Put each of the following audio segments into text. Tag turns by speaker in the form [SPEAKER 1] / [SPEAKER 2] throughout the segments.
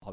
[SPEAKER 1] Har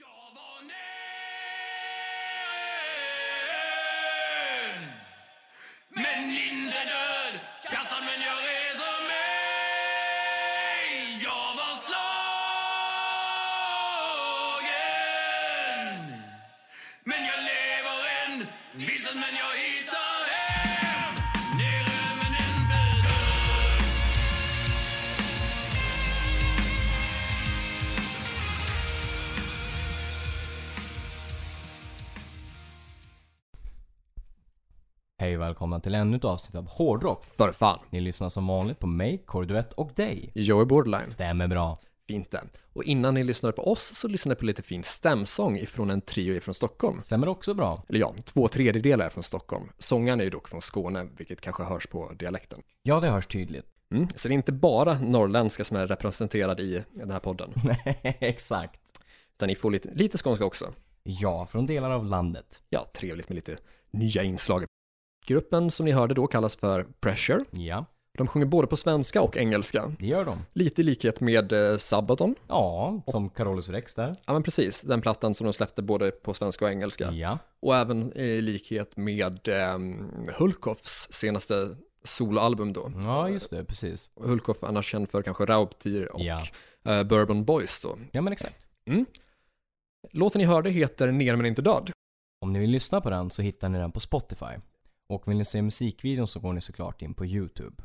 [SPEAKER 2] Jag var nöjd Men inte död Kastad men jag reser mig Jag var slagen Men jag lever än Vilsen men jag hittar hem Nere men inte död
[SPEAKER 3] Hej och välkomna till ännu ett avsnitt av Hårdrock.
[SPEAKER 1] För fan.
[SPEAKER 3] Ni lyssnar som vanligt på mig, Korduett och dig.
[SPEAKER 1] Joey Borderline.
[SPEAKER 3] Stämmer bra.
[SPEAKER 1] Fint det. Och innan ni lyssnade på oss så lyssnade ni på lite fin stämsång ifrån en trio ifrån Stockholm.
[SPEAKER 3] Stämmer också bra.
[SPEAKER 1] Eller ja, två tredjedelar är från Stockholm. Sångaren är ju dock från Skåne, vilket kanske hörs på dialekten.
[SPEAKER 3] Ja, det hörs tydligt.
[SPEAKER 1] Mm. Så det är inte bara norrländska som är representerade i den här podden,
[SPEAKER 3] Exakt.
[SPEAKER 1] utan ni får lite, lite skånska också.
[SPEAKER 3] Ja, från delar av landet.
[SPEAKER 1] Ja, trevligt med lite nya inslag. Gruppen som ni hörde då kallas för Pressure.
[SPEAKER 3] Ja,
[SPEAKER 1] De sjunger både på svenska och engelska.
[SPEAKER 3] det gör de.
[SPEAKER 1] Lite i likhet med eh, Sabaton.
[SPEAKER 3] Ja, som Carolus Rex där.
[SPEAKER 1] Ja men precis, den plattan som de släppte både på svenska och engelska.
[SPEAKER 3] Ja.
[SPEAKER 1] Och även i likhet med eh, Hulkoffs senaste soloalbum då.
[SPEAKER 3] Ja, just det. Precis.
[SPEAKER 1] Hulkoff är annars känd för kanske Raubtir och
[SPEAKER 3] Ja.
[SPEAKER 1] eh, Bourbon Boys då.
[SPEAKER 3] Ja, men exakt.
[SPEAKER 1] Låten ni hörde heter Ner men inte död.
[SPEAKER 3] Om ni vill lyssna på den så hittar ni den på Spotify. Och vill ni se musikvideon så går ni såklart in på YouTube.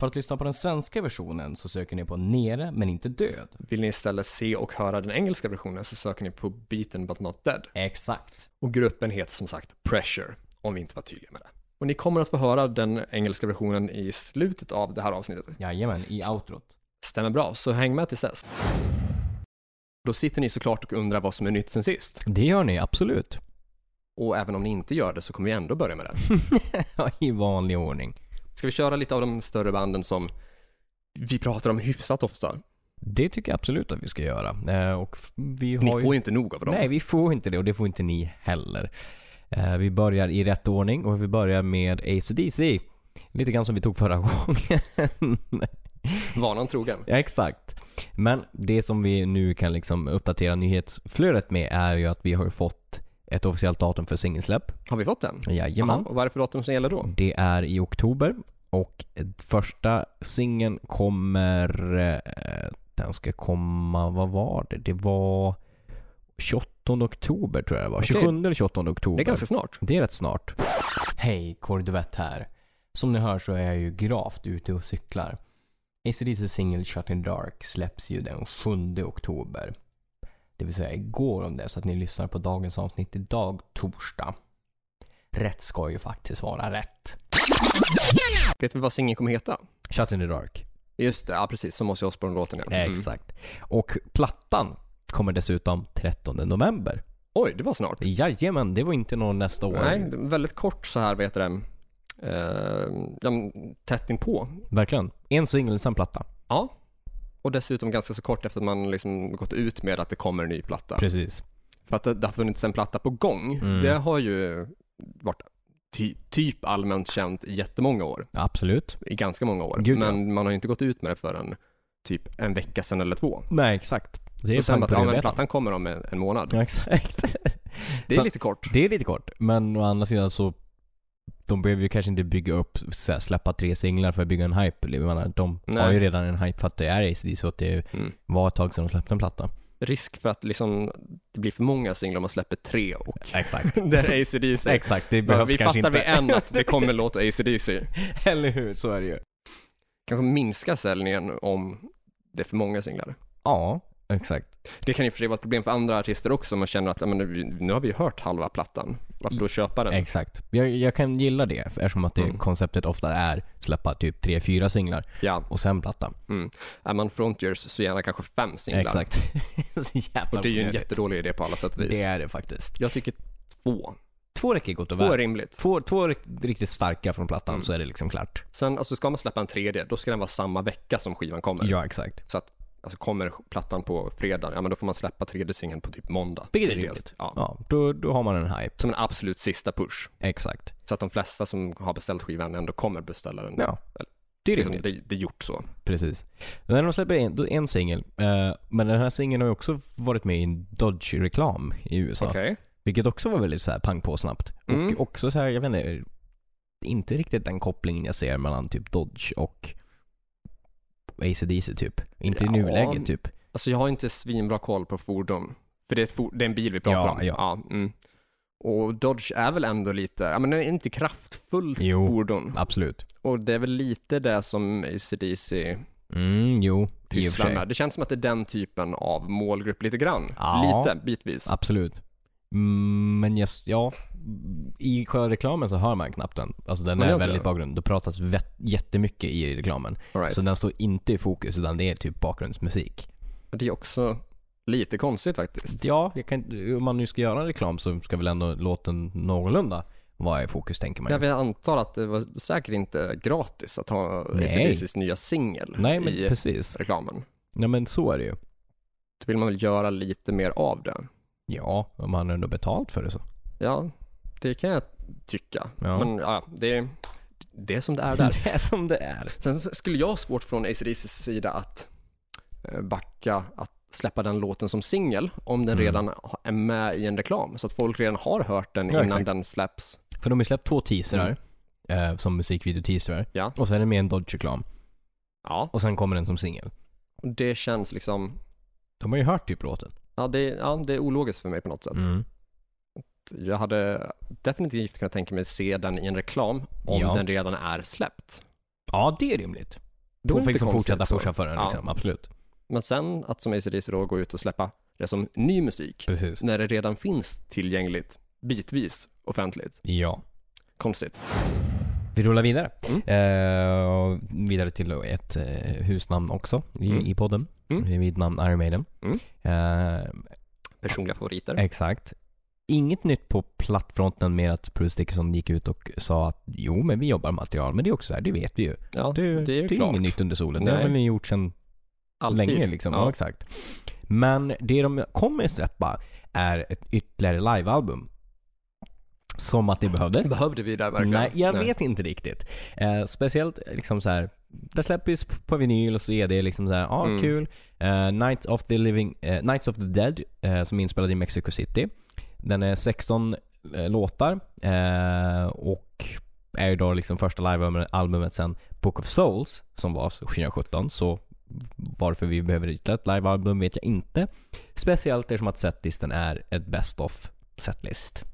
[SPEAKER 3] För att lyssna på den svenska versionen så söker ni på Nere men inte död.
[SPEAKER 1] Vill ni istället se och höra den engelska versionen så söker ni på Beaten But Not Dead.
[SPEAKER 3] Exakt.
[SPEAKER 1] Och gruppen heter som sagt Pressure, om vi inte var tydliga med det. Och ni kommer att få höra den engelska versionen i slutet av det här avsnittet.
[SPEAKER 3] Jajamän, i outrot.
[SPEAKER 1] Stämmer bra, så häng med tills dess. Då sitter ni såklart och undrar vad som är nytt sen sist.
[SPEAKER 3] Det gör ni, absolut.
[SPEAKER 1] Och även om ni inte gör det så kommer vi ändå börja med det.
[SPEAKER 3] Ja, I vanlig ordning.
[SPEAKER 1] Ska vi köra lite av de större banden som vi pratar om hyfsat ofta?
[SPEAKER 3] Det tycker jag absolut att vi ska göra. Eh, Och f- vi
[SPEAKER 1] Ni
[SPEAKER 3] har
[SPEAKER 1] får
[SPEAKER 3] ju...
[SPEAKER 1] ju inte nog av dem.
[SPEAKER 3] Nej, vi får inte det och det får inte ni heller. Eh, Vi börjar i rätt ordning och vi börjar med AC/DC. Lite grann som vi tog förra gången.
[SPEAKER 1] Vanan trogen.
[SPEAKER 3] ja, exakt. Men det som vi nu kan liksom uppdatera nyhetsflödet med är ju att vi har fått ett officiellt datum för singelsläpp.
[SPEAKER 1] Har vi fått den?
[SPEAKER 3] Jajamän.
[SPEAKER 1] Aha, och vad är det för datum som gäller då?
[SPEAKER 3] Det är i oktober och första singeln kommer... eh, Den ska komma, vad var det? Det var 28 oktober tror jag det var.
[SPEAKER 1] Okej.
[SPEAKER 3] 27 eller 28 oktober.
[SPEAKER 1] Det är ganska snart.
[SPEAKER 3] Det är rätt snart. Hej, Corduvett här. Som ni hör så är jag ju gravt ute och cyklar. ACDC's singel Shut in Dark släpps ju den 7 oktober. Det vill säga igår om det, så att ni lyssnar på dagens avsnitt idag, torsdag. Rätt ska ju faktiskt vara rätt.
[SPEAKER 1] Vet vi vad singeln kommer heta?
[SPEAKER 3] Shut in the Dark.
[SPEAKER 1] Just det, ja precis, som Ozzy Osbourne-låten ja. Mm.
[SPEAKER 3] Exakt. Och plattan kommer dessutom 13 november.
[SPEAKER 1] Oj, det var snart.
[SPEAKER 3] Jajamän, det var inte någon nästa år.
[SPEAKER 1] Nej, det är väldigt kort så här, vad heter det? Eh, ja, men tätt inpå
[SPEAKER 3] Verkligen. En singel, sen platta.
[SPEAKER 1] Ja, och dessutom ganska så kort efter att man liksom gått ut med att det kommer en ny platta.
[SPEAKER 3] Precis.
[SPEAKER 1] För att det, det har funnits en platta på gång.
[SPEAKER 3] Mm.
[SPEAKER 1] Det har ju varit ty, typ allmänt känt i jättemånga år,
[SPEAKER 3] Absolut.
[SPEAKER 1] i ganska många år.
[SPEAKER 3] Gud, ja.
[SPEAKER 1] Men man har ju inte gått ut med det förrän typ en vecka sedan eller två.
[SPEAKER 3] Nej, exakt. Det
[SPEAKER 1] Och sen
[SPEAKER 3] fan
[SPEAKER 1] bara, ja men
[SPEAKER 3] bredvid.
[SPEAKER 1] plattan kommer om en, en månad.
[SPEAKER 3] Ja, exakt.
[SPEAKER 1] Det är
[SPEAKER 3] Så-
[SPEAKER 1] lite kort.
[SPEAKER 3] Det är lite kort, men å andra sidan så de behöver ju kanske inte bygga upp, så här, släppa tre singlar för att bygga en hype. Jag menar, de har
[SPEAKER 1] Nej.
[SPEAKER 3] ju redan en hype för att det är ACDC så att det
[SPEAKER 1] Mm.
[SPEAKER 3] var ett tag sedan de släppte en platta.
[SPEAKER 1] Risk för att liksom, det blir för många singlar om man släpper tre och
[SPEAKER 3] Exakt.
[SPEAKER 1] där är ACDC.
[SPEAKER 3] exakt, det
[SPEAKER 1] Men
[SPEAKER 3] behövs
[SPEAKER 1] vi
[SPEAKER 3] kanske
[SPEAKER 1] fattar
[SPEAKER 3] inte.
[SPEAKER 1] vi än att det kommer låta ACDC.
[SPEAKER 3] Eller hur, så är det ju.
[SPEAKER 1] Kanske minska säljningen om det är för många singlar.
[SPEAKER 3] Ja, exakt.
[SPEAKER 1] Det kan ju för sig vara ett problem för andra artister också, om man känner att ja, men nu, nu har vi ju hört halva plattan, varför då köpa den?
[SPEAKER 3] Exakt. Jag, jag kan gilla det eftersom att det
[SPEAKER 1] Mm.
[SPEAKER 3] konceptet ofta är släppa typ tre, fyra singlar
[SPEAKER 1] Ja,
[SPEAKER 3] och sen platta.
[SPEAKER 1] är man frontiers så gärna kanske fem singlar.
[SPEAKER 3] Exakt. så jävla
[SPEAKER 1] Och det är ju en
[SPEAKER 3] onödigt.
[SPEAKER 1] jättedålig idé på alla sätt och vis.
[SPEAKER 3] Det är det faktiskt.
[SPEAKER 1] Jag tycker två.
[SPEAKER 3] Två räcker gott och
[SPEAKER 1] Två
[SPEAKER 3] väl.
[SPEAKER 1] är rimligt.
[SPEAKER 3] Två, två rikt- riktigt starka från plattan så är det liksom klart.
[SPEAKER 1] Sen, alltså ska man släppa en tredje, då ska den vara samma vecka som skivan kommer.
[SPEAKER 3] Ja, exakt.
[SPEAKER 1] Så att alltså kommer plattan på fredag, ja men då får man släppa tredje singeln på typ måndag.
[SPEAKER 3] Vilket är
[SPEAKER 1] tidigast.
[SPEAKER 3] rimligt.
[SPEAKER 1] Ja.
[SPEAKER 3] Ja, då, då har man en hype.
[SPEAKER 1] Som en absolut sista push.
[SPEAKER 3] Exakt.
[SPEAKER 1] Så att de flesta som har beställt skivan ändå kommer beställa den.
[SPEAKER 3] Ja. Det är
[SPEAKER 1] Liksom,
[SPEAKER 3] rimligt.
[SPEAKER 1] det, det är gjort så.
[SPEAKER 3] Precis. När de släpper en, då en singel, eh, men den här singeln har ju också varit med i en Dodge-reklam i USA.
[SPEAKER 1] Okej.
[SPEAKER 3] Vilket också var väldigt så här pang på snabbt.
[SPEAKER 1] Mm.
[SPEAKER 3] Och också så här, jag vet inte, inte riktigt den kopplingen jag ser mellan typ Dodge och AC/DC typ. Inte i
[SPEAKER 1] Ja.
[SPEAKER 3] nuläget typ.
[SPEAKER 1] Alltså jag har inte svinbra koll på fordon. För det är, ett for- det är en bil vi pratar
[SPEAKER 3] Ja,
[SPEAKER 1] om.
[SPEAKER 3] ja.
[SPEAKER 1] mm. Och Dodge är väl ändå lite, ja men den är inte kraftfullt
[SPEAKER 3] Jo.
[SPEAKER 1] fordon.
[SPEAKER 3] Absolut.
[SPEAKER 1] Och det är väl lite det som ACDC
[SPEAKER 3] Mm, jo. I och för
[SPEAKER 1] pysslar
[SPEAKER 3] sig.
[SPEAKER 1] med. Det känns som att det är den typen av målgrupp lite grann.
[SPEAKER 3] Ja.
[SPEAKER 1] Lite, bitvis.
[SPEAKER 3] Absolut. Mm, men yes, ja, i själva reklamen så hör man knappt den. Alltså den
[SPEAKER 1] Man gör
[SPEAKER 3] är
[SPEAKER 1] inte
[SPEAKER 3] väldigt
[SPEAKER 1] det?
[SPEAKER 3] bakgrund. Det pratas vett- jättemycket i reklamen.
[SPEAKER 1] All right.
[SPEAKER 3] Så den står inte i fokus utan det är typ bakgrundsmusik.
[SPEAKER 1] Det är också lite konstigt faktiskt.
[SPEAKER 3] Ja, jag kan, inte- om man nu ska göra en reklam så ska väl ändå låten någorlunda vara i fokus tänker man ju.
[SPEAKER 1] Jag vet- antar att det var säkert inte gratis att ha
[SPEAKER 3] Nej.
[SPEAKER 1] ACDCs nya singel
[SPEAKER 3] Nej men
[SPEAKER 1] i
[SPEAKER 3] precis.
[SPEAKER 1] reklamen.
[SPEAKER 3] Nej men så är det ju.
[SPEAKER 1] Då vill man väl göra lite mer av det.
[SPEAKER 3] Ja, om man ändå betalt för det så.
[SPEAKER 1] Ja, det kan jag tycka.
[SPEAKER 3] Ja.
[SPEAKER 1] Men ja, det är, det är som det är där.
[SPEAKER 3] Det är som det är.
[SPEAKER 1] Sen så skulle jag ha svårt från ACDCs sida att eh, backa att släppa den låten som singel om den
[SPEAKER 3] Mm.
[SPEAKER 1] redan ha- är med i en reklam. Så att folk redan har hört den
[SPEAKER 3] Ja,
[SPEAKER 1] innan
[SPEAKER 3] exakt.
[SPEAKER 1] den släpps.
[SPEAKER 3] För de har ju släppt två teasrar. Eh, som musikvideo-teasrar.
[SPEAKER 1] Mm. Ja.
[SPEAKER 3] Och sen är det med en Dodge-reklam.
[SPEAKER 1] Ja,
[SPEAKER 3] Och sen kommer den som singel.
[SPEAKER 1] och det känns liksom,
[SPEAKER 3] De har ju hört typ låten.
[SPEAKER 1] ja det, är- ja, det är ologiskt för mig på något sätt.
[SPEAKER 3] Mm.
[SPEAKER 1] Jag hade definitivt kunnat tänka mig se den i en reklam om
[SPEAKER 3] Ja.
[SPEAKER 1] den redan är släppt.
[SPEAKER 3] Ja, det är rimligt.
[SPEAKER 1] Då är
[SPEAKER 3] Då
[SPEAKER 1] det
[SPEAKER 3] fick
[SPEAKER 1] inte
[SPEAKER 3] de
[SPEAKER 1] konstigt
[SPEAKER 3] fortsätta
[SPEAKER 1] så.
[SPEAKER 3] pusha för den
[SPEAKER 1] Ja.
[SPEAKER 3] liksom. Absolut.
[SPEAKER 1] Men sen att som ACDC då gå ut och släppa det som ny musik
[SPEAKER 3] Precis.
[SPEAKER 1] när det redan finns tillgängligt bitvis offentligt.
[SPEAKER 3] Ja.
[SPEAKER 1] Konstigt.
[SPEAKER 3] Vi rullar vidare.
[SPEAKER 1] Mm.
[SPEAKER 3] Eh, och vidare till ett eh, husnamn också i,
[SPEAKER 1] Mm.
[SPEAKER 3] i podden.
[SPEAKER 1] Mm.
[SPEAKER 3] Vid namn Iron Maiden.
[SPEAKER 1] Mm.
[SPEAKER 3] Eh,
[SPEAKER 1] Personliga
[SPEAKER 3] Äh,
[SPEAKER 1] favoriter.
[SPEAKER 3] exakt. Inget nytt på plattfronten mer att Bruce Dickinson gick ut och sa att jo men vi jobbar med material. Men det är också så här, det vet vi ju.
[SPEAKER 1] Ja,
[SPEAKER 3] Det,
[SPEAKER 1] det är ju
[SPEAKER 3] det
[SPEAKER 1] klart.
[SPEAKER 3] inget nytt under solen. Det har
[SPEAKER 1] Nej.
[SPEAKER 3] ni gjort sedan
[SPEAKER 1] Alltid.
[SPEAKER 3] länge liksom. Ja.
[SPEAKER 1] Ja.
[SPEAKER 3] exakt. Men det de kommer släppa är ett ytterligare livealbum. Som att det behövdes.
[SPEAKER 1] Behövde vi det verkligen?
[SPEAKER 3] Nej, jag vet inte riktigt. Eh, speciellt liksom så här. Det släpps på vinyl och så är det liksom så här, ja ah,
[SPEAKER 1] Mm.
[SPEAKER 3] kul. Eh, Nights of the Living, eh, Nights of the Dead eh, som är inspelad i Mexico City. Den är 16 eh, låtar eh, och är ju då liksom första livealbumet albumet sen Book of Souls som var 2017. Så varför vi behöver ytterligare ett livealbum vet jag inte. Speciellt eftersom att setlisten är ett best of setlist.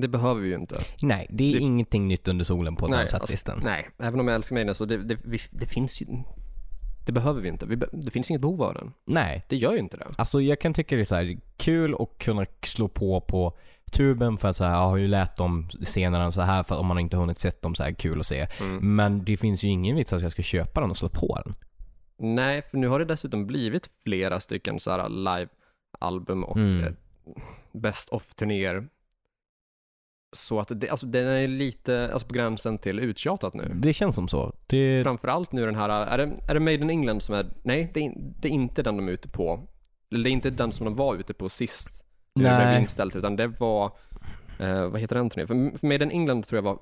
[SPEAKER 1] Det behöver vi ju inte.
[SPEAKER 3] Nej, det är
[SPEAKER 1] Det-
[SPEAKER 3] ingenting nytt under solen på den
[SPEAKER 1] Nej, alltså-
[SPEAKER 3] setlisten.
[SPEAKER 1] Nej, även om jag älskar Maiden så det, det, vi, det finns ju... Det behöver vi inte. Vi, be- det finns inget behov av den.
[SPEAKER 3] Nej.
[SPEAKER 1] Det gör ju inte det.
[SPEAKER 3] Alltså jag kan tycka det är så här kul att kunna slå på på tuben för att så här, jag har ju lärt dem senare än så här för om man inte hunnit sett dem så här kul att se.
[SPEAKER 1] Mm.
[SPEAKER 3] Men det finns ju ingen vits att jag ska köpa den och slå på den.
[SPEAKER 1] Nej, för nu har det dessutom blivit flera stycken så här live-album och
[SPEAKER 3] Mm.
[SPEAKER 1] eh, best of-turnéer. Så att det, alltså, den är lite alltså, på gränsen till uttjatat nu.
[SPEAKER 3] Det känns som så. Det,
[SPEAKER 1] Framförallt nu den här, är det, är det Made in England som är, nej det är, in- det är inte den de är ute på. Eller det är inte den som de var ute på sist. när Det blev
[SPEAKER 3] nej.
[SPEAKER 1] inställt, utan det var, eh, vad heter den turnén? För, för Made in England tror jag var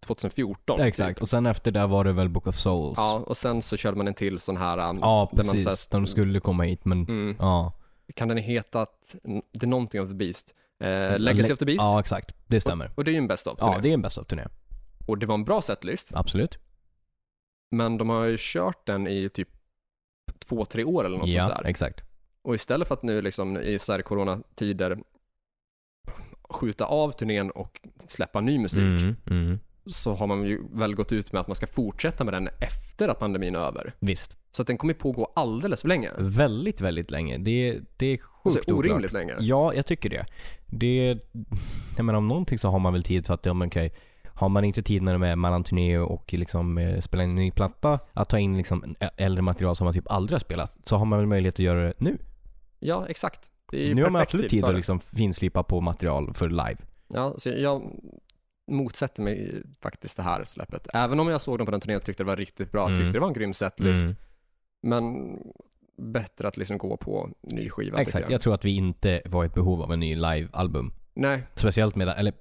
[SPEAKER 1] 2014.
[SPEAKER 3] Exakt. Och sen efter det var det väl Book of Souls.
[SPEAKER 1] typ. Ja, och sen så körde man en till sån här, eh,
[SPEAKER 3] Ja,
[SPEAKER 1] där man
[SPEAKER 3] precis.
[SPEAKER 1] så här-
[SPEAKER 3] De skulle komma hit men
[SPEAKER 1] mm,
[SPEAKER 3] ja.
[SPEAKER 1] kan den heta att, det är någonting of the Beast? Eh, Legacy
[SPEAKER 3] Mm, Le-
[SPEAKER 1] of the Beast?
[SPEAKER 3] Ja, exakt. Det stämmer.
[SPEAKER 1] Och det är ju en best of
[SPEAKER 3] Ja,
[SPEAKER 1] turné.
[SPEAKER 3] det är en best of-turné.
[SPEAKER 1] Och det var en bra setlist,
[SPEAKER 3] Absolut.
[SPEAKER 1] men de har ju kört den i typ två, tre år eller något sånt
[SPEAKER 3] Ja,
[SPEAKER 1] där.
[SPEAKER 3] exakt.
[SPEAKER 1] Och istället för att nu liksom i så här coronatider skjuta av turnén och släppa ny musik
[SPEAKER 3] Mm, mm.
[SPEAKER 1] så har man ju väl gått ut med att man ska fortsätta med den efter att pandemin är över.
[SPEAKER 3] Visst.
[SPEAKER 1] Så att den kommer pågå alldeles för länge.
[SPEAKER 3] Väldigt, väldigt länge. Det, det är sjukt
[SPEAKER 1] Alltså orimligt länge.
[SPEAKER 3] oklart. Ja, jag tycker det. det jag menar, om någonting så har man väl tid för att, ja, men okej, har man inte tid när de är mellan turné och liksom, eh, spelar in en ny platta, att ta in liksom, en ä- äldre material som man typ aldrig har spelat, så har man väl möjlighet att göra det nu.
[SPEAKER 1] Ja, exakt. Det är ju
[SPEAKER 3] Nu har man
[SPEAKER 1] perfekt
[SPEAKER 3] absolut
[SPEAKER 1] tid
[SPEAKER 3] tid
[SPEAKER 1] för
[SPEAKER 3] att
[SPEAKER 1] det.
[SPEAKER 3] liksom finslipa på material för live.
[SPEAKER 1] Ja, så jag motsätter mig faktiskt det här släppet. Även om jag såg dem på den turnén och tyckte det var riktigt bra,
[SPEAKER 3] Mm.
[SPEAKER 1] tyckte det var en grym setlist.
[SPEAKER 3] Mm.
[SPEAKER 1] Men bättre att liksom gå på ny skiva. tycker
[SPEAKER 3] Exakt, jag tror att vi inte var i behov av en ny live-album.
[SPEAKER 1] Nej,
[SPEAKER 3] Speciellt med, eller,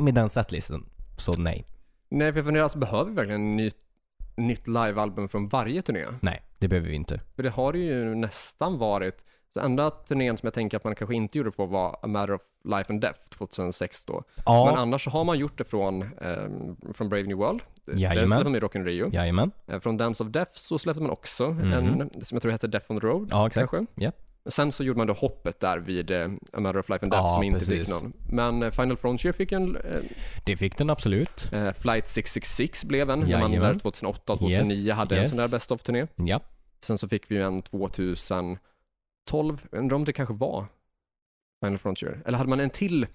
[SPEAKER 3] med den setlisten. Så nej.
[SPEAKER 1] nej, för jag funderar, alltså, behöver vi verkligen en ny, nytt livealbum från varje turné?
[SPEAKER 3] Nej, det behöver vi inte.
[SPEAKER 1] För det har det ju nästan varit. Så enda turnén som jag tänker att man kanske inte gjorde på var A Matter of Life and Death 2006 då.
[SPEAKER 3] Ja,
[SPEAKER 1] Men annars så har man gjort det från, ehm, från Brave New World. Den
[SPEAKER 3] Jajamän.
[SPEAKER 1] släppte man i Rock in Rio.
[SPEAKER 3] jajamän.
[SPEAKER 1] Eh, Från Dance of Death så släppte man också
[SPEAKER 3] Mhm.
[SPEAKER 1] en som jag tror hette Death on the Road.
[SPEAKER 3] Ja, exakt.
[SPEAKER 1] kanske.
[SPEAKER 3] Ja.
[SPEAKER 1] Sen så gjorde man då hoppet där vid eh, A Matter of Life and Death
[SPEAKER 3] Ja,
[SPEAKER 1] som inte
[SPEAKER 3] precis.
[SPEAKER 1] fick någon. Men eh, Final Frontier fick en, eh,
[SPEAKER 3] Det fick den absolut.
[SPEAKER 1] eh, Flight 666 blev en, när man
[SPEAKER 3] Jajamän.
[SPEAKER 1] där 2008 och 2009 hade en
[SPEAKER 3] yes.
[SPEAKER 1] sån där Best of-turné.
[SPEAKER 3] Ja.
[SPEAKER 1] Sen så fick vi ju en 2012, undrar om det kanske var Final Frontier. Eller hade man en till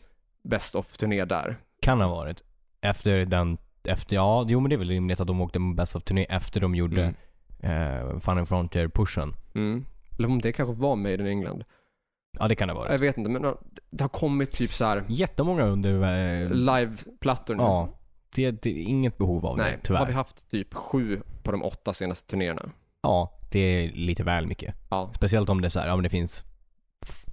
[SPEAKER 1] Best of-turné där?
[SPEAKER 3] Kan ha varit. Efter den, efter, ja, jo men det är väl rimligt att de åkte med Best of turné efter de gjorde eh, Fun and Frontier-pushen.
[SPEAKER 1] Mm. Eller om det kanske var Made in England.
[SPEAKER 3] Ja, det kan det ha varit.
[SPEAKER 1] Jag vet inte, men eh, det har kommit typ så här
[SPEAKER 3] Jättemånga under... Eh,
[SPEAKER 1] liveplattor nu.
[SPEAKER 3] ja. Det, det är inget behov av
[SPEAKER 1] Nej,
[SPEAKER 3] det,
[SPEAKER 1] har
[SPEAKER 3] tyvärr.
[SPEAKER 1] vi haft typ sju på de åtta senaste turnéerna.
[SPEAKER 3] Ja, det är lite väl mycket.
[SPEAKER 1] Ja.
[SPEAKER 3] Speciellt om det är så här, ja men det finns f-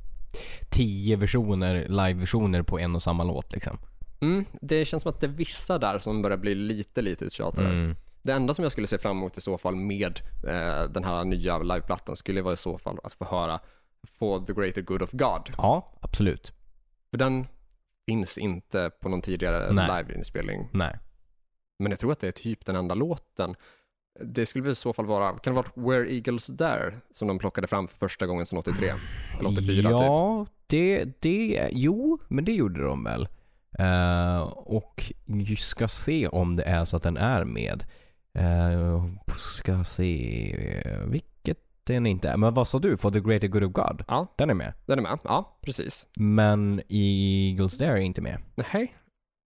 [SPEAKER 3] tio versioner, live-versioner på en och samma låt liksom.
[SPEAKER 1] Mm, det känns som att det är vissa där som börjar bli lite, lite uttjatade.
[SPEAKER 3] Mm.
[SPEAKER 1] Det enda som jag skulle se fram emot i så fall med eh, den här nya liveplattan skulle vara i så fall att få höra For the greater good of God.
[SPEAKER 3] Ja, absolut.
[SPEAKER 1] För den finns inte på någon tidigare
[SPEAKER 3] Nej.
[SPEAKER 1] liveinspelning.
[SPEAKER 3] Nej.
[SPEAKER 1] Men jag tror att det är typ den enda låten. Det skulle väl i så fall vara, kan det ha varit Where Eagles There som de plockade fram för första gången sedan 83? Eller 84 typ.
[SPEAKER 3] ja, det, det, jo, men det gjorde de väl. Eh, och vi ska se om det är så att den är med. Eh, ska se eh, vilket den inte är. Men vad sa du? For the greater good of God?
[SPEAKER 1] Ja.
[SPEAKER 3] Den är med.
[SPEAKER 1] Den är med? Ja, precis.
[SPEAKER 3] Men Eagles Dare är inte med.
[SPEAKER 1] Nej.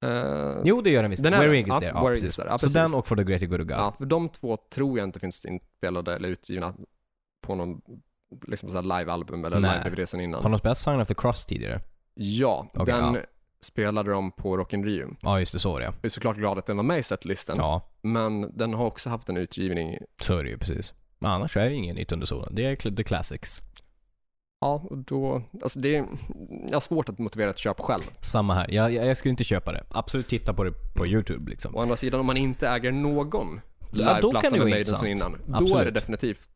[SPEAKER 1] Eh,
[SPEAKER 3] Jo, det gör den visst.
[SPEAKER 1] Den är
[SPEAKER 3] Where
[SPEAKER 1] det.
[SPEAKER 3] Eagles
[SPEAKER 1] Ja,
[SPEAKER 3] Dare. Ja,
[SPEAKER 1] Where
[SPEAKER 3] precis.
[SPEAKER 1] Eagles Dare. Ja,
[SPEAKER 3] Så
[SPEAKER 1] precis.
[SPEAKER 3] den och For the greater good of God.
[SPEAKER 1] ja, för de två tror jag inte finns inspelade eller utgivna på någon liksom så här livealbum eller
[SPEAKER 3] Nej.
[SPEAKER 1] live-DVD sen innan.
[SPEAKER 3] Har de spelat Sign of the Cross tidigare?
[SPEAKER 1] Ja,
[SPEAKER 3] Okej,
[SPEAKER 1] den
[SPEAKER 3] ja.
[SPEAKER 1] spelade de på Rock in Rio.
[SPEAKER 3] Ja, just det. Så är det.
[SPEAKER 1] Jag är såklart glad att den var med i setlistan,
[SPEAKER 3] Ja,
[SPEAKER 1] men den har också haft en utgivning.
[SPEAKER 3] så är det ju precis. Men annars är det inget nytt under solen. Det är cl- the classics.
[SPEAKER 1] Ja, och då, alltså det är, jag har svårt att motivera ett köp själv.
[SPEAKER 3] Samma här. Jag, jag, jag skulle inte köpa det. Absolut titta på det på YouTube liksom.
[SPEAKER 1] Å andra sidan, om man inte äger någon
[SPEAKER 3] Ja, då
[SPEAKER 1] liveplatta
[SPEAKER 3] kan det
[SPEAKER 1] med
[SPEAKER 3] vara
[SPEAKER 1] Maiden sen
[SPEAKER 3] intressant.
[SPEAKER 1] innan, då är det
[SPEAKER 3] Absolut.
[SPEAKER 1] definitivt.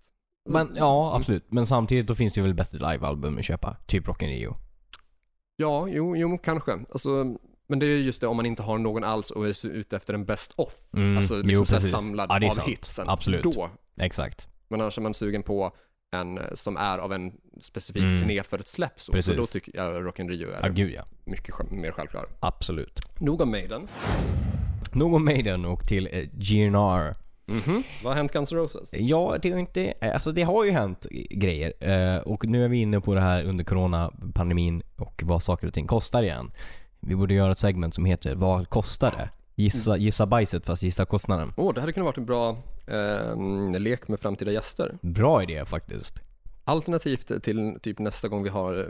[SPEAKER 3] Men ja, absolut. Men samtidigt då finns det ju väl bättre livealbum att köpa. Typ Rock in Rio.
[SPEAKER 1] Ja, jo, jo kanske. Alltså, men det är just det om man inte har någon alls och är så ute efter en best off.
[SPEAKER 3] Mm,
[SPEAKER 1] Alltså liksom så här samlad
[SPEAKER 3] Ja, det är
[SPEAKER 1] av
[SPEAKER 3] sant.
[SPEAKER 1] hitsen.
[SPEAKER 3] Absolut.
[SPEAKER 1] Då.
[SPEAKER 3] Exakt.
[SPEAKER 1] Men annars är man sugen på en eh, som är av en specifik
[SPEAKER 3] Mm.
[SPEAKER 1] turné för ett släpp. Så, så
[SPEAKER 3] Precis.
[SPEAKER 1] då tycker jag Rock in Rio
[SPEAKER 3] Ja,
[SPEAKER 1] är
[SPEAKER 3] gud ja.
[SPEAKER 1] mycket sj- mer självklar.
[SPEAKER 3] Absolut.
[SPEAKER 1] Nog om Maiden.
[SPEAKER 3] Nog om Maiden och till eh, GNR.
[SPEAKER 1] Vad har hänt Guns N' Roses?
[SPEAKER 3] Ja, det har inte... Alltså det har ju hänt grejer. Eh, Och nu är vi inne på det här under coronapandemin och vad saker och ting kostar igen. Vi borde göra ett segment som heter Vad kostar det? Gissa, gissa bajset fast gissa kostnaden.
[SPEAKER 1] Åh, det hade kunnat varit en bra ehm, lek med framtida gäster.
[SPEAKER 3] Bra idé faktiskt.
[SPEAKER 1] Alternativt till typ nästa gång vi har eh,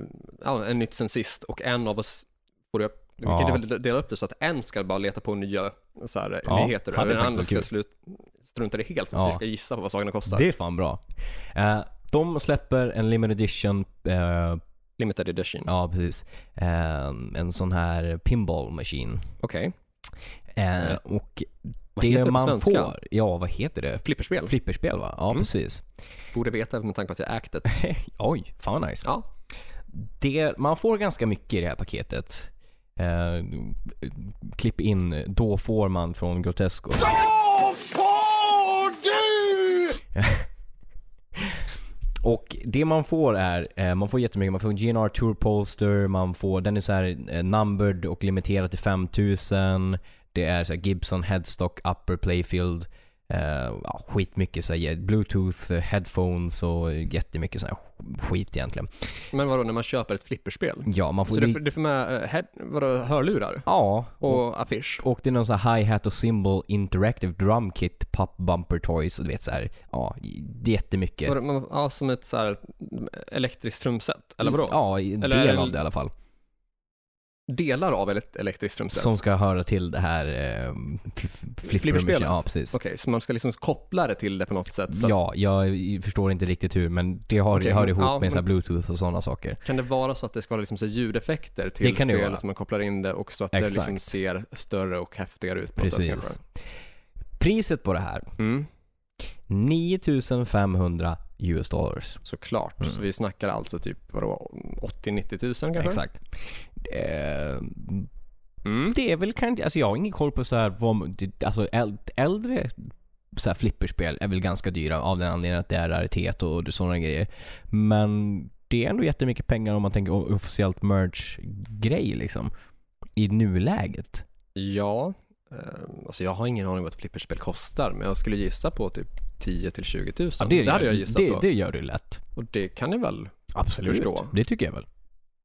[SPEAKER 1] ja, en nytt sen sist och en av oss får upp vi kan
[SPEAKER 3] Ja.
[SPEAKER 1] väl dela upp det så att en ska bara leta på nya så här,
[SPEAKER 3] Ja,
[SPEAKER 1] nyheter och
[SPEAKER 3] hade
[SPEAKER 1] den
[SPEAKER 3] faktiskt
[SPEAKER 1] andra
[SPEAKER 3] varit
[SPEAKER 1] ska
[SPEAKER 3] kul.
[SPEAKER 1] slut, strunta i det helt och
[SPEAKER 3] Ja.
[SPEAKER 1] försöka gissa på vad sakerna kostar.
[SPEAKER 3] Det är fan bra. Eh, De släpper en limited edition, eh,
[SPEAKER 1] Limited edition.
[SPEAKER 3] ja precis, eh, en sån här pinball machine.
[SPEAKER 1] Okej.
[SPEAKER 3] Eh,
[SPEAKER 1] Eh,
[SPEAKER 3] Och
[SPEAKER 1] Vad heter det
[SPEAKER 3] det
[SPEAKER 1] på
[SPEAKER 3] man
[SPEAKER 1] svenska?
[SPEAKER 3] får, ja vad heter det?
[SPEAKER 1] Flipperspel.
[SPEAKER 3] Flipperspel va? Ja
[SPEAKER 1] Mm.
[SPEAKER 3] precis.
[SPEAKER 1] Borde veta med tanke på att jag ägt det.
[SPEAKER 3] Oj, fan vad nice.
[SPEAKER 1] Ja.
[SPEAKER 3] det, man får ganska mycket i det här paketet. Eh, klipp in, då får man från Grotesco.
[SPEAKER 2] Då får du!
[SPEAKER 3] Och det man får är, eh, man får jättemycket. Man får en GNR Tour Poster, man får, den är så här eh, numbered och limiterad till 5000. Det är så här Gibson Headstock Upper Playfield. Eh, ja, skitmycket så här, bluetooth, eh, headphones och jättemycket sån här skit egentligen.
[SPEAKER 1] Men vadå, när man köper ett flipperspel?
[SPEAKER 3] Ja, man får...
[SPEAKER 1] Så du, får- du får med eh, head, vadå, hörlurar
[SPEAKER 3] ja,
[SPEAKER 1] och affisch?
[SPEAKER 3] Och det är någon sån här hi-hat och symbol interactive drum kit, pop bumper toys och du vet så här, ja, det är jättemycket.
[SPEAKER 1] Vadå, man- Ja, som ett så här elektriskt trumset? Eller vadå?
[SPEAKER 3] Ja, i-
[SPEAKER 1] Eller-
[SPEAKER 3] del av det i alla fall.
[SPEAKER 1] delar av ett elektriskt trumset.
[SPEAKER 3] Som ska höra till det här eh, fl- flipperspelet.
[SPEAKER 1] Flipperspelet?
[SPEAKER 3] Ja, precis.
[SPEAKER 1] Okej, så man ska liksom koppla det till det på något sätt. Så att,
[SPEAKER 3] Ja, jag förstår inte riktigt hur, men det har,
[SPEAKER 1] Okej,
[SPEAKER 3] hör
[SPEAKER 1] men-
[SPEAKER 3] ihop
[SPEAKER 1] ja,
[SPEAKER 3] med så här
[SPEAKER 1] men-
[SPEAKER 3] bluetooth och sådana saker.
[SPEAKER 1] kan det vara så att det ska vara liksom så här ljudeffekter till
[SPEAKER 3] Det kan det göra.
[SPEAKER 1] spelet som man kopplar in det och så att det liksom
[SPEAKER 3] Exakt.
[SPEAKER 1] ser större och häftigare ut på något sätt kanske?
[SPEAKER 3] Precis. Priset på det här,
[SPEAKER 1] Mm,
[SPEAKER 3] 9500 US dollars.
[SPEAKER 1] såklart.
[SPEAKER 3] Mm.
[SPEAKER 1] Så vi snackar alltså typ vadå, 80-90 tusen kanske?
[SPEAKER 3] Exakt. Eh,
[SPEAKER 1] Mm.
[SPEAKER 3] det är väl kanske, alltså jag har ingen koll på så här, vad, det- alltså äl- äldre så här flipperspel är väl ganska dyra av den anledningen att det är raritet och sådana grejer. Men det är ändå jättemycket pengar om man tänker o- officiellt merch-grej liksom. I nuläget.
[SPEAKER 1] Ja, eh, alltså jag har ingen aning vad ett flipperspel kostar, men jag skulle gissa på typ 10 till 20 000.
[SPEAKER 3] Ja,
[SPEAKER 1] det,
[SPEAKER 3] gör-
[SPEAKER 1] hade jag gissat
[SPEAKER 3] det,
[SPEAKER 1] på.
[SPEAKER 3] det gör du lätt.
[SPEAKER 1] Och det kan ni väl?
[SPEAKER 3] Absolut.
[SPEAKER 1] Förstå.
[SPEAKER 3] Det tycker jag väl.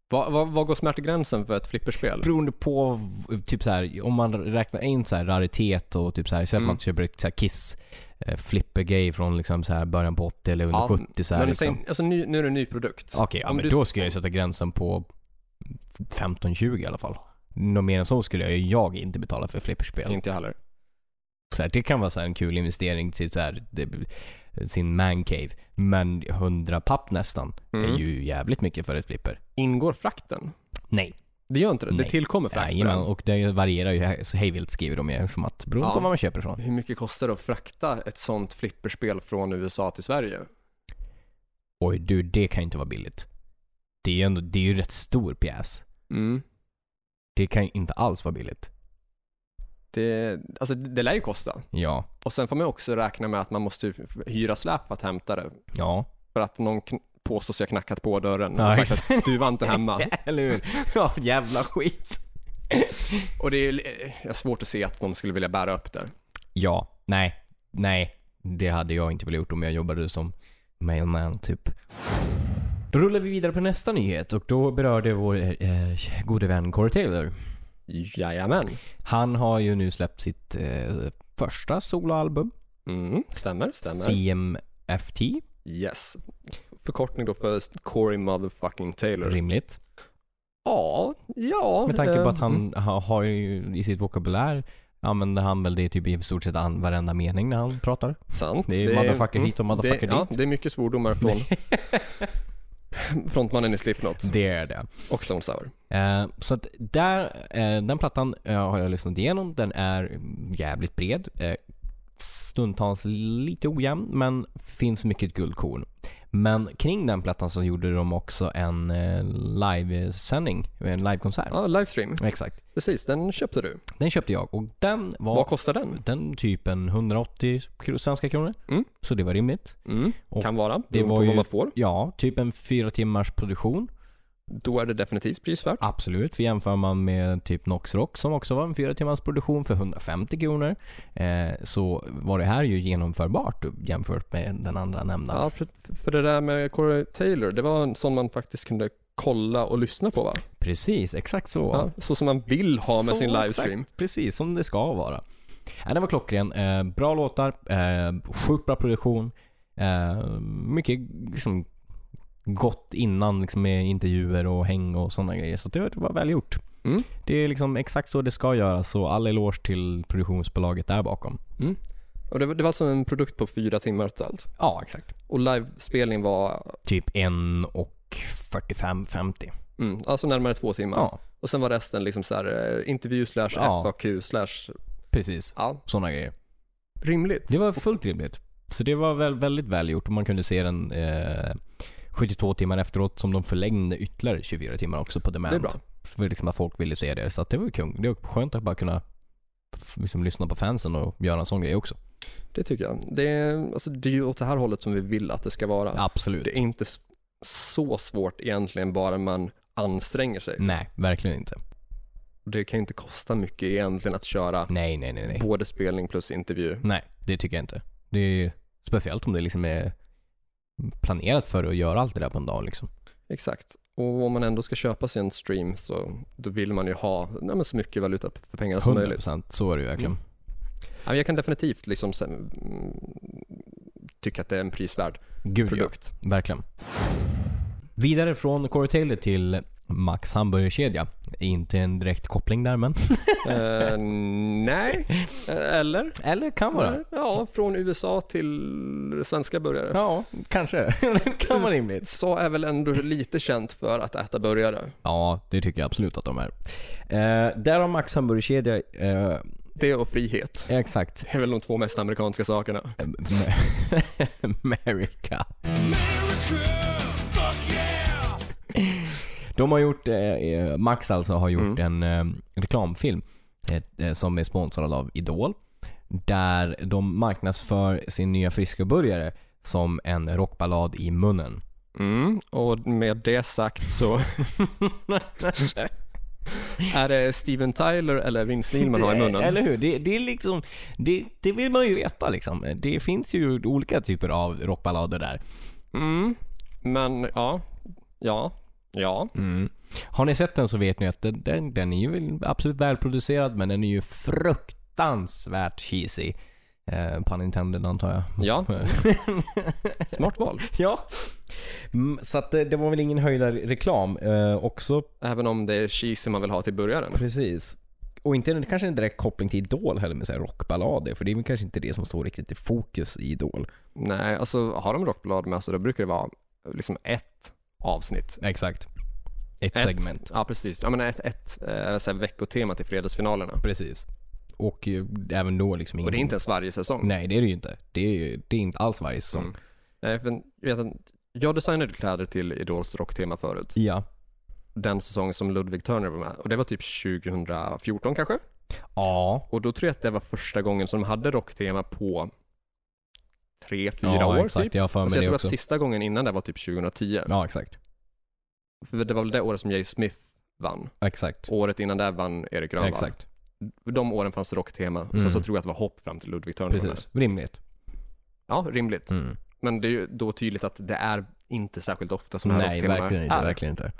[SPEAKER 1] Vad vad- vad går smärtgränsen för ett flipperspel?
[SPEAKER 3] Beroende på, v- typ så här, om man räknar in så här raritet och typ så här, säg att
[SPEAKER 1] Mm.
[SPEAKER 3] man köper ett så här Kiss eh, flippergrej från liksom så här början på 80 eller under 70 så här,
[SPEAKER 1] men
[SPEAKER 3] liksom.
[SPEAKER 1] säg- alltså, ny, nu är det en ny produkt.
[SPEAKER 3] Okej, ja,
[SPEAKER 1] om
[SPEAKER 3] men
[SPEAKER 1] du-
[SPEAKER 3] då skulle jag sätta gränsen på 15-20 i alla fall. Något mer än så skulle jag, jag inte betala för flipperspel.
[SPEAKER 1] Inte jag heller.
[SPEAKER 3] Så här, det kan vara så här en kul investering till så här, det, sin mancave. Men 100 papp nästan är
[SPEAKER 1] Mm.
[SPEAKER 3] ju jävligt mycket för ett flipper.
[SPEAKER 1] Ingår frakten?
[SPEAKER 3] Nej.
[SPEAKER 1] Det gör inte det.
[SPEAKER 3] Nej.
[SPEAKER 1] Det tillkommer frakt på
[SPEAKER 3] Jajamän,
[SPEAKER 1] den.
[SPEAKER 3] och det varierar ju här- så hejvilt skriver de ju som att beroende på
[SPEAKER 1] Ja.
[SPEAKER 3] var man köper ifrån.
[SPEAKER 1] Hur mycket kostar det att frakta ett sånt flipperspel från USA till Sverige?
[SPEAKER 3] Oj du, det kan ju inte vara billigt. Det är ju ändå, det är ju rätt stor pjäs.
[SPEAKER 1] Mm.
[SPEAKER 3] Det kan ju inte alls vara billigt.
[SPEAKER 1] Det, alltså, det lär ju kosta.
[SPEAKER 3] Ja.
[SPEAKER 1] Och sen får man ju också räkna med att man måste ju f- hyra släp för att hämta det.
[SPEAKER 3] Ja.
[SPEAKER 1] För att någon kn- påstår sig ha knackat på dörren
[SPEAKER 3] Ja,
[SPEAKER 1] och sagt
[SPEAKER 3] exakt.
[SPEAKER 1] att du var inte hemma.
[SPEAKER 3] Eller hur? Ja, jävla skit.
[SPEAKER 1] Och det är ju li- eh, svårt att se att de skulle vilja bära upp det.
[SPEAKER 3] Ja, nej, nej. Det hade jag inte velat gjort om jag jobbade som mailman typ. Då rullar vi vidare på nästa nyhet och då berörde vår eh, gode vän Corey Taylor.
[SPEAKER 1] Jajamän.
[SPEAKER 3] Han har ju nu släppt sitt eh, första soloalbum,
[SPEAKER 1] Mm, stämmer, stämmer.
[SPEAKER 3] CMFT,
[SPEAKER 1] Yes. Förkortning då för Corey motherfucking Taylor.
[SPEAKER 3] rimligt.
[SPEAKER 1] Ja, ja.
[SPEAKER 3] Med tanke
[SPEAKER 1] eh,
[SPEAKER 3] på att han
[SPEAKER 1] mm,
[SPEAKER 3] ha, har ju i sitt vokabulär använder han väl det typ i stort sett an, varenda mening när han pratar.
[SPEAKER 1] Sant. mm.
[SPEAKER 3] det är motherfucker hit och motherfucker
[SPEAKER 1] det, Ja,
[SPEAKER 3] dit.
[SPEAKER 1] det är mycket svordomar från frontmannen i Slipknot
[SPEAKER 3] Det är det.
[SPEAKER 1] och Stone Sour.
[SPEAKER 3] Eh, så att där, eh, den plattan eh, har jag lyssnat igenom. Den är jävligt bred. Eh, stundtals lite ojämn, men finns mycket guldkorn. Men kring den plattan så gjorde de också en eh, livesändning, en livekonsert.
[SPEAKER 1] Ja, livestream.
[SPEAKER 3] Exakt.
[SPEAKER 1] Precis, den köpte du.
[SPEAKER 3] Den köpte jag och den var...
[SPEAKER 1] Vad kostar den?
[SPEAKER 3] Den typen 180 kro- svenska kronor.
[SPEAKER 1] Mm.
[SPEAKER 3] Så det var rimligt.
[SPEAKER 1] Mm,
[SPEAKER 3] Och
[SPEAKER 1] kan vara, beroende
[SPEAKER 3] var
[SPEAKER 1] på
[SPEAKER 3] ju-
[SPEAKER 1] vad man får.
[SPEAKER 3] Ja, typ en fyra timmars produktion.
[SPEAKER 1] Då är det definitivt prisvärt.
[SPEAKER 3] Absolut, för jämför man med typ Nox Rock som också var en fyra timmars produktion för 150 kronor eh, så var det här ju genomförbart jämfört med den andra nämnda.
[SPEAKER 1] Ja, för- för det där med Corey Taylor, det var en sån man faktiskt kunde kolla och lyssna på va?
[SPEAKER 3] Precis, exakt så.
[SPEAKER 1] Ja, så som man vill ha med
[SPEAKER 3] Så
[SPEAKER 1] sin livestream.
[SPEAKER 3] Exakt, precis, som det ska vara. Ja, den var klockren. Eh, bra låtar, eh, sjukt bra produktion. Eh, mycket liksom, gott innan liksom, med intervjuer och häng och sådana grejer. Så det var- det var väl gjort.
[SPEAKER 1] Mm.
[SPEAKER 3] Det är liksom exakt så det ska göras. Så all eloge till produktionsbolaget där bakom.
[SPEAKER 1] Och det, var- det var alltså en produkt på fyra timmar totalt.
[SPEAKER 3] Ja, exakt.
[SPEAKER 1] Och livespelning var
[SPEAKER 3] Typ en och 45-50.
[SPEAKER 1] mm, alltså närmare två timmar.
[SPEAKER 3] Ja,
[SPEAKER 1] Och sen var resten liksom så här eh, intervju slash
[SPEAKER 3] Ja.
[SPEAKER 1] FAQ slash,
[SPEAKER 3] precis.
[SPEAKER 1] ja,
[SPEAKER 3] Sådana grejer.
[SPEAKER 1] rimligt.
[SPEAKER 3] Det var fullt rimligt. Så det var väl, väldigt välgjort och man kunde se den eh, 72 timmar efteråt som de förlängde ytterligare 24 timmar också på demand.
[SPEAKER 1] Det är bra.
[SPEAKER 3] För liksom att folk ville se det. Så att det var ju kung. Det var skönt att bara kunna f- liksom lyssna på fansen och göra en sån grej också.
[SPEAKER 1] Det tycker jag. Det är, alltså, det är ju åt det här hållet som vi vill att det ska vara.
[SPEAKER 3] Absolut.
[SPEAKER 1] Det är inte s- så svårt egentligen bara man anstränger sig.
[SPEAKER 3] Nej, verkligen inte.
[SPEAKER 1] Det kan ju inte kosta mycket egentligen att köra
[SPEAKER 3] Nej, nej, nej, Mm. nej.
[SPEAKER 1] både spelning plus intervju.
[SPEAKER 3] Nej, det tycker jag inte. Det är speciellt om det liksom är planerat för att göra allt det där på en dag liksom.
[SPEAKER 1] Exakt. Och om man ändå ska köpa sig en stream så då vill man ju ha nej, men så mycket valuta för pengarna som möjligt. Mm.
[SPEAKER 3] 100% så är det ju verkligen.
[SPEAKER 1] Ja, men Jag kan definitivt liksom sen, mm, tycka att det är en prisvärd
[SPEAKER 3] Gud ja.
[SPEAKER 1] produkt.
[SPEAKER 3] Verkligen. Vidare från Corey Taylor till Max hamburgerkedja. Inte en direkt koppling där men.
[SPEAKER 1] Eh, nej, Eh, eller?
[SPEAKER 3] Eller kan vara.
[SPEAKER 1] Ja, från USA till svenska burgare.
[SPEAKER 3] Ja, kanske. det kan vara rimligt.
[SPEAKER 1] USA är väl ändå lite känt för att äta burgare.
[SPEAKER 3] Ja, det tycker jag absolut att de är. Eh, där har Max hamburgerkedja, eh,
[SPEAKER 1] Det och frihet.
[SPEAKER 3] exakt, eh,
[SPEAKER 1] Det är väl de två mest amerikanska sakerna.
[SPEAKER 3] America.
[SPEAKER 2] America, fuck yeah!
[SPEAKER 3] De har gjort, eh, eh, Max alltså har gjort
[SPEAKER 1] Mm.
[SPEAKER 3] en eh, reklamfilm eh, eh, som är sponsrad av Idol. Där de marknadsför sin nya friskoburgare som en rockballad i munnen.
[SPEAKER 1] Mm, och med det sagt så är det Steven Tyler eller Vince Neil man har i munnen.
[SPEAKER 3] Eller hur? Det, det är liksom, det, det vill man ju veta liksom. Det finns ju olika typer av rockballader där.
[SPEAKER 1] Mm, men ja, ja, ja.
[SPEAKER 3] Har ni sett den så vet ni att den, den, den är ju väl absolut välproducerad men den är ju fruktansvärt cheesy. Eh, pun intended antar jag.
[SPEAKER 1] Ja, smart val.
[SPEAKER 3] Ja. Mm, så att det, det var väl ingen höjdarreklam eh, också.
[SPEAKER 1] Även om det är cheesy man vill ha till burgaren.
[SPEAKER 3] Precis. Och inte en- kanske en direkt koppling till Idol heller med så här rockballader. För det är väl kanske inte det som står riktigt i fokus i Idol.
[SPEAKER 1] Nej, alltså har de rockblad med sig då brukar det vara liksom ett avsnitt.
[SPEAKER 3] Exakt. Ett,
[SPEAKER 1] Ett,
[SPEAKER 3] segment.
[SPEAKER 1] Ja, precis. Ja, men ett, ett eh, så här, veckotema till fredagsfinalerna.
[SPEAKER 3] Precis. Och eh, även då liksom
[SPEAKER 1] Och det är
[SPEAKER 3] ingenting-
[SPEAKER 1] inte ens varje säsong.
[SPEAKER 3] Nej, det är det ju inte. Det är, ju, det är inte alls varje säsong.
[SPEAKER 1] Mm. Nej, för, jag, vet, inte, jag designade kläder till Idols rocktema förut.
[SPEAKER 3] Ja.
[SPEAKER 1] Den säsong som Ludvig Turner var med. Och det var typ 2014 kanske.
[SPEAKER 3] Ja.
[SPEAKER 1] Och då tror jag att det var första gången som de hade rocktema på tre, fyra
[SPEAKER 3] ja,
[SPEAKER 1] år
[SPEAKER 3] exakt.
[SPEAKER 1] typ.
[SPEAKER 3] Jag har för mig
[SPEAKER 1] Alltså, jag
[SPEAKER 3] det
[SPEAKER 1] tror
[SPEAKER 3] också.
[SPEAKER 1] att sista gången innan det var typ 2010.
[SPEAKER 3] Ja, exakt.
[SPEAKER 1] För det var väl det året som Jay Smith vann.
[SPEAKER 3] Exakt.
[SPEAKER 1] Året innan det vann Erik Grönvall.
[SPEAKER 3] exakt.
[SPEAKER 1] De åren fanns det rocktema. och
[SPEAKER 3] Mm.
[SPEAKER 1] Sen så tror jag att det var hopp fram till Ludvig Törnblom.
[SPEAKER 3] Precis. Rimligt.
[SPEAKER 1] Ja, rimligt.
[SPEAKER 3] Mm.
[SPEAKER 1] Men det är ju då tydligt att det är inte särskilt ofta som det här
[SPEAKER 3] Nej,
[SPEAKER 1] rockteman
[SPEAKER 3] verkligen inte.
[SPEAKER 1] är.
[SPEAKER 3] Verkligen inte.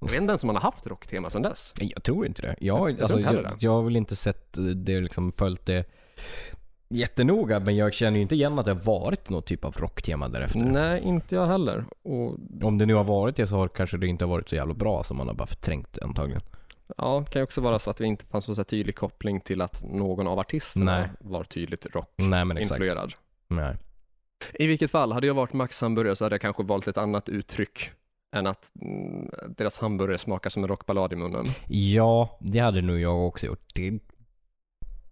[SPEAKER 1] Jag vet inte ens om man har haft rocktema sedan dess.
[SPEAKER 3] Nej, Jag tror inte det. Jag, har-
[SPEAKER 1] tror
[SPEAKER 3] alltså,
[SPEAKER 1] inte heller
[SPEAKER 3] jag,
[SPEAKER 1] det.
[SPEAKER 3] jag har väl inte sett det, liksom följt det jättenoga, men jag känner ju inte igen att det har varit något typ av rocktema därefter.
[SPEAKER 1] Nej, inte jag heller. Och
[SPEAKER 3] Om det nu har varit det så har kanske det inte har varit så jävla bra som man har bara förträngt det antagligen.
[SPEAKER 1] ja, kan ju också vara så att det inte fanns någon så här tydlig koppling till att någon av artisterna
[SPEAKER 3] Nej.
[SPEAKER 1] var tydligt
[SPEAKER 3] Nej men exakt.
[SPEAKER 1] rockinfluerad.
[SPEAKER 3] Nej.
[SPEAKER 1] I vilket fall, hade jag varit Max hamburgare så hade jag kanske valt ett annat uttryck än att mm, deras hamburgare smakar som en rockballad i munnen.
[SPEAKER 3] Ja, det hade nog jag också gjort. Det,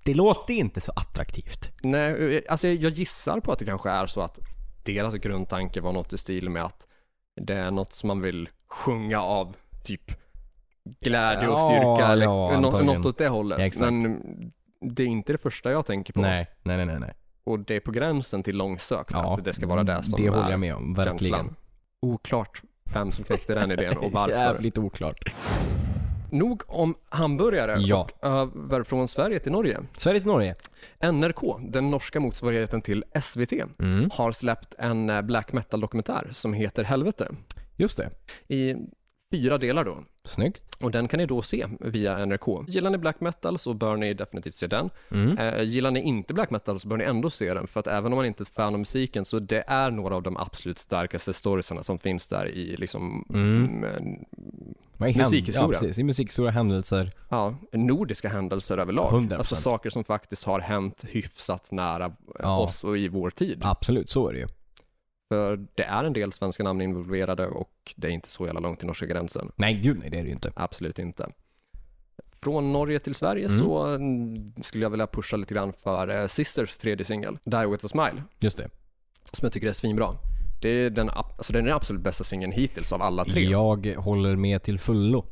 [SPEAKER 3] det låter inte så attraktivt.
[SPEAKER 1] Nej, alltså jag gissar på att det kanske är så att deras grundtanke var något i stil med att det är något som man vill sjunga av, typ glädje och
[SPEAKER 3] Ja,
[SPEAKER 1] styrka eller
[SPEAKER 3] ja,
[SPEAKER 1] nå-
[SPEAKER 3] antagligen.
[SPEAKER 1] något åt det hållet.
[SPEAKER 3] Ja, exakt.
[SPEAKER 1] Men det är inte det första jag tänker på.
[SPEAKER 3] Nej, nej, nej, nej. nej.
[SPEAKER 1] Och det är på gränsen till långsökt att det ska vara det som
[SPEAKER 3] Det
[SPEAKER 1] är
[SPEAKER 3] håller jag med om, verkligen.
[SPEAKER 1] känslan. Oklart vem som knäckte den idén och varför.
[SPEAKER 3] Jävligt oklart.
[SPEAKER 1] Nog om hamburgare
[SPEAKER 3] Ja.
[SPEAKER 1] och över från Sverige till Norge.
[SPEAKER 3] Sverige till Norge.
[SPEAKER 1] NRK, den norska motsvarigheten till SVT, har släppt en eh, black metal-dokumentär som heter Helvete
[SPEAKER 3] Just det.
[SPEAKER 1] i fyra delar då.
[SPEAKER 3] Snyggt.
[SPEAKER 1] Och den kan ni då se via NRK. Gillar ni black metal så bör ni definitivt se den. Eh, gillar ni inte black metal så bör ni ändå se den, för att även om man inte är ett fan av musiken så det är några av de absolut starkaste storiesarna som finns där i liksom mm,
[SPEAKER 3] Vad är
[SPEAKER 1] Musikhistoria.
[SPEAKER 3] Händ- ja, precis. I musikhistoria, händelser.
[SPEAKER 1] ja, nordiska händelser överlag.
[SPEAKER 3] 100%.
[SPEAKER 1] Alltså saker som faktiskt har hänt hyfsat nära eh,
[SPEAKER 3] Ja.
[SPEAKER 1] oss och i vår tid.
[SPEAKER 3] Absolut, så är det ju.
[SPEAKER 1] För det är en del svenska namn involverade och det är inte så jävla långt till norska gränsen.
[SPEAKER 3] Nej, gud nej, det är det ju inte.
[SPEAKER 1] Absolut inte. Från Norge till Sverige
[SPEAKER 3] Mm.
[SPEAKER 1] så mm, skulle jag vilja pusha lite grann för eh, Sisters tredje singel, Die With A Smile,
[SPEAKER 3] Just det.
[SPEAKER 1] som jag tycker är svinbra. Det är den, ab- alltså den är den absolut bästa singeln hittills av alla tre.
[SPEAKER 3] Jag håller med till fullo.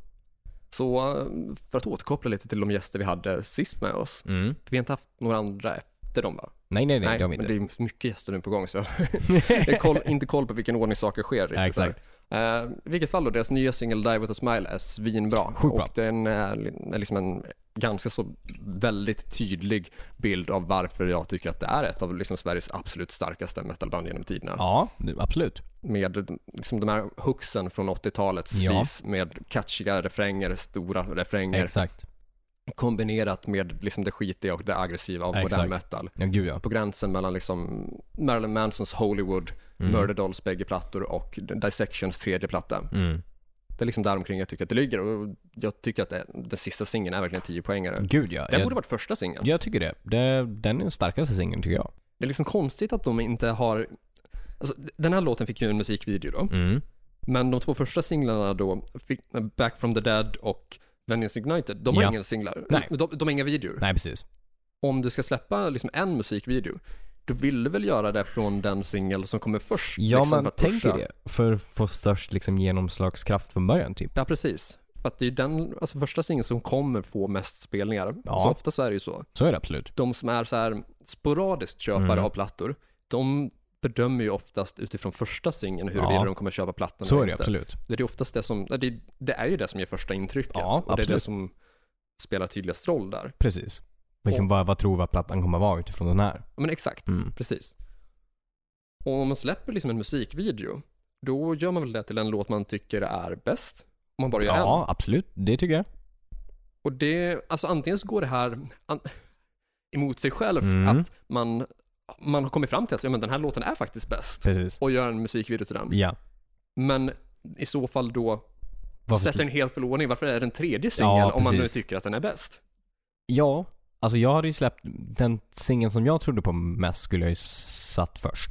[SPEAKER 1] Så eh, för att återkoppla lite till de gäster vi hade sist med oss. Vi har inte haft några andra efter dem va?
[SPEAKER 3] Nej, nej, nej, det har vi
[SPEAKER 1] Mm. men
[SPEAKER 3] inte.
[SPEAKER 1] det är mycket gäster nu på gång så jag har koll, inte koll på vilken ordning saker sker riktigt.
[SPEAKER 3] Ja, exakt.
[SPEAKER 1] Eh, I vilket fall då, deras nya singel Die With A Smile är svinbra.
[SPEAKER 3] Sjukt bra.
[SPEAKER 1] Och den är li- är liksom en ganska så väldigt tydlig bild av varför jag tycker att det är ett av liksom Sveriges absolut starkaste metalband genom tiderna.
[SPEAKER 3] Ja, det- absolut.
[SPEAKER 1] Med liksom de här hooksen från 80-talets
[SPEAKER 3] Ja.
[SPEAKER 1] vis med catchiga refränger, stora refränger
[SPEAKER 3] Exakt.
[SPEAKER 1] kombinerat med liksom det skitiga och det aggressiva av modern
[SPEAKER 3] Exakt.
[SPEAKER 1] metal
[SPEAKER 3] Ja, gud ja.
[SPEAKER 1] på gränsen mellan liksom Marilyn Mansons Hollywood, Murder Dolls bägge plattor och Dissections tredje platta.
[SPEAKER 3] Mm. Mm.
[SPEAKER 1] Det är liksom däromkring jag tycker att det ligger och jag tycker att det, den sista singeln är verkligen 10 poängare.
[SPEAKER 3] Gud ja.
[SPEAKER 1] Den
[SPEAKER 3] Jag,
[SPEAKER 1] borde varit första singeln.
[SPEAKER 3] jag tycker det. det. Den är den starkaste singeln tycker jag.
[SPEAKER 1] Det är liksom konstigt att de inte har, alltså, den här låten fick ju en musikvideo då,
[SPEAKER 3] Mm.
[SPEAKER 1] men de två första singlarna då, fick- Back from the Dead och Venice Ignited, de har
[SPEAKER 3] Ja.
[SPEAKER 1] inga singlar.
[SPEAKER 3] Nej.
[SPEAKER 1] De, de har inga videor.
[SPEAKER 3] Nej, precis.
[SPEAKER 1] Om du ska släppa liksom en musikvideo, då vill du väl göra det från den singel som kommer först?
[SPEAKER 3] Ja,
[SPEAKER 1] liksom, för
[SPEAKER 3] man
[SPEAKER 1] att pusha.
[SPEAKER 3] tänker det. För att få störst liksom, genomslagskraft från början typ.
[SPEAKER 1] Ja, precis. För att det är ju den alltså, första singeln som kommer få mest spelningar.
[SPEAKER 3] Ja.
[SPEAKER 1] Så ofta så är det ju så.
[SPEAKER 3] Så är det absolut.
[SPEAKER 1] De som är så här sporadiskt köpare
[SPEAKER 3] Mm.
[SPEAKER 1] av plattor, de bedömer ju oftast utifrån första singeln huruvida
[SPEAKER 3] Ja.
[SPEAKER 1] de kommer köpa plattan
[SPEAKER 3] Så är
[SPEAKER 1] eller
[SPEAKER 3] det
[SPEAKER 1] inte.
[SPEAKER 3] absolut.
[SPEAKER 1] Det är ju oftast det som, det är, det är ju det som ger första intrycket.
[SPEAKER 3] Ja,
[SPEAKER 1] och det är det
[SPEAKER 3] absolut.
[SPEAKER 1] som spelar tydligast roll där.
[SPEAKER 3] Precis. Liksom, vad, vad tror vi att plattan kommer vara utifrån den här?
[SPEAKER 1] Ja, Men exakt,
[SPEAKER 3] Mm.
[SPEAKER 1] precis. Och om man släpper liksom en musikvideo, då gör man väl det till en låt man tycker är bäst. Om man bara gör en.
[SPEAKER 3] Ja, absolut. Det tycker jag.
[SPEAKER 1] Och det, alltså antingen så går det här an, emot sig själv,
[SPEAKER 3] Mm.
[SPEAKER 1] att man, man har kommit fram till att ja, men den här låten är faktiskt bäst
[SPEAKER 3] Precis.
[SPEAKER 1] och gör en musikvideo till den.
[SPEAKER 3] Ja.
[SPEAKER 1] Men i så fall då
[SPEAKER 3] Varför
[SPEAKER 1] sätter
[SPEAKER 3] slä-
[SPEAKER 1] den helt fel ordning. Varför är den tredje singel om man nu
[SPEAKER 3] precis.
[SPEAKER 1] tycker att den är bäst?
[SPEAKER 3] Ja, alltså jag hade ju släppt den singeln som jag trodde på mest skulle jag ju satt först.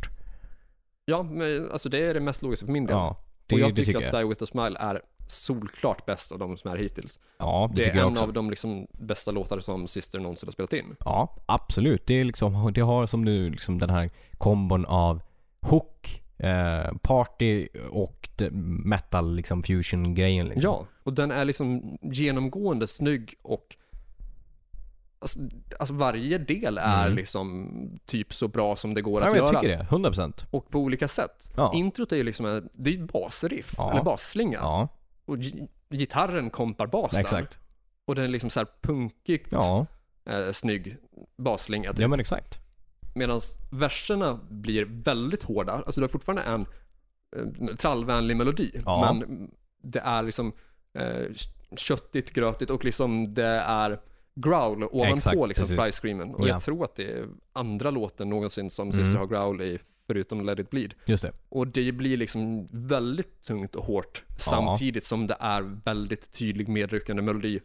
[SPEAKER 1] Ja, men alltså det är det mest logiska för min del.
[SPEAKER 3] Ja, det,
[SPEAKER 1] och jag
[SPEAKER 3] det
[SPEAKER 1] tycker,
[SPEAKER 3] tycker jag.
[SPEAKER 1] att Die With A Smile är solklart bäst av de som är hittills.
[SPEAKER 3] ja, det,
[SPEAKER 1] Det
[SPEAKER 3] tycker
[SPEAKER 1] är
[SPEAKER 3] jag
[SPEAKER 1] en
[SPEAKER 3] också.
[SPEAKER 1] av de liksom bästa låtar som Sister någonsin har spelat in.
[SPEAKER 3] Ja, absolut. Det, är liksom, det har som du, liksom den här kombon av hook, eh, party och de- metal liksom, fusion-grejen. Liksom.
[SPEAKER 1] Ja, och den är liksom genomgående snygg och alltså, alltså varje del är
[SPEAKER 3] Mm.
[SPEAKER 1] liksom typ så bra som det går
[SPEAKER 3] Ja,
[SPEAKER 1] att
[SPEAKER 3] men jag
[SPEAKER 1] göra.
[SPEAKER 3] tycker det. 100%. procent.
[SPEAKER 1] Och på olika sätt.
[SPEAKER 3] Ja.
[SPEAKER 1] Introt är ju liksom en, det är ju ett basriff,
[SPEAKER 3] Ja.
[SPEAKER 1] eller basslinga.
[SPEAKER 3] Ja,
[SPEAKER 1] Och gi- gitarren kompar basen.
[SPEAKER 3] exakt.
[SPEAKER 1] Och den är liksom så här punkigt
[SPEAKER 3] Ja,
[SPEAKER 1] eh, snygg basslinga. Typ.
[SPEAKER 3] ja, men exakt.
[SPEAKER 1] Medan verserna blir väldigt hårda. Alltså det är fortfarande en eh, trallvänlig melodi.
[SPEAKER 3] Ja.
[SPEAKER 1] Men det är liksom eh, köttigt, grötigt och liksom det är growl ovanpå
[SPEAKER 3] Exakt,
[SPEAKER 1] liksom
[SPEAKER 3] precis.
[SPEAKER 1] fly screamen. Och
[SPEAKER 3] Ja. Mm.
[SPEAKER 1] jag tror att det är andra låten någonsin som Sister har growl i, förutom Let It Bleed.
[SPEAKER 3] Just det.
[SPEAKER 1] Och det blir liksom väldigt tungt och hårt samtidigt som det är väldigt tydlig medryckande melodi.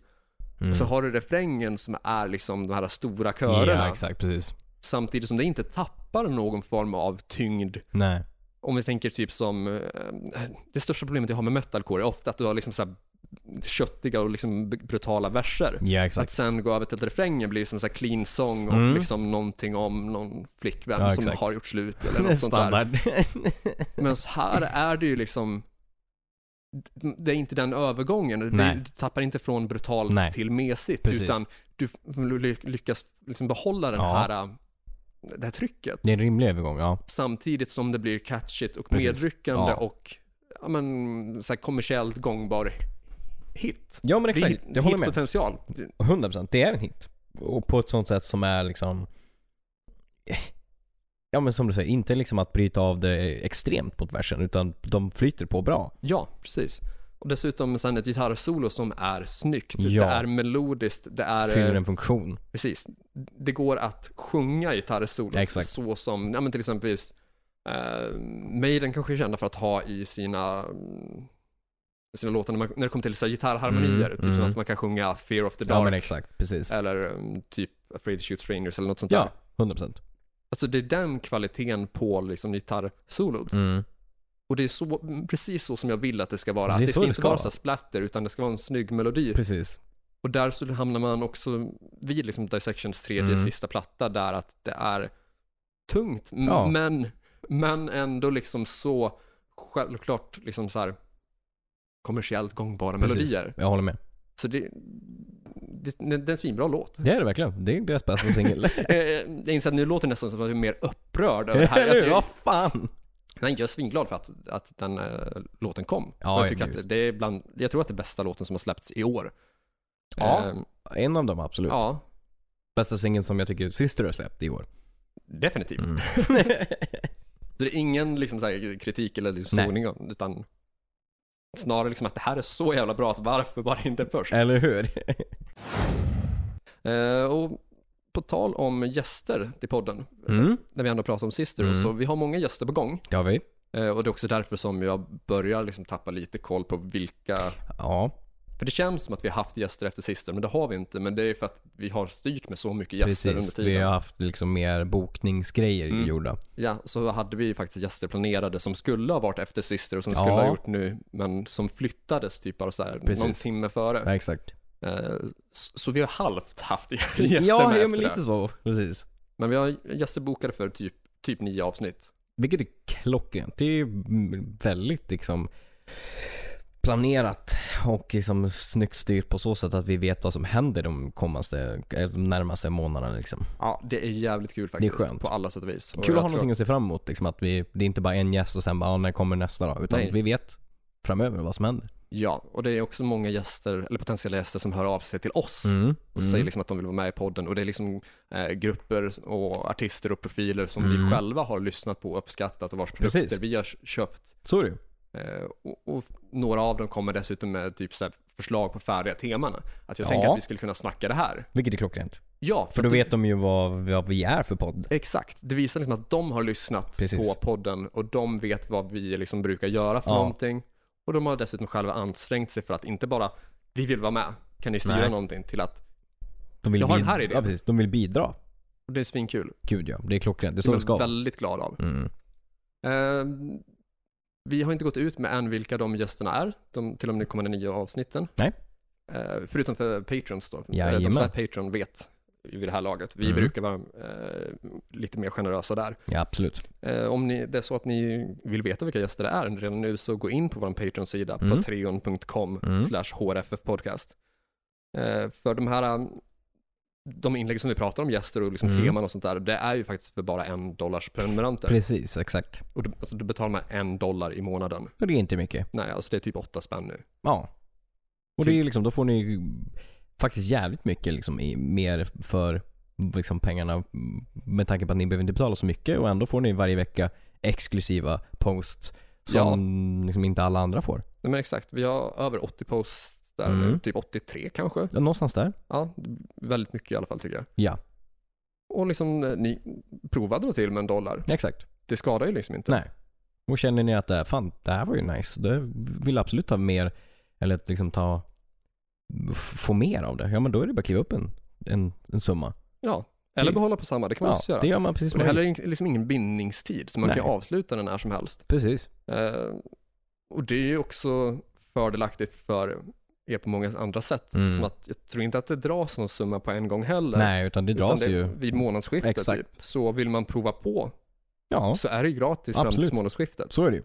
[SPEAKER 3] Mm.
[SPEAKER 1] Så har du refrängen som är liksom de här stora körerna.
[SPEAKER 3] Ja, exakt. Precis.
[SPEAKER 1] Samtidigt som det inte tappar någon form av tyngd.
[SPEAKER 3] Nej.
[SPEAKER 1] Om vi tänker typ som, eh, det största problemet jag har med metalcore är ofta att du har liksom så här köttiga och liksom brutala verser.
[SPEAKER 3] Ja,
[SPEAKER 1] Att
[SPEAKER 3] exakt.
[SPEAKER 1] sen gå över till refrängen blir som så här clean song och
[SPEAKER 3] Mm.
[SPEAKER 1] liksom någonting om någon flickvän
[SPEAKER 3] Ja,
[SPEAKER 1] som
[SPEAKER 3] exakt.
[SPEAKER 1] har gjort slut eller något sånt där.
[SPEAKER 3] Standard.
[SPEAKER 1] Men så här är det ju liksom, det är inte den övergången. Det,
[SPEAKER 3] Nej.
[SPEAKER 1] du tappar inte från brutalt
[SPEAKER 3] Nej.
[SPEAKER 1] till mesigt.
[SPEAKER 3] Precis.
[SPEAKER 1] Utan du f- ly- lyckas liksom behålla den
[SPEAKER 3] Ja.
[SPEAKER 1] här, eh, det här trycket.
[SPEAKER 3] det är en rimlig övergång, ja.
[SPEAKER 1] Samtidigt som det blir catchigt och
[SPEAKER 3] Precis.
[SPEAKER 1] medryckande
[SPEAKER 3] Ja.
[SPEAKER 1] och ja, men, så här kommersiellt gångbar hit.
[SPEAKER 3] Ja, men
[SPEAKER 1] Det är
[SPEAKER 3] exakt.
[SPEAKER 1] hit-
[SPEAKER 3] Jag håller med.
[SPEAKER 1] hitpotential. Det-
[SPEAKER 3] 100% det är en hit. Och på ett sånt sätt som är liksom eh, Ja men som du säger, inte liksom att bryta av det extremt mot versen utan de flyter på bra.
[SPEAKER 1] Ja, precis. Och dessutom sen ett gitarrsolo som är snyggt.
[SPEAKER 3] Ja.
[SPEAKER 1] Det är melodiskt. Det är...
[SPEAKER 3] Fyller
[SPEAKER 1] eh,
[SPEAKER 3] en funktion.
[SPEAKER 1] Precis. Det går att sjunga gitarrsolot
[SPEAKER 3] Exakt.
[SPEAKER 1] så som, ja men till exempel eh, Maiden kanske är kända för att ha i sina mm, sina låtar när, man, när det kommer till så här gitarrharmonier.
[SPEAKER 3] Mm,
[SPEAKER 1] typ som
[SPEAKER 3] mm.
[SPEAKER 1] att man kan sjunga Fear of the
[SPEAKER 3] Ja
[SPEAKER 1] Dark
[SPEAKER 3] men exakt, precis.
[SPEAKER 1] eller mm, typ Afraid to Shoot Strangers eller något sånt där.
[SPEAKER 3] Ja, 100%.
[SPEAKER 1] Alltså det är den kvaliteten på liksom gitarrsolot.
[SPEAKER 3] Mm.
[SPEAKER 1] Och det är så, mm, precis så som jag vill att det ska vara.
[SPEAKER 3] Det är
[SPEAKER 1] Att det
[SPEAKER 3] så
[SPEAKER 1] ska
[SPEAKER 3] det
[SPEAKER 1] inte
[SPEAKER 3] ska
[SPEAKER 1] vara
[SPEAKER 3] vara.
[SPEAKER 1] så här splatter utan det ska vara en snygg melodi.
[SPEAKER 3] Precis.
[SPEAKER 1] Och där så hamnar man också vid liksom Dissections tredje
[SPEAKER 3] Mm.
[SPEAKER 1] sista platta där att det är tungt m-
[SPEAKER 3] Ja.
[SPEAKER 1] men, men ändå liksom så självklart liksom så här kommersiellt gångbara
[SPEAKER 3] Precis.
[SPEAKER 1] melodier.
[SPEAKER 3] Jag håller med.
[SPEAKER 1] Så det, det, det är en svinbra låt.
[SPEAKER 3] Det är det verkligen. Det är deras bästa singel.
[SPEAKER 1] Eh, Jag inser att nu låter det nästan som att jag är mer upprörd över det här. Alltså,
[SPEAKER 3] Eller hur?
[SPEAKER 1] jag,
[SPEAKER 3] Vad fan!
[SPEAKER 1] nej, jag är svinglad för att, att den eh, låten kom.
[SPEAKER 3] Ja,
[SPEAKER 1] jag, tycker
[SPEAKER 3] just.
[SPEAKER 1] att det är bland, jag tror att det är bästa låten som har släppts i år.
[SPEAKER 3] Ja.
[SPEAKER 1] Eh,
[SPEAKER 3] En av dem absolut.
[SPEAKER 1] ja
[SPEAKER 3] Bästa singeln som jag tycker Sister har släppt i år.
[SPEAKER 1] definitivt.
[SPEAKER 3] Mm.
[SPEAKER 1] Så det är ingen liksom, så här, kritik eller liksom,
[SPEAKER 3] Nej.
[SPEAKER 1] sågning om- utan snarare liksom att det här är så jävla bra att varför var det inte först?
[SPEAKER 3] Eller hur?
[SPEAKER 1] Eh, och på tal om gäster till podden, eh,
[SPEAKER 3] Mm.
[SPEAKER 1] när vi ändå pratar om Sister,
[SPEAKER 3] Mm.
[SPEAKER 1] så vi har många gäster på gång.
[SPEAKER 3] Ja vi.
[SPEAKER 1] Eh, Och det är också därför som jag börjar liksom tappa lite koll på vilka
[SPEAKER 3] Ja,
[SPEAKER 1] För det känns som att vi har haft gäster efter sista, men det har vi inte. Men det är för att vi har styrt med så mycket gäster under
[SPEAKER 3] precis.
[SPEAKER 1] tiden. Mm.
[SPEAKER 3] Vi har haft liksom mer bokningsgrejer gjorda.
[SPEAKER 1] Ja, så hade vi faktiskt gäster planerade som skulle ha varit efter sista och som
[SPEAKER 3] Ja.
[SPEAKER 1] skulle ha gjort nu, men som flyttades typ bara så här
[SPEAKER 3] Precis.
[SPEAKER 1] någon timme före.
[SPEAKER 3] Ja, exakt.
[SPEAKER 1] Eh, s- Så vi har halvt haft gäster
[SPEAKER 3] ja,
[SPEAKER 1] med
[SPEAKER 3] ja,
[SPEAKER 1] efter
[SPEAKER 3] men lite
[SPEAKER 1] det.
[SPEAKER 3] så. Precis.
[SPEAKER 1] Men vi har gäster bokade för typ, typ nio avsnitt.
[SPEAKER 3] Vilket är klockrent. Det är ju mm, väldigt liksom planerat och liksom snyggt styrt på så sätt att vi vet vad som händer de, kommaste, eh, de närmaste månaderna. Liksom.
[SPEAKER 1] Ja, det är jävligt kul faktiskt.
[SPEAKER 3] skönt.
[SPEAKER 1] På alla sätt och vis. Och
[SPEAKER 3] Kul
[SPEAKER 1] jag
[SPEAKER 3] att ha
[SPEAKER 1] tror-
[SPEAKER 3] någonting att se fram emot. Liksom, att vi, det är inte bara en gäst och sen bara, ah, när kommer nästa då? Utan
[SPEAKER 1] Nej.
[SPEAKER 3] vi vet framöver vad som händer.
[SPEAKER 1] Ja, och det är också många gäster, eller potentiella gäster som hör av sig till oss.
[SPEAKER 3] Mm.
[SPEAKER 1] och säger liksom att de vill vara med i podden och det är liksom eh, grupper och artister och profiler som
[SPEAKER 3] Mm.
[SPEAKER 1] vi själva har lyssnat på och uppskattat och vars produkter
[SPEAKER 3] Precis.
[SPEAKER 1] vi har köpt.
[SPEAKER 3] Så är det ju.
[SPEAKER 1] Eh, och, och några av dem kommer dessutom med typ så här förslag på färdiga teman. Att jag
[SPEAKER 3] Ja.
[SPEAKER 1] tänker att vi skulle kunna snacka det här.
[SPEAKER 3] Vilket är klockrent.
[SPEAKER 1] Ja, för,
[SPEAKER 3] För då
[SPEAKER 1] att det-
[SPEAKER 3] vet de ju vad, vad vi är för podd.
[SPEAKER 1] Exakt, det visar liksom att de har lyssnat
[SPEAKER 3] Precis.
[SPEAKER 1] på podden och de vet vad vi liksom brukar göra för
[SPEAKER 3] Ja.
[SPEAKER 1] någonting. Och de har dessutom själva ansträngt sig för att inte bara, vi vill vara med, kan ni styra
[SPEAKER 3] Nej.
[SPEAKER 1] någonting till att,
[SPEAKER 3] De vill
[SPEAKER 1] Jag har
[SPEAKER 3] bid-
[SPEAKER 1] den här idén.
[SPEAKER 3] Ja, precis. De vill bidra.
[SPEAKER 1] och det är svinkul.
[SPEAKER 3] Gud ja, det är klockrent. Det
[SPEAKER 1] Det
[SPEAKER 3] står det ska.
[SPEAKER 1] är
[SPEAKER 3] vara.
[SPEAKER 1] väldigt glad av.
[SPEAKER 3] Mm.
[SPEAKER 1] Eh, vi har inte gått ut med än vilka de gästerna är, de, till och med de kommande nio avsnitten.
[SPEAKER 3] Nej.
[SPEAKER 1] Eh, förutom för Patrons då. Eh,
[SPEAKER 3] Jajamän.
[SPEAKER 1] De som är Patreon vet vid det här laget. Vi
[SPEAKER 3] Mm.
[SPEAKER 1] brukar vara eh, lite mer generösa där.
[SPEAKER 3] Ja, absolut.
[SPEAKER 1] Eh, om ni, det är så att ni vill veta vilka gäster det är redan nu så gå in på vår Patreon-sida,
[SPEAKER 3] Mm.
[SPEAKER 1] patreon.com
[SPEAKER 3] Mm.
[SPEAKER 1] slash hrffpodcast. Eh, för de här eh, de inlägg som vi pratar om, gäster och liksom
[SPEAKER 3] Mm.
[SPEAKER 1] teman och sånt där, det är ju faktiskt för bara en dollars prenumeranter.
[SPEAKER 3] Precis, exakt.
[SPEAKER 1] Och du, alltså, du betalar man en dollar i månaden.
[SPEAKER 3] Och det är inte mycket.
[SPEAKER 1] Nej, alltså det är typ åtta spänn nu.
[SPEAKER 3] Ja. Och
[SPEAKER 1] Typ.
[SPEAKER 3] det är ju liksom, då får ni ju faktiskt jävligt mycket liksom, i, mer för liksom, pengarna med tanke på att ni behöver inte betala så mycket och ändå får ni varje vecka exklusiva posts som liksom, inte alla andra får.
[SPEAKER 1] Nej, men exakt, vi har över 80 posts där
[SPEAKER 3] Mm.
[SPEAKER 1] nu, typ 83 kanske.
[SPEAKER 3] Ja, Någonstans där.
[SPEAKER 1] Ja, väldigt mycket i alla fall tycker jag.
[SPEAKER 3] Ja,
[SPEAKER 1] Och liksom, eh, ni provade då till med en dollar.
[SPEAKER 3] exakt.
[SPEAKER 1] Det skadar ju liksom inte.
[SPEAKER 3] Nej. Och känner ni att det här, fan, det här var ju nice. Det vill jag absolut ta mer, eller att liksom ta, f- få mer av det. Ja men då är det bara att kliva upp en, en, en summa.
[SPEAKER 1] Ja, eller
[SPEAKER 3] Det-
[SPEAKER 1] behålla på samma, det kan man också
[SPEAKER 3] ja,
[SPEAKER 1] göra.
[SPEAKER 3] det gör man precis
[SPEAKER 1] Och det är
[SPEAKER 3] med.
[SPEAKER 1] heller ing- liksom ingen bindningstid, så man kan
[SPEAKER 3] Nej.
[SPEAKER 1] avsluta den när som helst.
[SPEAKER 3] Precis.
[SPEAKER 1] Eh, och det är ju också fördelaktigt för er på många andra sätt.
[SPEAKER 3] Mm.
[SPEAKER 1] Som att jag tror inte att det dras någon summa på en gång heller.
[SPEAKER 3] Nej, utan det
[SPEAKER 1] Utan
[SPEAKER 3] dras
[SPEAKER 1] det,
[SPEAKER 3] ju.
[SPEAKER 1] vid månadsskiftet
[SPEAKER 3] Exakt.
[SPEAKER 1] typ. Så vill man prova på
[SPEAKER 3] Ja,
[SPEAKER 1] så är det ju gratis fram
[SPEAKER 3] Absolut.
[SPEAKER 1] till månadsskiftet.
[SPEAKER 3] så är det ju.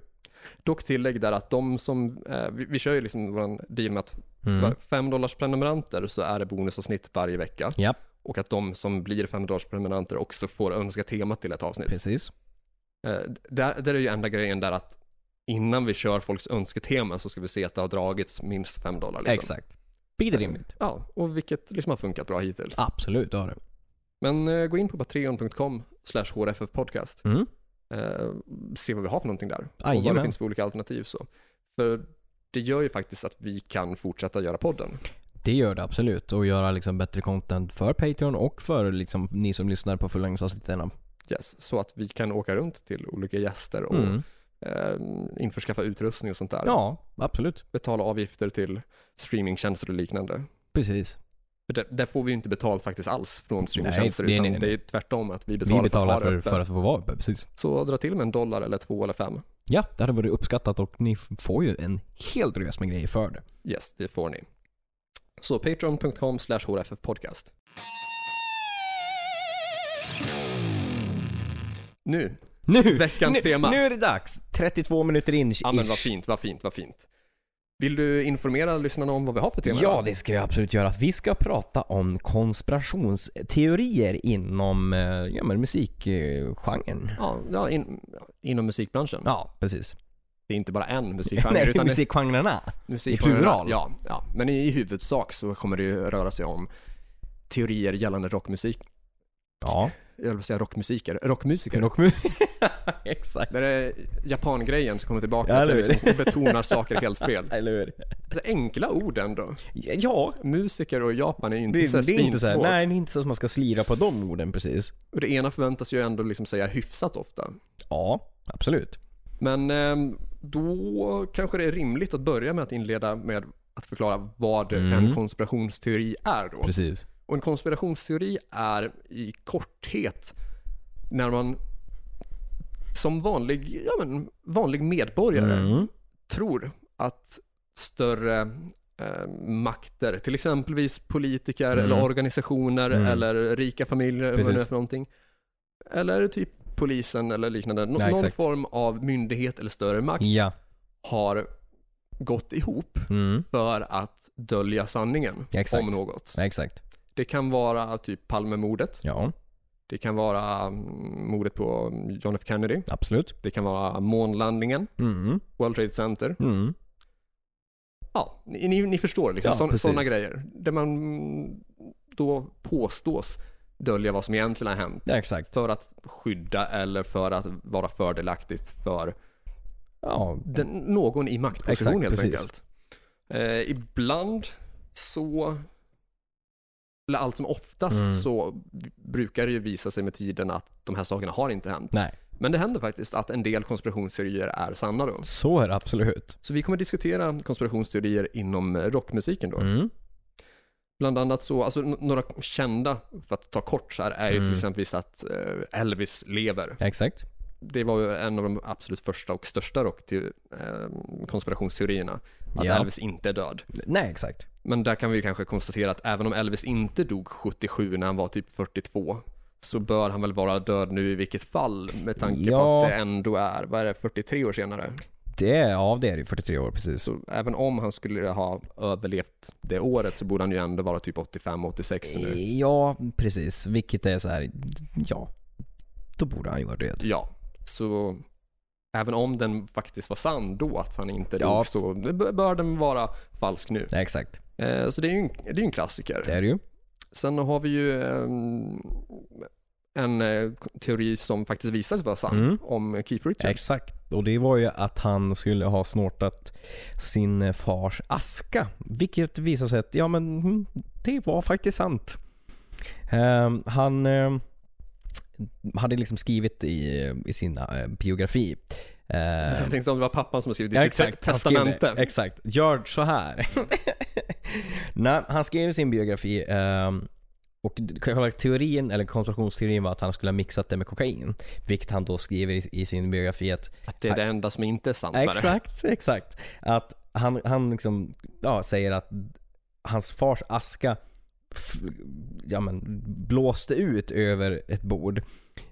[SPEAKER 1] Dock tillägg där att de som, eh, vi, vi kör ju liksom vår deal med att
[SPEAKER 3] Mm.
[SPEAKER 1] för 5 dollars prenumeranter så är det bonusavsnitt varje vecka.
[SPEAKER 3] Ja,
[SPEAKER 1] Och att de som blir 5 dollars prenumeranter också får önska temat till ett avsnitt.
[SPEAKER 3] precis.
[SPEAKER 1] Eh, där, där är ju enda grejen där att innan vi kör folks önsketeman så ska vi se att det har dragits minst 5 dollar. Liksom.
[SPEAKER 3] Exakt. Vilket är rimligt.
[SPEAKER 1] Ja, och vilket liksom har funkat bra hittills.
[SPEAKER 3] Absolut, det har det.
[SPEAKER 1] Men eh, gå in på patreon.com slash hrffpodcast.
[SPEAKER 3] Mm.
[SPEAKER 1] Eh, se vad vi har för någonting där. Och vad det
[SPEAKER 3] Jajamän.
[SPEAKER 1] finns för olika alternativ så. För det gör ju faktiskt att vi kan fortsätta göra podden.
[SPEAKER 3] Det gör det absolut. Och göra liksom bättre content för Patreon och för liksom ni som lyssnar på förlängningsavsnitten.
[SPEAKER 1] Yes, så att vi kan åka runt till olika gäster och
[SPEAKER 3] Mm.
[SPEAKER 1] eh, införskaffa utrustning och sånt där.
[SPEAKER 3] Ja, absolut.
[SPEAKER 1] Betala avgifter till streamingtjänster och liknande.
[SPEAKER 3] Precis.
[SPEAKER 1] För där, där får vi ju inte betalt faktiskt alls från streamingtjänster
[SPEAKER 3] Nej, nej,
[SPEAKER 1] utan
[SPEAKER 3] nej, nej.
[SPEAKER 1] det är ju tvärtom att vi
[SPEAKER 3] Vi
[SPEAKER 1] betalar,
[SPEAKER 3] betalar
[SPEAKER 1] för,
[SPEAKER 3] för,
[SPEAKER 1] att ha
[SPEAKER 3] för
[SPEAKER 1] det öppet.
[SPEAKER 3] att få vara uppe, precis.
[SPEAKER 1] Så dra till med en dollar eller två eller fem.
[SPEAKER 3] Ja, det hade varit uppskattat och ni f- får ju en hel drös med grejer för det.
[SPEAKER 1] Yes, det får ni. Så patreon.com slash hrffpodcast. Nu,
[SPEAKER 3] Nu!
[SPEAKER 1] Veckans
[SPEAKER 3] nu,
[SPEAKER 1] tema.
[SPEAKER 3] Nu är det dags! 32 minuter in
[SPEAKER 1] ja men vad
[SPEAKER 3] ish.
[SPEAKER 1] fint, vad fint, vad fint. Vill du informera lyssnarna om vad vi har för tema?
[SPEAKER 3] Ja,
[SPEAKER 1] idag?
[SPEAKER 3] det ska jag absolut göra. Vi ska prata om konspirationsteorier inom eh, ja, men musikgenren.
[SPEAKER 1] Ja, ja, in, inom musikbranschen.
[SPEAKER 3] Ja, precis.
[SPEAKER 1] Det är inte bara en musikgenre
[SPEAKER 3] Nej,
[SPEAKER 1] utan det-
[SPEAKER 3] musikgenrerna.
[SPEAKER 1] Musik
[SPEAKER 3] I plural.
[SPEAKER 1] Ja, ja, men i, i huvudsak så kommer det ju röra sig om teorier gällande rockmusik,
[SPEAKER 3] Ja,
[SPEAKER 1] jag vill säga rockmusiker, rockmusiker.
[SPEAKER 3] rock mu- Exakt.
[SPEAKER 1] Det är japangrejen som kommer tillbaka, att
[SPEAKER 3] Ja,
[SPEAKER 1] jag
[SPEAKER 3] eller hur?
[SPEAKER 1] liksom betonar saker helt fel.
[SPEAKER 3] Eller hur?
[SPEAKER 1] Det är enkla ord ändå.
[SPEAKER 3] Ja,
[SPEAKER 1] Musiker och Japan är ju inte
[SPEAKER 3] det,
[SPEAKER 1] så
[SPEAKER 3] det är inte så här,
[SPEAKER 1] svinsvårt.
[SPEAKER 3] nej, det är inte så att man ska slira på de orden precis.
[SPEAKER 1] Och det ena förväntas ju ändå liksom säga hyfsat ofta.
[SPEAKER 3] Ja, absolut.
[SPEAKER 1] Men ehm, då kanske det är rimligt att börja med att inleda med att förklara vad
[SPEAKER 3] Mm.
[SPEAKER 1] en konspirationsteori är då.
[SPEAKER 3] Precis.
[SPEAKER 1] Och en konspirationsteori är i korthet när man som vanlig, ja men, vanlig medborgare
[SPEAKER 3] Mm.
[SPEAKER 1] tror att större eh, makter, till exempelvis politiker
[SPEAKER 3] Mm.
[SPEAKER 1] eller organisationer
[SPEAKER 3] Mm.
[SPEAKER 1] eller rika familjer eller vad det nu är
[SPEAKER 3] Precis.
[SPEAKER 1] för någonting. Eller typ polisen eller liknande. Nå-
[SPEAKER 3] Ja,
[SPEAKER 1] någon
[SPEAKER 3] exakt. Mm.
[SPEAKER 1] form av myndighet eller större makt
[SPEAKER 3] Ja.
[SPEAKER 1] har gått ihop
[SPEAKER 3] Mm.
[SPEAKER 1] för att dölja sanningen
[SPEAKER 3] Ja, exakt.
[SPEAKER 1] om något.
[SPEAKER 3] Ja, exakt.
[SPEAKER 1] Det kan vara typ Palmemordet.
[SPEAKER 3] Ja,
[SPEAKER 1] Det kan vara mm, mordet på John F Kennedy.
[SPEAKER 3] absolut.
[SPEAKER 1] Det kan vara månlandningen,
[SPEAKER 3] Mm.
[SPEAKER 1] World Trade Center.
[SPEAKER 3] Mm.
[SPEAKER 1] Ja, ni, ni- ni förstår liksom.
[SPEAKER 3] Ja,
[SPEAKER 1] sån,
[SPEAKER 3] precis.
[SPEAKER 1] sådana grejer. Där man mm, då påstås dölja vad som egentligen har hänt.
[SPEAKER 3] Ja, exakt.
[SPEAKER 1] För att skydda eller för att vara fördelaktigt för
[SPEAKER 3] Ja,
[SPEAKER 1] den, någon i maktposition
[SPEAKER 3] Exakt,
[SPEAKER 1] helt
[SPEAKER 3] precis.
[SPEAKER 1] enkelt. Eh, ibland så, eller allt som oftast
[SPEAKER 3] Mm.
[SPEAKER 1] så brukar det ju visa sig med tiden att de här sakerna har inte hänt.
[SPEAKER 3] nej.
[SPEAKER 1] Men det händer faktiskt att en del konspirationsteorier är sanna då.
[SPEAKER 3] Så är det absolut.
[SPEAKER 1] Så vi kommer diskutera konspirationsteorier inom eh, rockmusiken då.
[SPEAKER 3] Mm.
[SPEAKER 1] Bland annat så, alltså n- några kända, för att ta kort så här, är ju till
[SPEAKER 3] Mm.
[SPEAKER 1] exempelvis att eh, Elvis lever.
[SPEAKER 3] Exakt.
[SPEAKER 1] Det var ju en av de absolut första och största rock till, eh, konspirationsteorierna. Att
[SPEAKER 3] Ja.
[SPEAKER 1] Elvis inte är död.
[SPEAKER 3] Nej, exakt.
[SPEAKER 1] Men där kan vi ju kanske konstatera att även om Elvis inte dog 77 när han var typ 42 så bör han väl vara död nu i vilket fall med tanke på
[SPEAKER 3] Ja.
[SPEAKER 1] att det ändå är, vad är det, 43 år senare.
[SPEAKER 3] Det är, ja, det är det ju. 43 år precis.
[SPEAKER 1] Så även om han skulle ha överlevt det året så borde han ju ändå vara typ 85-86 nu.
[SPEAKER 3] Ja, precis. Vilket är så här, ja. Då borde han ju vara död.
[SPEAKER 1] Ja, så även om den faktiskt var sann då, att han inte dog,
[SPEAKER 3] Ja.
[SPEAKER 1] så b- bör den vara falsk nu.
[SPEAKER 3] Nej, exakt.
[SPEAKER 1] Eh, så det är ju en, det är ju en klassiker.
[SPEAKER 3] Det är det ju.
[SPEAKER 1] Sen har vi ju ehm, en eh, teori som faktiskt visar sig vara sann
[SPEAKER 3] Mm.
[SPEAKER 1] om Keith Richards.
[SPEAKER 3] Exakt. Och det var ju att han skulle ha snortat sin fars aska. Vilket visar sig att, ja men mm, det var faktiskt sant. Ehm, han ehm, hade liksom skrivit i, i sin eh, biografi. ehm,
[SPEAKER 1] Jag tänkte om det var pappan som har skrivit i
[SPEAKER 3] Ja,
[SPEAKER 1] sitt te-
[SPEAKER 3] han skrev det.
[SPEAKER 1] testamente.
[SPEAKER 3] Exakt. Gör så här. Nej, han skrev sin biografi ehm, och själva teorin, eller konspirationsteorin var att han skulle ha mixat det med kokain. Vilket han då skriver i, i sin biografi att
[SPEAKER 1] Att det är det enda som inte är sant med det.
[SPEAKER 3] Exakt, exakt. Att han, han liksom, ja, säger att hans fars aska f- ja, men, blåste ut över ett bord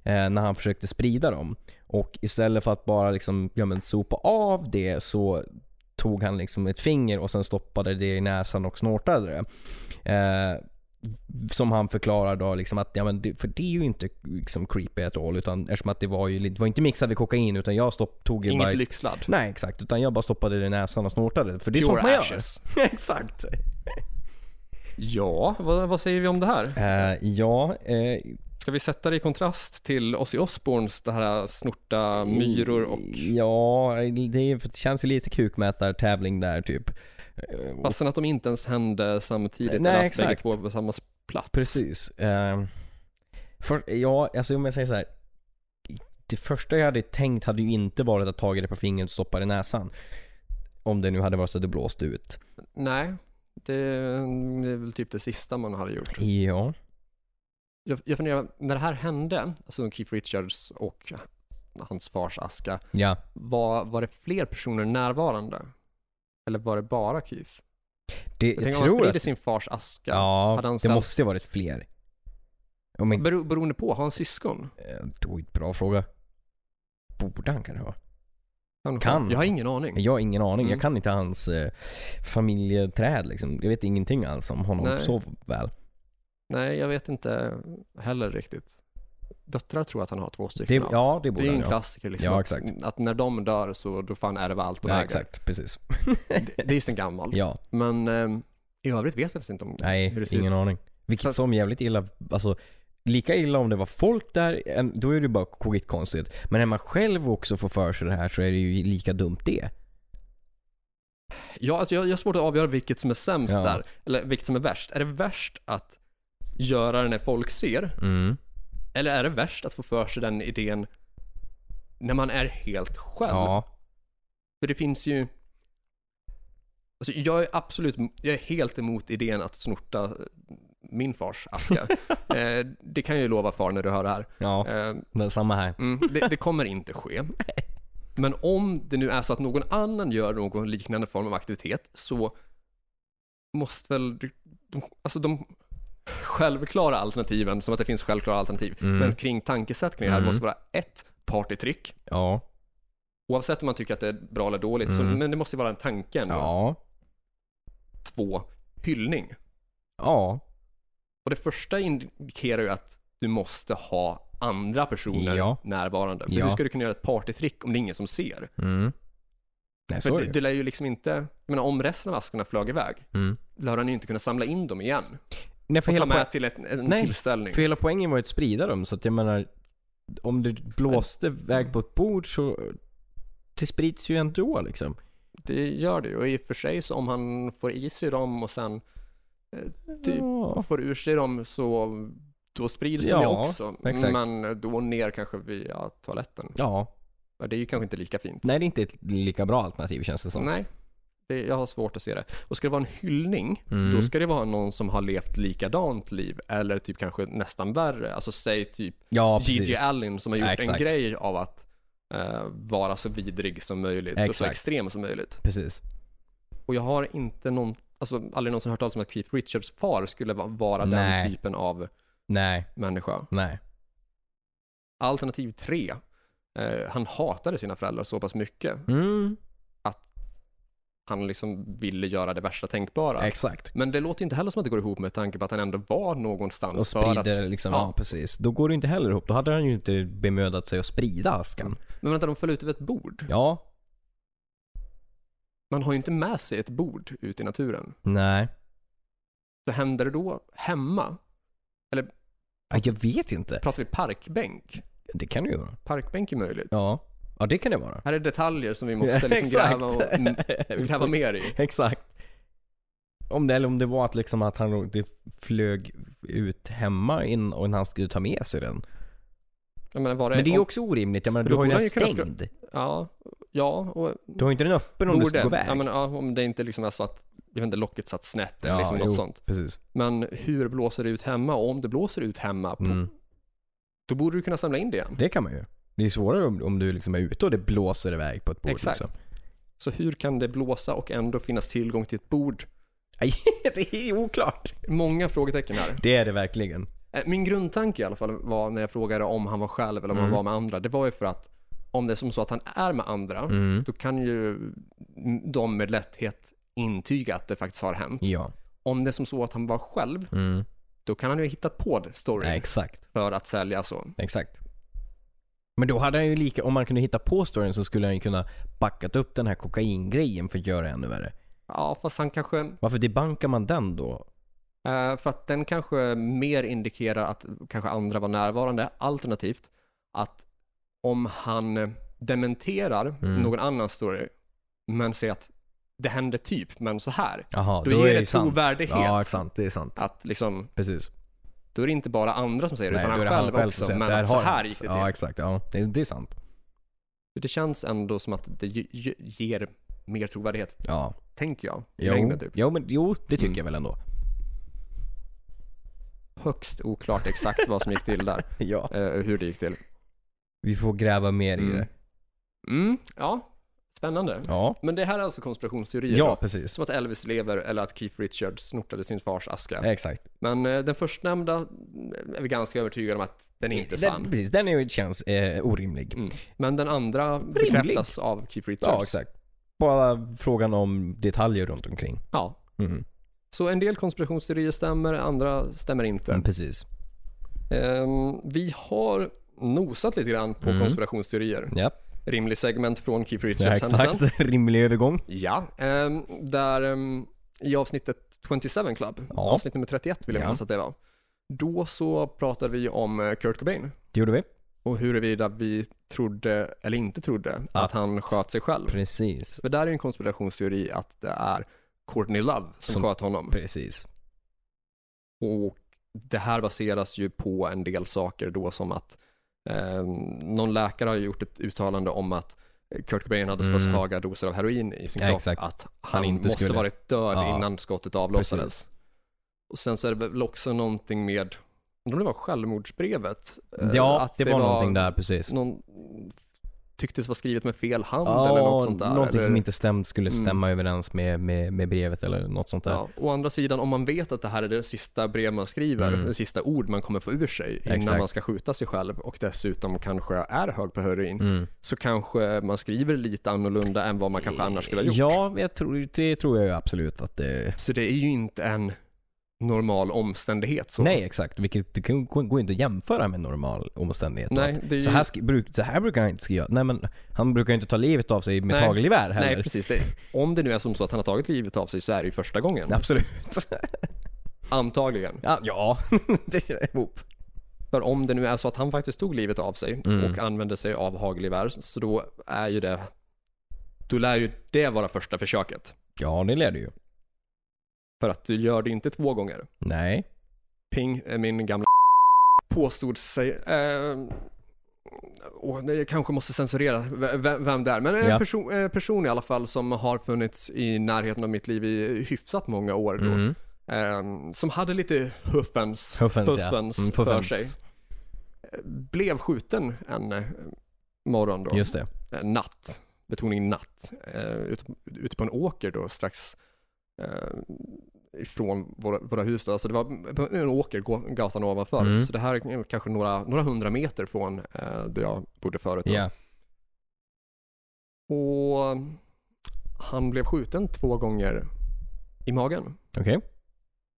[SPEAKER 3] eh, när han försökte sprida dem. Och istället för att bara liksom, ja, men, sopa av det så tog han liksom ett finger och sen stoppade det i näsan och snortade det. Eh, som han förklarar då liksom att, ja men det, för det är ju inte liksom creepy at all utan eftersom att det var ju, det var inte mixat med kokain utan jag stopp, tog ju bara
[SPEAKER 1] Inget
[SPEAKER 3] ett
[SPEAKER 1] lyxladd.
[SPEAKER 3] Nej exakt, utan jag bara stoppade det i näsan och snortade. För det är sånt
[SPEAKER 1] Typ.
[SPEAKER 3] man
[SPEAKER 1] Pure
[SPEAKER 3] gör.
[SPEAKER 1] ashes.
[SPEAKER 3] exakt.
[SPEAKER 1] Ja, vad, vad säger vi om det här?
[SPEAKER 3] Eh, ja, eh,
[SPEAKER 1] Ska vi sätta det i kontrast till Ozzy Osbournes det här snorta myror och
[SPEAKER 3] ja, det, är, det känns ju lite kukmätartävling där typ. Eh,
[SPEAKER 1] fastän att de inte ens hände samtidigt
[SPEAKER 3] Nej,
[SPEAKER 1] eller att
[SPEAKER 3] exakt.
[SPEAKER 1] bägge två var på samma plats.
[SPEAKER 3] Precis. Eh, för, ja, alltså om jag säger så här. Det första jag hade tänkt hade ju inte varit att ta det på fingret och stoppa det i näsan. Om det nu hade varit så att det blåste ut.
[SPEAKER 1] Nej, det det är väl typ det sista man hade gjort.
[SPEAKER 3] Ja.
[SPEAKER 1] Jag, jag funderar, när det här hände, alltså Keith Richards och hans fars aska,
[SPEAKER 3] Ja.
[SPEAKER 1] var, var det fler personer närvarande? Eller var det bara Keith?
[SPEAKER 3] Det,
[SPEAKER 1] Jag,
[SPEAKER 3] jag,
[SPEAKER 1] tänker om han
[SPEAKER 3] tror
[SPEAKER 1] sprider
[SPEAKER 3] att...
[SPEAKER 1] sin fars aska, hade
[SPEAKER 3] Ja,
[SPEAKER 1] han
[SPEAKER 3] det
[SPEAKER 1] sen-
[SPEAKER 3] måste ju varit fler. Om inte
[SPEAKER 1] bero, beroende på, har han syskon?
[SPEAKER 3] Eh, Det var ju en bra fråga. Borde han kanske ha?
[SPEAKER 1] Kanske.
[SPEAKER 3] Kan.
[SPEAKER 1] Jag har ingen aning.
[SPEAKER 3] Jag har ingen aning.
[SPEAKER 1] Mm.
[SPEAKER 3] Jag kan inte hans eh, familjeträd liksom. Jag vet ingenting alls om honom
[SPEAKER 1] Nej.
[SPEAKER 3] så väl.
[SPEAKER 1] Nej, jag vet inte heller riktigt. Döttrar tror jag att han har två
[SPEAKER 3] Det,
[SPEAKER 1] stycken av.
[SPEAKER 3] ja, det
[SPEAKER 1] Det
[SPEAKER 3] borde
[SPEAKER 1] är ju
[SPEAKER 3] han
[SPEAKER 1] en
[SPEAKER 3] ju ha.
[SPEAKER 1] klassiker liksom.
[SPEAKER 3] Ja,
[SPEAKER 1] att,
[SPEAKER 3] exakt.
[SPEAKER 1] att när de dör så då får han ärva allt de
[SPEAKER 3] Ja,
[SPEAKER 1] äger.
[SPEAKER 3] exakt. Precis.
[SPEAKER 1] Det, det är ju sen gammalt.
[SPEAKER 3] Ja.
[SPEAKER 1] Men ehm, i övrigt vet vi faktiskt inte om hur
[SPEAKER 3] Nej,
[SPEAKER 1] det ser
[SPEAKER 3] ingen
[SPEAKER 1] ut.
[SPEAKER 3] aning. Vilket
[SPEAKER 1] Fast-
[SPEAKER 3] som jävligt illa, alltså lika illa om det var folk där, en- då är det bara skitkonstigt. Men när man själv också får för sig det här så är det ju lika dumt det.
[SPEAKER 1] Ja, alltså jag, jag har svårt att avgöra vilket som är sämst
[SPEAKER 3] Ja.
[SPEAKER 1] där. Eller vilket som är värst. Är det värst att Mm. göra det när folk ser? Eller är det värst att få för sig den idén när man är helt själv.
[SPEAKER 3] Ja.
[SPEAKER 1] För det finns ju... Alltså jag är absolut, jag är helt emot idén att snorta eh, min fars aska. eh, det kan jag ju lova far när du hör det här.
[SPEAKER 3] Ja,
[SPEAKER 1] Eh,
[SPEAKER 3] det är samma här.
[SPEAKER 1] mm, det, det kommer inte ske. Men om det nu är så att någon annan gör någon liknande form av aktivitet så måste väl, de, alltså de självklara alternativen, som att det finns självklara alternativ,
[SPEAKER 3] Mm.
[SPEAKER 1] men kring tankesätt kring det här
[SPEAKER 3] Mm.
[SPEAKER 1] måste vara ett partytrick,
[SPEAKER 3] Ja.
[SPEAKER 1] oavsett om man tycker att det är bra eller dåligt, så,
[SPEAKER 3] Mm.
[SPEAKER 1] men det måste ju vara en tanke ändå.
[SPEAKER 3] Ja.
[SPEAKER 1] Två, hyllning.
[SPEAKER 3] Ja.
[SPEAKER 1] Och det första indikerar ju att du måste ha andra personer
[SPEAKER 3] Ja.
[SPEAKER 1] närvarande. För
[SPEAKER 3] Ja.
[SPEAKER 1] hur ska du kunna göra ett partytrick om det är ingen som ser?
[SPEAKER 3] Mm. Nej, så
[SPEAKER 1] För
[SPEAKER 3] är
[SPEAKER 1] du,
[SPEAKER 3] det ju.
[SPEAKER 1] du lär ju liksom inte, jag menar om resten av askorna flög iväg,
[SPEAKER 3] Mm.
[SPEAKER 1] lär han ju inte kunna samla in dem igen.
[SPEAKER 3] Nej, för
[SPEAKER 1] Och ta
[SPEAKER 3] hela,
[SPEAKER 1] med
[SPEAKER 3] poä-
[SPEAKER 1] till ett, en
[SPEAKER 3] Nej,
[SPEAKER 1] tillställning.
[SPEAKER 3] för hela poängen var ju att sprida dem, så att jag menar, om du blåste väg på ett bord så, det sprids ju ändå liksom.
[SPEAKER 1] Det gör det ju. Och i och för sig så om han får i sig dem och sen Typ.
[SPEAKER 3] Ja.
[SPEAKER 1] får ur sig dem så då sprids
[SPEAKER 3] Ja,
[SPEAKER 1] de ju också.
[SPEAKER 3] exakt.
[SPEAKER 1] Men då ner kanske via toaletten.
[SPEAKER 3] ja.
[SPEAKER 1] Ja, Det är ju kanske inte lika fint.
[SPEAKER 3] Nej, det är inte ett lika bra alternativ känns det som.
[SPEAKER 1] Nej, det, jag har svårt att se det. Och ska det vara en hyllning,
[SPEAKER 3] Mm.
[SPEAKER 1] då ska det vara någon som har levt likadant liv, eller typ kanske nästan värre. Alltså säg typ
[SPEAKER 3] Ja,
[SPEAKER 1] Gigi
[SPEAKER 3] precis.
[SPEAKER 1] Allen som har gjort
[SPEAKER 3] Ja,
[SPEAKER 1] en
[SPEAKER 3] exakt.
[SPEAKER 1] grej av att eh, vara så vidrig som möjligt och så
[SPEAKER 3] Exakt.
[SPEAKER 1] extrem som möjligt.
[SPEAKER 3] Precis.
[SPEAKER 1] Och jag har inte någon, alltså aldrig någonsin hört talas om att Keith Richards far skulle va- vara
[SPEAKER 3] Nej.
[SPEAKER 1] den typen av
[SPEAKER 3] Nej,
[SPEAKER 1] människa.
[SPEAKER 3] nej.
[SPEAKER 1] Alternativ tre, eh, han hatade sina föräldrar så pass mycket.
[SPEAKER 3] Mm.
[SPEAKER 1] Han liksom ville göra det värsta tänkbara.
[SPEAKER 3] Exakt.
[SPEAKER 1] Men det låter inte heller som att det går ihop med tanke på att han ändå var någonstans
[SPEAKER 3] Och
[SPEAKER 1] för att...
[SPEAKER 3] sprider liksom,
[SPEAKER 1] ja.
[SPEAKER 3] ja precis. Då går det inte heller ihop. Då hade han ju inte bemödat sig att sprida askan.
[SPEAKER 1] Men vänta, de föll ut över ett bord.
[SPEAKER 3] Ja,
[SPEAKER 1] Man har ju inte med sig ett bord ute i naturen.
[SPEAKER 3] nej.
[SPEAKER 1] Så händer det då hemma?
[SPEAKER 3] Ja, Jag vet inte.
[SPEAKER 1] Pratar vi parkbänk?
[SPEAKER 3] Det kan du göra.
[SPEAKER 1] Parkbänk är möjligt.
[SPEAKER 3] Ja. Ja, det kan det vara.
[SPEAKER 1] Här är detaljer som vi måste liksom
[SPEAKER 3] Exakt.
[SPEAKER 1] gräva, och, m-
[SPEAKER 3] Vi
[SPEAKER 1] gräva
[SPEAKER 3] får-
[SPEAKER 1] mer i.
[SPEAKER 3] Exakt. Om det, eller om det var att, liksom att han det flög ut hemma in och han skulle ta med sig den.
[SPEAKER 1] Jag menar, var det,
[SPEAKER 3] Men det är ju
[SPEAKER 1] om-
[SPEAKER 3] också orimligt. Jag menar,
[SPEAKER 1] Men
[SPEAKER 3] du
[SPEAKER 1] då
[SPEAKER 3] har ju
[SPEAKER 1] borde
[SPEAKER 3] den
[SPEAKER 1] han ju kunna
[SPEAKER 3] stängd.
[SPEAKER 1] Ja, ja och
[SPEAKER 3] Du har ju inte den öppen om du ska gå
[SPEAKER 1] borde... Ja,
[SPEAKER 3] iväg.
[SPEAKER 1] men, ja, om det inte liksom är så att, jag vet inte, locket satt snett eller
[SPEAKER 3] Ja,
[SPEAKER 1] liksom något
[SPEAKER 3] jo.
[SPEAKER 1] sånt.
[SPEAKER 3] Precis.
[SPEAKER 1] Men hur blåser det ut hemma? Och om det blåser ut hemma, på,
[SPEAKER 3] Mm.
[SPEAKER 1] då borde du kunna samla in det igen.
[SPEAKER 3] Det kan man ju. Det är svårare om, om du liksom är ute och det blåser iväg på ett bord.
[SPEAKER 1] Exakt.
[SPEAKER 3] Liksom.
[SPEAKER 1] Så hur kan det blåsa och ändå finnas tillgång till ett bord?
[SPEAKER 3] Nej, det är oklart.
[SPEAKER 1] Många frågetecken här.
[SPEAKER 3] Det är det verkligen.
[SPEAKER 1] Eh, Min grundtanke i alla fall var när jag frågade om han var själv eller om
[SPEAKER 3] Mm.
[SPEAKER 1] han var med andra. Det var ju för att om det är som så att han är med andra,
[SPEAKER 3] Mm.
[SPEAKER 1] då kan ju de med lätthet intyga att det faktiskt har hänt.
[SPEAKER 3] Ja.
[SPEAKER 1] Om det är som så att han var själv,
[SPEAKER 3] Mm.
[SPEAKER 1] då kan han ju ha hittat på det, story
[SPEAKER 3] Nej, exakt.
[SPEAKER 1] för att sälja så.
[SPEAKER 3] Exakt. Men då hade han ju lika, om man kunde hitta på storyn så skulle han ju kunna backat upp den här kokaingrejen för att göra ännu värre.
[SPEAKER 1] Ja, fast han kanske,
[SPEAKER 3] Varför debankar man den då?
[SPEAKER 1] eh, för att den kanske mer indikerar att kanske andra var närvarande, alternativt att om han dementerar
[SPEAKER 3] Mm.
[SPEAKER 1] någon annan story, men säger att det hände typ, men så här.
[SPEAKER 3] Jaha,
[SPEAKER 1] Då
[SPEAKER 3] då,
[SPEAKER 1] ger
[SPEAKER 3] är
[SPEAKER 1] det
[SPEAKER 3] det ju sant.
[SPEAKER 1] trovärdighet.
[SPEAKER 3] Ja, sant. Det är sant.
[SPEAKER 1] Att liksom,
[SPEAKER 3] Precis.
[SPEAKER 1] då är det inte bara andra som säger det,
[SPEAKER 3] Nej,
[SPEAKER 1] utan han
[SPEAKER 3] då är
[SPEAKER 1] själv,
[SPEAKER 3] det som
[SPEAKER 1] också.
[SPEAKER 3] säger att
[SPEAKER 1] Men
[SPEAKER 3] där
[SPEAKER 1] att så
[SPEAKER 3] har han
[SPEAKER 1] här
[SPEAKER 3] det.
[SPEAKER 1] gick det till.
[SPEAKER 3] Ja, exakt. Ja, det är, det är sant.
[SPEAKER 1] Det känns ändå som att det ge- ge- ger mer trovärdighet,
[SPEAKER 3] Ja.
[SPEAKER 1] tänker jag. I
[SPEAKER 3] Jo,
[SPEAKER 1] längden typ.
[SPEAKER 3] jo, men, jo det tycker
[SPEAKER 1] Mm.
[SPEAKER 3] jag väl ändå.
[SPEAKER 1] Högst oklart exakt vad som gick till där,
[SPEAKER 3] Ja.
[SPEAKER 1] eh, hur det gick till.
[SPEAKER 3] Vi får gräva mer i
[SPEAKER 1] Mm.
[SPEAKER 3] det.
[SPEAKER 1] Mm, ja, spännande.
[SPEAKER 3] Ja.
[SPEAKER 1] Men det här är alltså konspirationsteorier
[SPEAKER 3] Ja,
[SPEAKER 1] då?
[SPEAKER 3] precis.
[SPEAKER 1] Som att Elvis lever eller att Keith Richards snortade sin fars aska.
[SPEAKER 3] Exakt.
[SPEAKER 1] Men eh, den förstnämnda eh, är vi ganska övertygade om att den är inte är sann.
[SPEAKER 3] Eh, Den, precis, den är ju, känns eh, orimlig.
[SPEAKER 1] Mm. Men den andra bekräftas av Keith Richards.
[SPEAKER 3] Ja, exakt. Bara frågan om detaljer runt omkring.
[SPEAKER 1] Ja.
[SPEAKER 3] Mm.
[SPEAKER 1] Så en del konspirationsteorier stämmer, andra stämmer inte.
[SPEAKER 3] Mm, precis.
[SPEAKER 1] Ehm, vi har nosat lite grann på konspirationsteorier.
[SPEAKER 3] Ja,
[SPEAKER 1] Rimlig segment från Keith
[SPEAKER 3] Mm. ja
[SPEAKER 1] Richards händelsen.
[SPEAKER 3] exakt. Rimlig övergång.
[SPEAKER 1] Ja, ehm, där ehm, i avsnittet 27 Club,
[SPEAKER 3] Ja.
[SPEAKER 1] avsnitt nummer 31 vill jag
[SPEAKER 3] Ja.
[SPEAKER 1] minnas att det var. Då så pratade vi om eh, Kurt Cobain
[SPEAKER 3] Det gjorde vi.
[SPEAKER 1] och huruvida vi trodde eller inte trodde att,
[SPEAKER 3] Att-
[SPEAKER 1] han sköt sig själv.
[SPEAKER 3] Precis.
[SPEAKER 1] För där är en konspirationsteori att det är Courtney Love som,
[SPEAKER 3] Som-
[SPEAKER 1] sköt honom.
[SPEAKER 3] Precis.
[SPEAKER 1] Och det här baseras ju på en del saker då som att Eh, någon läkare har ju gjort ett uttalande om att Kurt Cobain hade så pass
[SPEAKER 3] Mm.
[SPEAKER 1] höga doser av heroin i sin
[SPEAKER 3] Ja,
[SPEAKER 1] kropp
[SPEAKER 3] exakt.
[SPEAKER 1] att han,
[SPEAKER 3] inte
[SPEAKER 1] måste
[SPEAKER 3] skulle-
[SPEAKER 1] varit död
[SPEAKER 3] Ja.
[SPEAKER 1] innan skottet avlossades. Och sen så är det väl också någonting med, undrar om det var självmordsbrevet? eh,
[SPEAKER 3] Ja,
[SPEAKER 1] att
[SPEAKER 3] det, var någonting där precis.
[SPEAKER 1] Någon tycktes vara skrivet med fel hand
[SPEAKER 3] Ja,
[SPEAKER 1] eller något sånt där.
[SPEAKER 3] någonting
[SPEAKER 1] eller,
[SPEAKER 3] som inte stämt skulle
[SPEAKER 1] Mm.
[SPEAKER 3] stämma överens med, med, med brevet eller något sånt där.
[SPEAKER 1] Ja, å andra sidan, om man vet att det här är det sista brev man skriver,
[SPEAKER 3] Mm.
[SPEAKER 1] det sista ord man kommer få ur sig innan
[SPEAKER 3] Exakt.
[SPEAKER 1] man ska skjuta sig själv och dessutom kanske är hög på heroin,
[SPEAKER 3] Mm.
[SPEAKER 1] så kanske man skriver lite annorlunda än vad man kanske annars skulle ha gjort.
[SPEAKER 3] Ja, jag tror, det tror jag ju absolut att det...
[SPEAKER 1] Så det är ju inte en normal omständighet. Så.
[SPEAKER 3] Nej, exakt. Vilket det kan- går inte att jämföra med normal omständighet.
[SPEAKER 1] Nej,
[SPEAKER 3] Att
[SPEAKER 1] det är ju-
[SPEAKER 3] så, här sk- bruk, så här brukar han inte skriva. Nej, men han brukar ju inte ta livet av sig med
[SPEAKER 1] Nej.
[SPEAKER 3] hagelgevär
[SPEAKER 1] Nej,
[SPEAKER 3] heller.
[SPEAKER 1] precis. Det, om det nu är som så att han har tagit livet av sig så är det ju första gången.
[SPEAKER 3] Absolut.
[SPEAKER 1] Antagligen.
[SPEAKER 3] Ja, ja. det är ihop.
[SPEAKER 1] För om det nu är så att han faktiskt tog livet av sig
[SPEAKER 3] Mm.
[SPEAKER 1] och använde sig av hagelgevär, så då är ju det... Då lär ju det vara första försöket.
[SPEAKER 3] Ja, det lär du ju.
[SPEAKER 1] För att du gör det inte två gånger.
[SPEAKER 3] Nej.
[SPEAKER 1] Ping, eh, min gamla påstod sig... Eh, åh, nej, jag kanske måste censurera v- v- vem det är. Men en
[SPEAKER 3] Ja.
[SPEAKER 1] person, eh, person i alla fall som har funnits i närheten av mitt liv i hyfsat många år då.
[SPEAKER 3] Mm.
[SPEAKER 1] Eh, som hade lite huffens,
[SPEAKER 3] Huffens, ja. Mm,
[SPEAKER 1] för
[SPEAKER 3] puffens.
[SPEAKER 1] sig. Eh, Blev skjuten en eh, morgon då.
[SPEAKER 3] Just det.
[SPEAKER 1] Eh, natt. Betoning natt. Eh, ute, ute på en åker då strax eh, ifrån våra, våra hus. Då. Alltså det var på en åker, gå- gatan ovanför.
[SPEAKER 3] Mm.
[SPEAKER 1] Så det här är kanske några, några hundra meter från eh, där jag bodde förut. Då.
[SPEAKER 3] Ja.
[SPEAKER 1] Och han blev skjuten två gånger i magen.
[SPEAKER 3] Okej.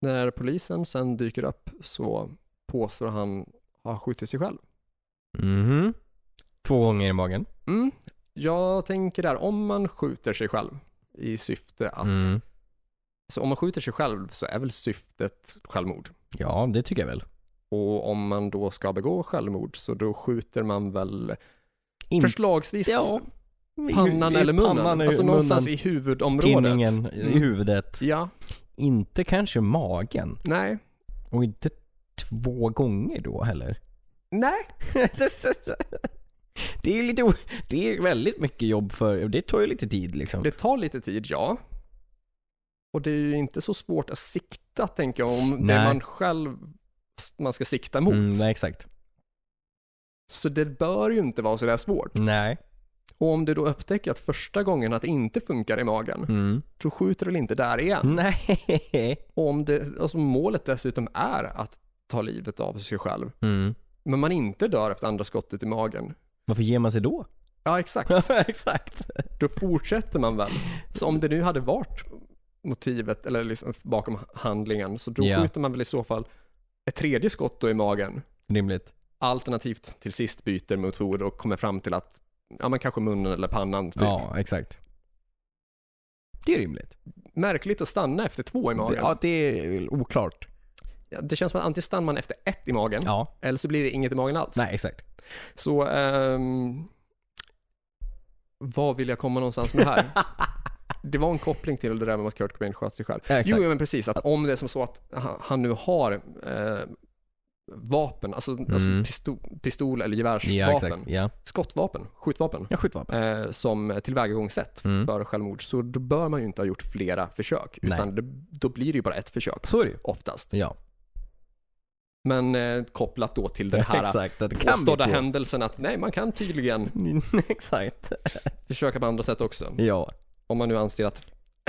[SPEAKER 1] När polisen sen dyker upp så påstår han ha skjutit sig själv.
[SPEAKER 3] Mhm. Två gånger i magen.
[SPEAKER 1] Mm. Jag tänker där, om man skjuter sig själv i syfte att
[SPEAKER 3] Mm.
[SPEAKER 1] Så om man skjuter sig själv så är väl syftet självmord.
[SPEAKER 3] Ja, det tycker jag väl.
[SPEAKER 1] Och om man då ska begå självmord så då skjuter man väl
[SPEAKER 3] In-
[SPEAKER 1] förslagsvis
[SPEAKER 3] Ja.
[SPEAKER 1] pannan
[SPEAKER 3] I- i
[SPEAKER 1] eller munnen.
[SPEAKER 3] Pannan, i
[SPEAKER 1] alltså
[SPEAKER 3] munnen,
[SPEAKER 1] någonstans i huvudområdet.
[SPEAKER 3] tinningen, i
[SPEAKER 1] Mm.
[SPEAKER 3] huvudet.
[SPEAKER 1] Ja,
[SPEAKER 3] Inte kanske magen.
[SPEAKER 1] nej.
[SPEAKER 3] Och inte två gånger då heller.
[SPEAKER 1] Nej,
[SPEAKER 3] det är lite o- Det är väldigt mycket jobb för... Det tar ju lite tid liksom.
[SPEAKER 1] det tar lite tid, ja. Och det är ju inte så svårt att sikta, tänker jag, om det
[SPEAKER 3] Nej.
[SPEAKER 1] man själv man ska sikta mot.
[SPEAKER 3] Mm, nej, exakt.
[SPEAKER 1] Så det bör ju inte vara sådär svårt.
[SPEAKER 3] Nej.
[SPEAKER 1] Och om du då upptäcker att första gången att det inte funkar i magen,
[SPEAKER 3] Mm.
[SPEAKER 1] så skjuter du väl inte där igen?
[SPEAKER 3] Nej.
[SPEAKER 1] Och om det, alltså målet dessutom är att ta livet av sig själv,
[SPEAKER 3] Mm.
[SPEAKER 1] men man inte dör efter andra skottet i magen.
[SPEAKER 3] Varför ger man sig då?
[SPEAKER 1] Ja, exakt.
[SPEAKER 3] exakt.
[SPEAKER 1] Då fortsätter man väl. Så om det nu hade varit motivet, eller liksom bakom handlingen, så då
[SPEAKER 3] Ja.
[SPEAKER 1] skjuter man väl i så fall ett tredje skott då i magen.
[SPEAKER 3] Rimligt.
[SPEAKER 1] Typ. Alternativt till sist byter motor och kommer fram till att, ja men kanske munnen eller pannan typ.
[SPEAKER 3] Ja, exakt. Det är rimligt.
[SPEAKER 1] Märkligt att stanna efter två i magen.
[SPEAKER 3] Ja, det är oklart.
[SPEAKER 1] Ja, Det känns som att antingen stannar man efter ett i magen,
[SPEAKER 3] Ja.
[SPEAKER 1] eller så blir det inget i magen alls.
[SPEAKER 3] Nej, exakt.
[SPEAKER 1] Så, ehm, vad vill jag komma någonstans med här? Det var en koppling till det där med att Kurt Cobain sköt sig själv.
[SPEAKER 3] Ja, exakt.
[SPEAKER 1] Jo, men precis. Att om det är som så att han- han nu har eh, vapen, alltså, alltså
[SPEAKER 3] Mm.
[SPEAKER 1] pistol, pistol eller gevärsvapen,
[SPEAKER 3] Ja, exakt. Ja.
[SPEAKER 1] skottvapen, skjutvapen,
[SPEAKER 3] Ja, skjutvapen.
[SPEAKER 1] eh, som tillvägagångssätt
[SPEAKER 3] Mm.
[SPEAKER 1] för självmord, så då bör man ju inte ha gjort flera försök.
[SPEAKER 3] Nej.
[SPEAKER 1] Utan det, då blir det ju bara ett försök,
[SPEAKER 3] Så är det ju.
[SPEAKER 1] oftast.
[SPEAKER 3] Ja.
[SPEAKER 1] Men eh, kopplat då till den här
[SPEAKER 3] exakt. Att det kan bli
[SPEAKER 1] påstådda
[SPEAKER 3] två.
[SPEAKER 1] händelsen att nej, man kan tydligen
[SPEAKER 3] exakt.
[SPEAKER 1] försöka på andra sätt också.
[SPEAKER 3] Ja.
[SPEAKER 1] Om man nu anser att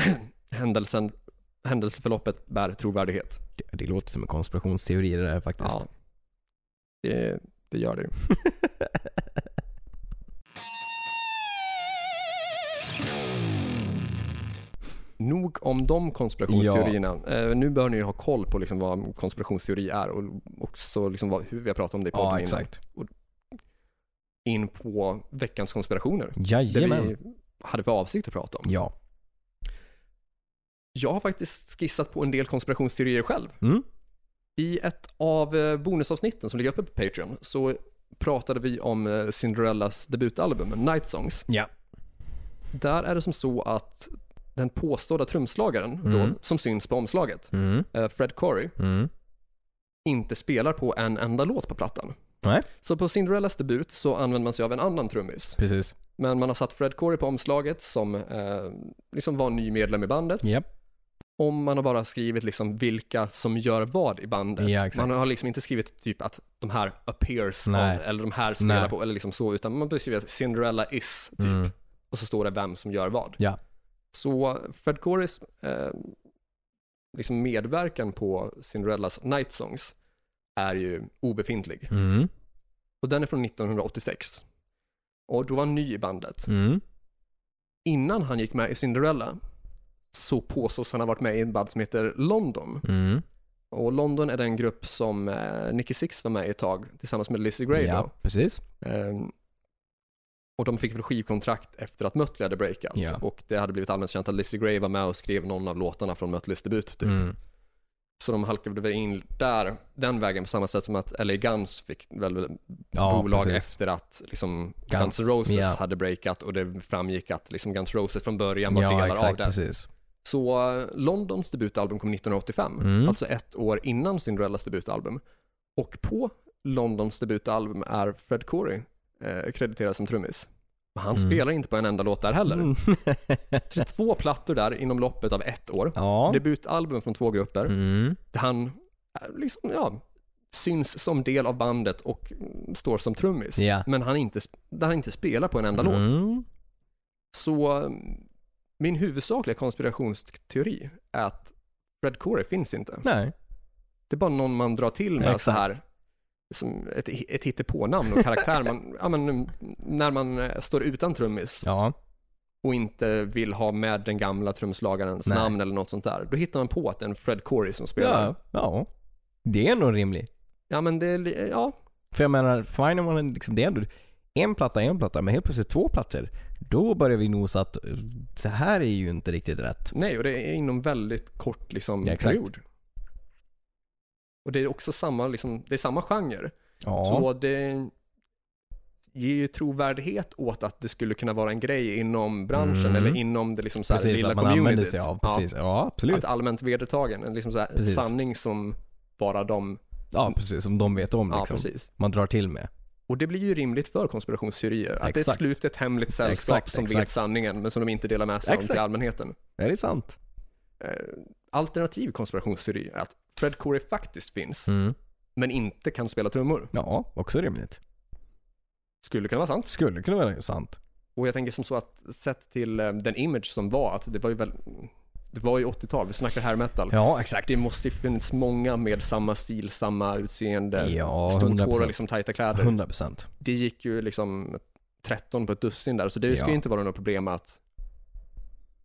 [SPEAKER 1] händelsen, händelseförloppet bär trovärdighet.
[SPEAKER 3] Det, det låter som en konspirationsteori det där faktiskt.
[SPEAKER 1] Ja. Det, det gör det ju. Nog om de konspirationsteorierna. Eh, nu bör ni ju ha koll på liksom vad en konspirationsteori är och också liksom vad, hur vi har pratat om det i podden
[SPEAKER 3] Ja,
[SPEAKER 1] innan.
[SPEAKER 3] exakt.
[SPEAKER 1] In på veckans konspirationer. Det
[SPEAKER 3] Jajamän.
[SPEAKER 1] vi hade för avsikt att prata om.
[SPEAKER 3] Ja.
[SPEAKER 1] Jag har faktiskt skissat på en del konspirationsteorier själv.
[SPEAKER 3] Mm.
[SPEAKER 1] I ett av eh, bonusavsnitten som ligger uppe på Patreon så pratade vi om eh, Cinderellas debutalbum Night Songs.
[SPEAKER 3] Ja.
[SPEAKER 1] Där är det som så att den påstådda trumslagaren
[SPEAKER 3] Mm.
[SPEAKER 1] då, som syns på omslaget,
[SPEAKER 3] Mm.
[SPEAKER 1] eh, Fred Corey,
[SPEAKER 3] Mm.
[SPEAKER 1] inte spelar på en enda låt på plattan.
[SPEAKER 3] Nej,
[SPEAKER 1] Så på Cinderellas debut så använder man sig av en annan trummis.
[SPEAKER 3] precis.
[SPEAKER 1] Men man har satt Fred Corey på omslaget som eh, liksom var ny medlem i bandet.
[SPEAKER 3] Japp.
[SPEAKER 1] Och man har bara skrivit liksom vilka som gör vad i bandet.
[SPEAKER 3] Ja, exakt.
[SPEAKER 1] man har liksom inte skrivit typ att de här appears on,
[SPEAKER 3] Nej.
[SPEAKER 1] eller de här spelar
[SPEAKER 3] Nej.
[SPEAKER 1] på eller liksom så, utan man har skrivit Cinderella is typ.
[SPEAKER 3] Mm.
[SPEAKER 1] Och så står det vem som gör vad.
[SPEAKER 3] Ja.
[SPEAKER 1] Så Fred Corys eh, liksom medverkan på Cinderellas Night Songs är ju obefintlig.
[SPEAKER 3] Mm.
[SPEAKER 1] Och den är från 1986. Och då var han ny i bandet.
[SPEAKER 3] Mm.
[SPEAKER 1] Innan han gick med i Cinderella så påstås han ha varit med i en band som heter London.
[SPEAKER 3] Mm.
[SPEAKER 1] Och London är den grupp som eh, Nicky Six var med i ett tag tillsammans med Lizzie Gray
[SPEAKER 3] Ja,
[SPEAKER 1] då.
[SPEAKER 3] precis.
[SPEAKER 1] Ehm, och de fick väl skivkontrakt efter att Mötley hade breakat.
[SPEAKER 3] Ja.
[SPEAKER 1] Och det hade blivit allmänt känt att Lizzie Gray var med och skrev någon av låtarna från Mötleys debut. Typ.
[SPEAKER 3] Mm.
[SPEAKER 1] Så de halkade väl in där, den vägen på samma sätt som att LA Guns fick väl
[SPEAKER 3] Ja,
[SPEAKER 1] bolag
[SPEAKER 3] precis.
[SPEAKER 1] efter att liksom Guns,
[SPEAKER 3] Guns,
[SPEAKER 1] N' Roses
[SPEAKER 3] ja.
[SPEAKER 1] hade breakat och det framgick att liksom Guns N' Roses från början var
[SPEAKER 3] ja,
[SPEAKER 1] delar
[SPEAKER 3] exakt,
[SPEAKER 1] av det.
[SPEAKER 3] precis.
[SPEAKER 1] Så eh, Londons debutalbum kom 1985,
[SPEAKER 3] Mm.
[SPEAKER 1] alltså ett år innan Cinderellas debutalbum. Och på Londons debutalbum är Fred Corey eh, krediterad som trummis. Men han
[SPEAKER 3] Mm.
[SPEAKER 1] spelar inte på en enda låt där heller.
[SPEAKER 3] Mm.
[SPEAKER 1] Så det är två plattor där inom loppet av ett år.
[SPEAKER 3] ja.
[SPEAKER 1] Debutalbum från två grupper.
[SPEAKER 3] Mm.
[SPEAKER 1] Där han eh, liksom, ja, syns som del av bandet och mm, står som trummis.
[SPEAKER 3] Ja.
[SPEAKER 1] Men han inte, sp- där han inte spelar på en enda låt.
[SPEAKER 3] Mm.
[SPEAKER 1] Så mm, min huvudsakliga konspirationsteori är att Fred Corey finns inte.
[SPEAKER 3] Nej.
[SPEAKER 1] Det är bara någon man drar till med
[SPEAKER 3] Exakt.
[SPEAKER 1] så här, som ett, ett hittepånamn och karaktär. man, ja, men, mm, när man eh, står utan trummis
[SPEAKER 3] Ja.
[SPEAKER 1] och inte vill ha med den gamla trumslagarens
[SPEAKER 3] Nej.
[SPEAKER 1] namn eller något sånt där, då hittar man på att det är en Fred Corey som spelar.
[SPEAKER 3] ja.
[SPEAKER 1] Ja,
[SPEAKER 3] Ja. Det är ändå rimligt.
[SPEAKER 1] men det är, li- eh, ja,
[SPEAKER 3] För jag menar, fine om man liksom, det är ändå en platta, en platta, men helt plötsligt två plattor. Då börjar vi nosa att eh, det här är ju inte riktigt rätt.
[SPEAKER 1] nej, och det är inom väldigt kort liksom,
[SPEAKER 3] Ja, exakt.
[SPEAKER 1] period. Och det är också samma, liksom, det är samma genre.
[SPEAKER 3] Ja.
[SPEAKER 1] Så det ger ju trovärdighet åt att det skulle kunna vara en grej inom branschen
[SPEAKER 3] Mm.
[SPEAKER 1] eller inom det liksom så här
[SPEAKER 3] precis,
[SPEAKER 1] lilla
[SPEAKER 3] att man använder
[SPEAKER 1] communityt.
[SPEAKER 3] sig av.
[SPEAKER 1] Ja,
[SPEAKER 3] Precis. Ja, absolut.
[SPEAKER 1] att allmänt vedertagen, en liksom så här
[SPEAKER 3] Precis.
[SPEAKER 1] sanning som bara de,
[SPEAKER 3] ja, precis. Som de vet om
[SPEAKER 1] ja
[SPEAKER 3] liksom.
[SPEAKER 1] precis.
[SPEAKER 3] Man drar till med.
[SPEAKER 1] Och det blir ju rimligt för konspirationsteorier, att det är
[SPEAKER 3] Exakt.
[SPEAKER 1] slutet hemligt sällskap
[SPEAKER 3] Exakt,
[SPEAKER 1] som vet
[SPEAKER 3] exakt.
[SPEAKER 1] sanningen men som de inte delar med sig om
[SPEAKER 3] Exakt.
[SPEAKER 1] till allmänheten.
[SPEAKER 3] Är det sant?
[SPEAKER 1] Eh, Alternativ konspirationsteori är att Fred Corey faktiskt finns,
[SPEAKER 3] Mm.
[SPEAKER 1] men inte kan spela trummor.
[SPEAKER 3] Ja, också rimligt.
[SPEAKER 1] Skulle kunna vara sant.
[SPEAKER 3] Skulle kunna vara sant.
[SPEAKER 1] Och jag tänker som så att sett till eh, den image som var, att det var ju väl, det var ju 80-tal, vi snackar hair metal.
[SPEAKER 3] Ja, exakt.
[SPEAKER 1] Det måste ju funnits många med samma stil, samma utseende,
[SPEAKER 3] Ja,
[SPEAKER 1] stort
[SPEAKER 3] 100%.
[SPEAKER 1] hår och liksom tajta kläder.
[SPEAKER 3] 100 procent.
[SPEAKER 1] Det gick ju liksom 13 på ett dussin där, så det ska
[SPEAKER 3] Ja.
[SPEAKER 1] ju inte vara något problem att,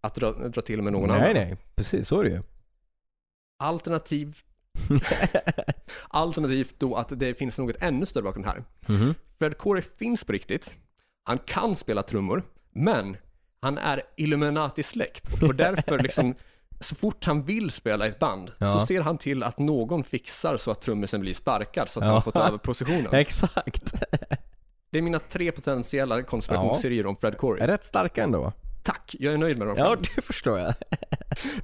[SPEAKER 1] att dra, dra till med någon
[SPEAKER 3] Nej,
[SPEAKER 1] annan.
[SPEAKER 3] nej. Precis, så är det ju.
[SPEAKER 1] Alternativ, alternativt då att det finns något ännu större bakom det här.
[SPEAKER 3] Mhm.
[SPEAKER 1] Fred Corey finns på riktigt. Han kan spela trummor, men han är Illuminati-släkt och därför liksom så fort han vill spela i ett band
[SPEAKER 3] Ja.
[SPEAKER 1] så ser han till att någon fixar så att trummisen blir sparkad så att
[SPEAKER 3] Ja.
[SPEAKER 1] han får ta över positionen.
[SPEAKER 3] Exakt.
[SPEAKER 1] Det är mina tre potentiella konspirationsserier om Fred Corey.
[SPEAKER 3] Rätt starka ändå.
[SPEAKER 1] Tack, jag är nöjd med dem.
[SPEAKER 3] Ja, det förstår jag.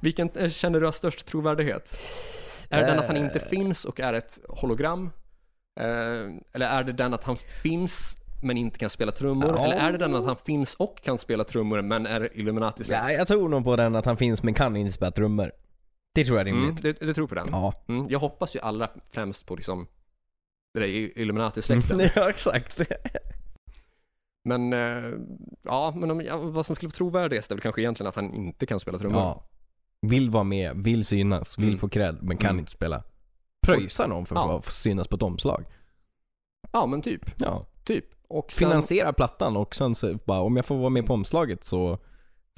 [SPEAKER 1] Vilken eh, känner du har störst trovärdighet? Är det den att han inte
[SPEAKER 3] Eh.
[SPEAKER 1] finns och är ett hologram? Eh, Eller är det den att han finns men inte kan spela trummor?
[SPEAKER 3] Ja.
[SPEAKER 1] Eller är det den att han finns och kan spela trummor men är illuminati
[SPEAKER 3] Ja,
[SPEAKER 1] släkt?
[SPEAKER 3] jag tror nog på den att han finns men kan inte spela trummor. Det tror jag är rimligt.
[SPEAKER 1] Mm, du, du tror på den?
[SPEAKER 3] Ja.
[SPEAKER 1] Mm, jag hoppas ju allra främst på liksom det där Illuminati-släkten.
[SPEAKER 3] Mm. ja, exakt.
[SPEAKER 1] Men, eh, ja, men om, ja, vad som skulle vara trovärdigast är väl kanske egentligen att han inte kan spela trummor.
[SPEAKER 3] Ja. Vill vara med, vill synas, vill
[SPEAKER 1] Mm.
[SPEAKER 3] få cred, men kan
[SPEAKER 1] Mm.
[SPEAKER 3] inte spela. Pröjsa någon för att
[SPEAKER 1] Ja.
[SPEAKER 3] få synas på ett omslag.
[SPEAKER 1] Ja, men typ.
[SPEAKER 3] Ja.
[SPEAKER 1] Typ. Och sen,
[SPEAKER 3] Finansiera plattan och sen så bara, om jag får vara med på omslaget så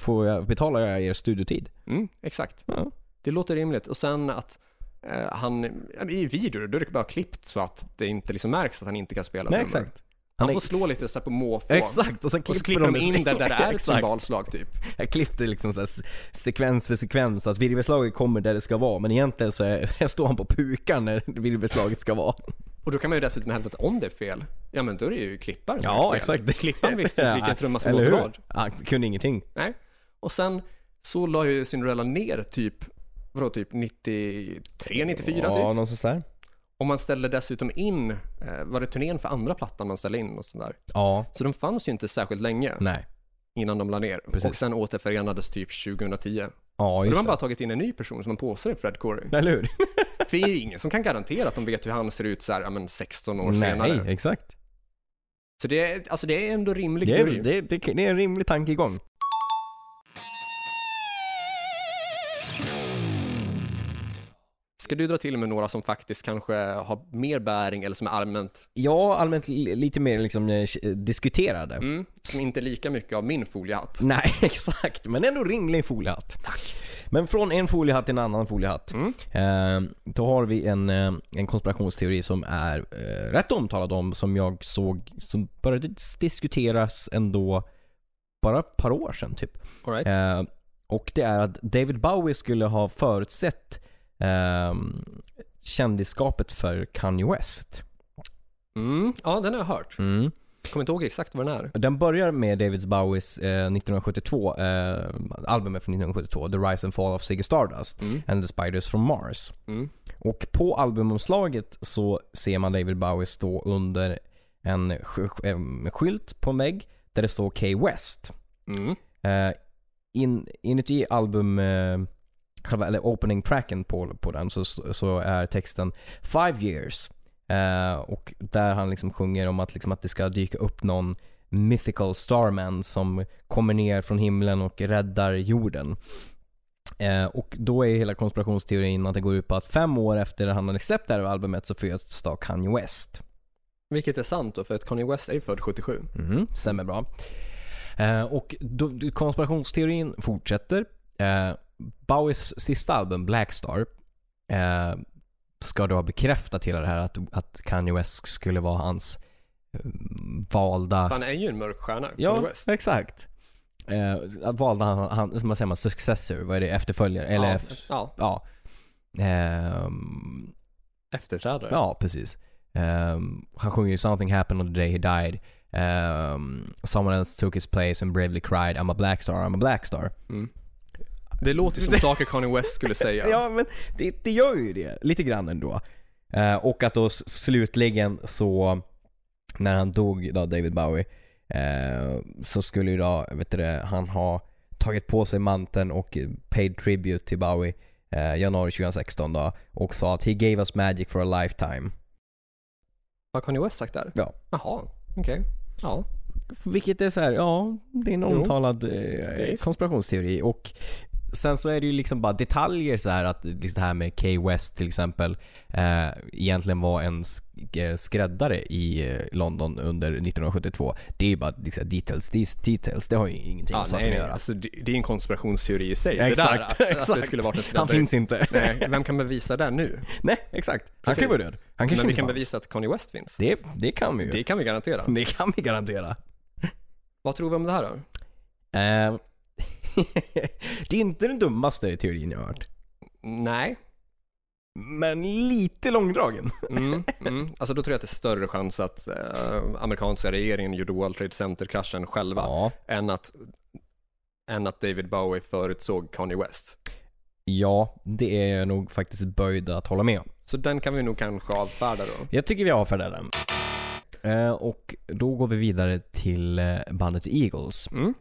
[SPEAKER 3] får jag, betalar jag er studiotid.
[SPEAKER 1] mm, exakt.
[SPEAKER 3] Ja.
[SPEAKER 1] Det låter rimligt. Och sen att eh, han, i videor, då är det bara klippt så att det inte liksom märks att han inte kan spela
[SPEAKER 3] Nej,
[SPEAKER 1] trummor.
[SPEAKER 3] exakt.
[SPEAKER 1] Han,
[SPEAKER 3] Han
[SPEAKER 1] får
[SPEAKER 3] är-
[SPEAKER 1] slå lite så här på måfå.
[SPEAKER 3] Exakt, och sen
[SPEAKER 1] Och så
[SPEAKER 3] klipper
[SPEAKER 1] klipper de in där, där det är ett
[SPEAKER 3] Exakt.
[SPEAKER 1] cymbalslag typ.
[SPEAKER 3] Jag klippte liksom så här se- sekvens för sekvens, så att virvelslaget kommer där det ska vara, men egentligen så är, står han på pukan när virvelslaget ska vara.
[SPEAKER 1] Och då kan man ju dessutom hävda att om det är fel, ja men då är det ju klipparen som har gjort
[SPEAKER 3] Ja,
[SPEAKER 1] fel.
[SPEAKER 3] exakt.
[SPEAKER 1] Klipparen visste inte vilken trumma som
[SPEAKER 3] Eller
[SPEAKER 1] låter
[SPEAKER 3] hur?
[SPEAKER 1] vad.
[SPEAKER 3] Han kunde ingenting.
[SPEAKER 1] Nej. Och sen så la ju Cinderella ner typ, vadå typ 93, 94
[SPEAKER 3] Ja,
[SPEAKER 1] typ.
[SPEAKER 3] någonstans där.
[SPEAKER 1] Och man ställde dessutom in, eh, var det turnén för andra plattan man ställde in och sådär.
[SPEAKER 3] Ja,
[SPEAKER 1] Så de fanns ju inte särskilt länge
[SPEAKER 3] nej.
[SPEAKER 1] innan de la ner.
[SPEAKER 3] Precis.
[SPEAKER 1] Och sen återförenades typ 2010. Och
[SPEAKER 3] Ja,
[SPEAKER 1] då har
[SPEAKER 3] just
[SPEAKER 1] man
[SPEAKER 3] det.
[SPEAKER 1] bara tagit in en ny person som man påstår är Fred Corey.
[SPEAKER 3] Eller hur?
[SPEAKER 1] För det är ju ingen som kan garantera att de vet hur han ser ut så här, ja, men 16 år
[SPEAKER 3] Nej,
[SPEAKER 1] senare.
[SPEAKER 3] exakt.
[SPEAKER 1] Så det är, alltså det är ändå rimlig
[SPEAKER 3] Det är,
[SPEAKER 1] teori.
[SPEAKER 3] det, det, det är en rimlig tankegång.
[SPEAKER 1] Ska du dra till med några som faktiskt kanske har mer bäring eller som är allmänt,
[SPEAKER 3] Ja, allmänt li- lite mer liksom eh, diskuterade.
[SPEAKER 1] mm, som inte är lika mycket av min foliehatt?
[SPEAKER 3] Nej, exakt. Men ändå rimlig foliehatt. Tack. Men från en foliehatt till en annan foliehatt.
[SPEAKER 1] Mm.
[SPEAKER 3] Eh, då har vi en, eh, en konspirationsteori som är eh, rätt omtalad om, som jag såg, som började diskuteras ändå bara ett par år sedan typ.
[SPEAKER 1] All right.
[SPEAKER 3] Eh, och det är att David Bowie skulle ha förutsett eh, kändisskapet för Kanye West.
[SPEAKER 1] Mm, ja, den har jag hört. Kommer inte ihåg exakt vad den är.
[SPEAKER 3] Den börjar med David Bowies eh, 1972, eh, albumet från 1972, The Rise and Fall of Ziggy Stardust
[SPEAKER 1] Mm.
[SPEAKER 3] and the Spiders from Mars.
[SPEAKER 1] Mm.
[SPEAKER 3] Och på albumomslaget så ser man David Bowie stå under en sk- sk- em, skylt på en vägg där det står K West.
[SPEAKER 1] Mm.
[SPEAKER 3] Eh, in, inuti album, eh, själva, eller opening tracken på, på den så, så är texten Five years. Eh, och där han liksom sjunger om att, liksom, att det ska dyka upp någon mythical starman som kommer ner från himlen och räddar jorden. Eh, och då är hela konspirationsteorin att det går ut på att fem år efter han hade släppt det här albumet så föds då Kanye West.
[SPEAKER 1] Vilket är sant då, för att Kanye West är ju född 77.
[SPEAKER 3] Mm, stämmer bra. Eh, och då, konspirationsteorin fortsätter. Eh, Bowies sista album, Blackstar, eh, ska då ha bekräftat hela det här att, att Kanye West skulle vara hans eh, valda...
[SPEAKER 1] Han är ju en mörk stjärna, Kanye
[SPEAKER 3] ja,
[SPEAKER 1] West.
[SPEAKER 3] exakt. Eh, att valda han, han, som man säger, man, successor, vad är det, efterföljare? Eller
[SPEAKER 1] ja,
[SPEAKER 3] ja.
[SPEAKER 1] ja,
[SPEAKER 3] ja. Ehm,
[SPEAKER 1] efterträdare.
[SPEAKER 3] Ja, precis. Ehm, han sjunger ju 'Something happened on the day he died' Ehm, 'Someone else took his place and bravely cried I'm a black star, I'm a black star'
[SPEAKER 1] Mm. Det låter ju som saker Kanye West skulle säga.
[SPEAKER 3] men det, det gör ju det. Lite grann ändå. Eh, och att då s- slutligen så, när han dog då, David Bowie, eh, så skulle ju då, vet du det, han ha tagit på sig manteln och paid tribute till Bowie eh, januari 2016 då och sa att 'He gave us magic for a lifetime'
[SPEAKER 1] Har Kanye West sagt där?
[SPEAKER 3] Ja.
[SPEAKER 1] Jaha, okej. Ja.
[SPEAKER 3] Vilket är så här, ja, det är en
[SPEAKER 1] Jo,
[SPEAKER 3] omtalad eh,
[SPEAKER 1] är så.
[SPEAKER 3] konspirationsteori. Och sen så är det ju liksom bara detaljer så här att liksom det här med Kay West till exempel eh, egentligen var en sk- eh, skräddare i eh, London under 1972. Det är ju bara liksom, details, these details. Det har ju ingenting
[SPEAKER 1] ja
[SPEAKER 3] med saken
[SPEAKER 1] nej,
[SPEAKER 3] att
[SPEAKER 1] nej.
[SPEAKER 3] göra.
[SPEAKER 1] Alltså, det, det är en konspirationsteori i sig. det där, alltså, att, att det skulle varit en
[SPEAKER 3] Han
[SPEAKER 1] skräddare.
[SPEAKER 3] finns inte.
[SPEAKER 1] Nej, vem kan bevisa det nu?
[SPEAKER 3] Nej, exakt. Han kan ju vara
[SPEAKER 1] Precis.
[SPEAKER 3] död. Han kanske
[SPEAKER 1] Men vi
[SPEAKER 3] inte
[SPEAKER 1] kan
[SPEAKER 3] fanns.
[SPEAKER 1] bevisa att Kanye West finns.
[SPEAKER 3] Det, det kan vi ju.
[SPEAKER 1] Det kan vi garantera.
[SPEAKER 3] det kan vi garantera.
[SPEAKER 1] Vad tror vi om det här då?
[SPEAKER 3] Eh, det är inte den dummaste teorin jag har hört.
[SPEAKER 1] Nej.
[SPEAKER 3] Men lite långdragen.
[SPEAKER 1] Mm, mm. Alltså då tror jag att det är större chans att eh, amerikanska regeringen gjorde World Trade Center-kraschen själva
[SPEAKER 3] Ja.
[SPEAKER 1] än, att, än att David Bowie förutsåg Kanye West.
[SPEAKER 3] ja, det är jag nog faktiskt böjd att hålla med om.
[SPEAKER 1] Så den kan vi nog kanske avfärda då.
[SPEAKER 3] Jag tycker vi avfärdar den. Eh, och då går vi vidare till eh, bandet Eagles.
[SPEAKER 1] Mm.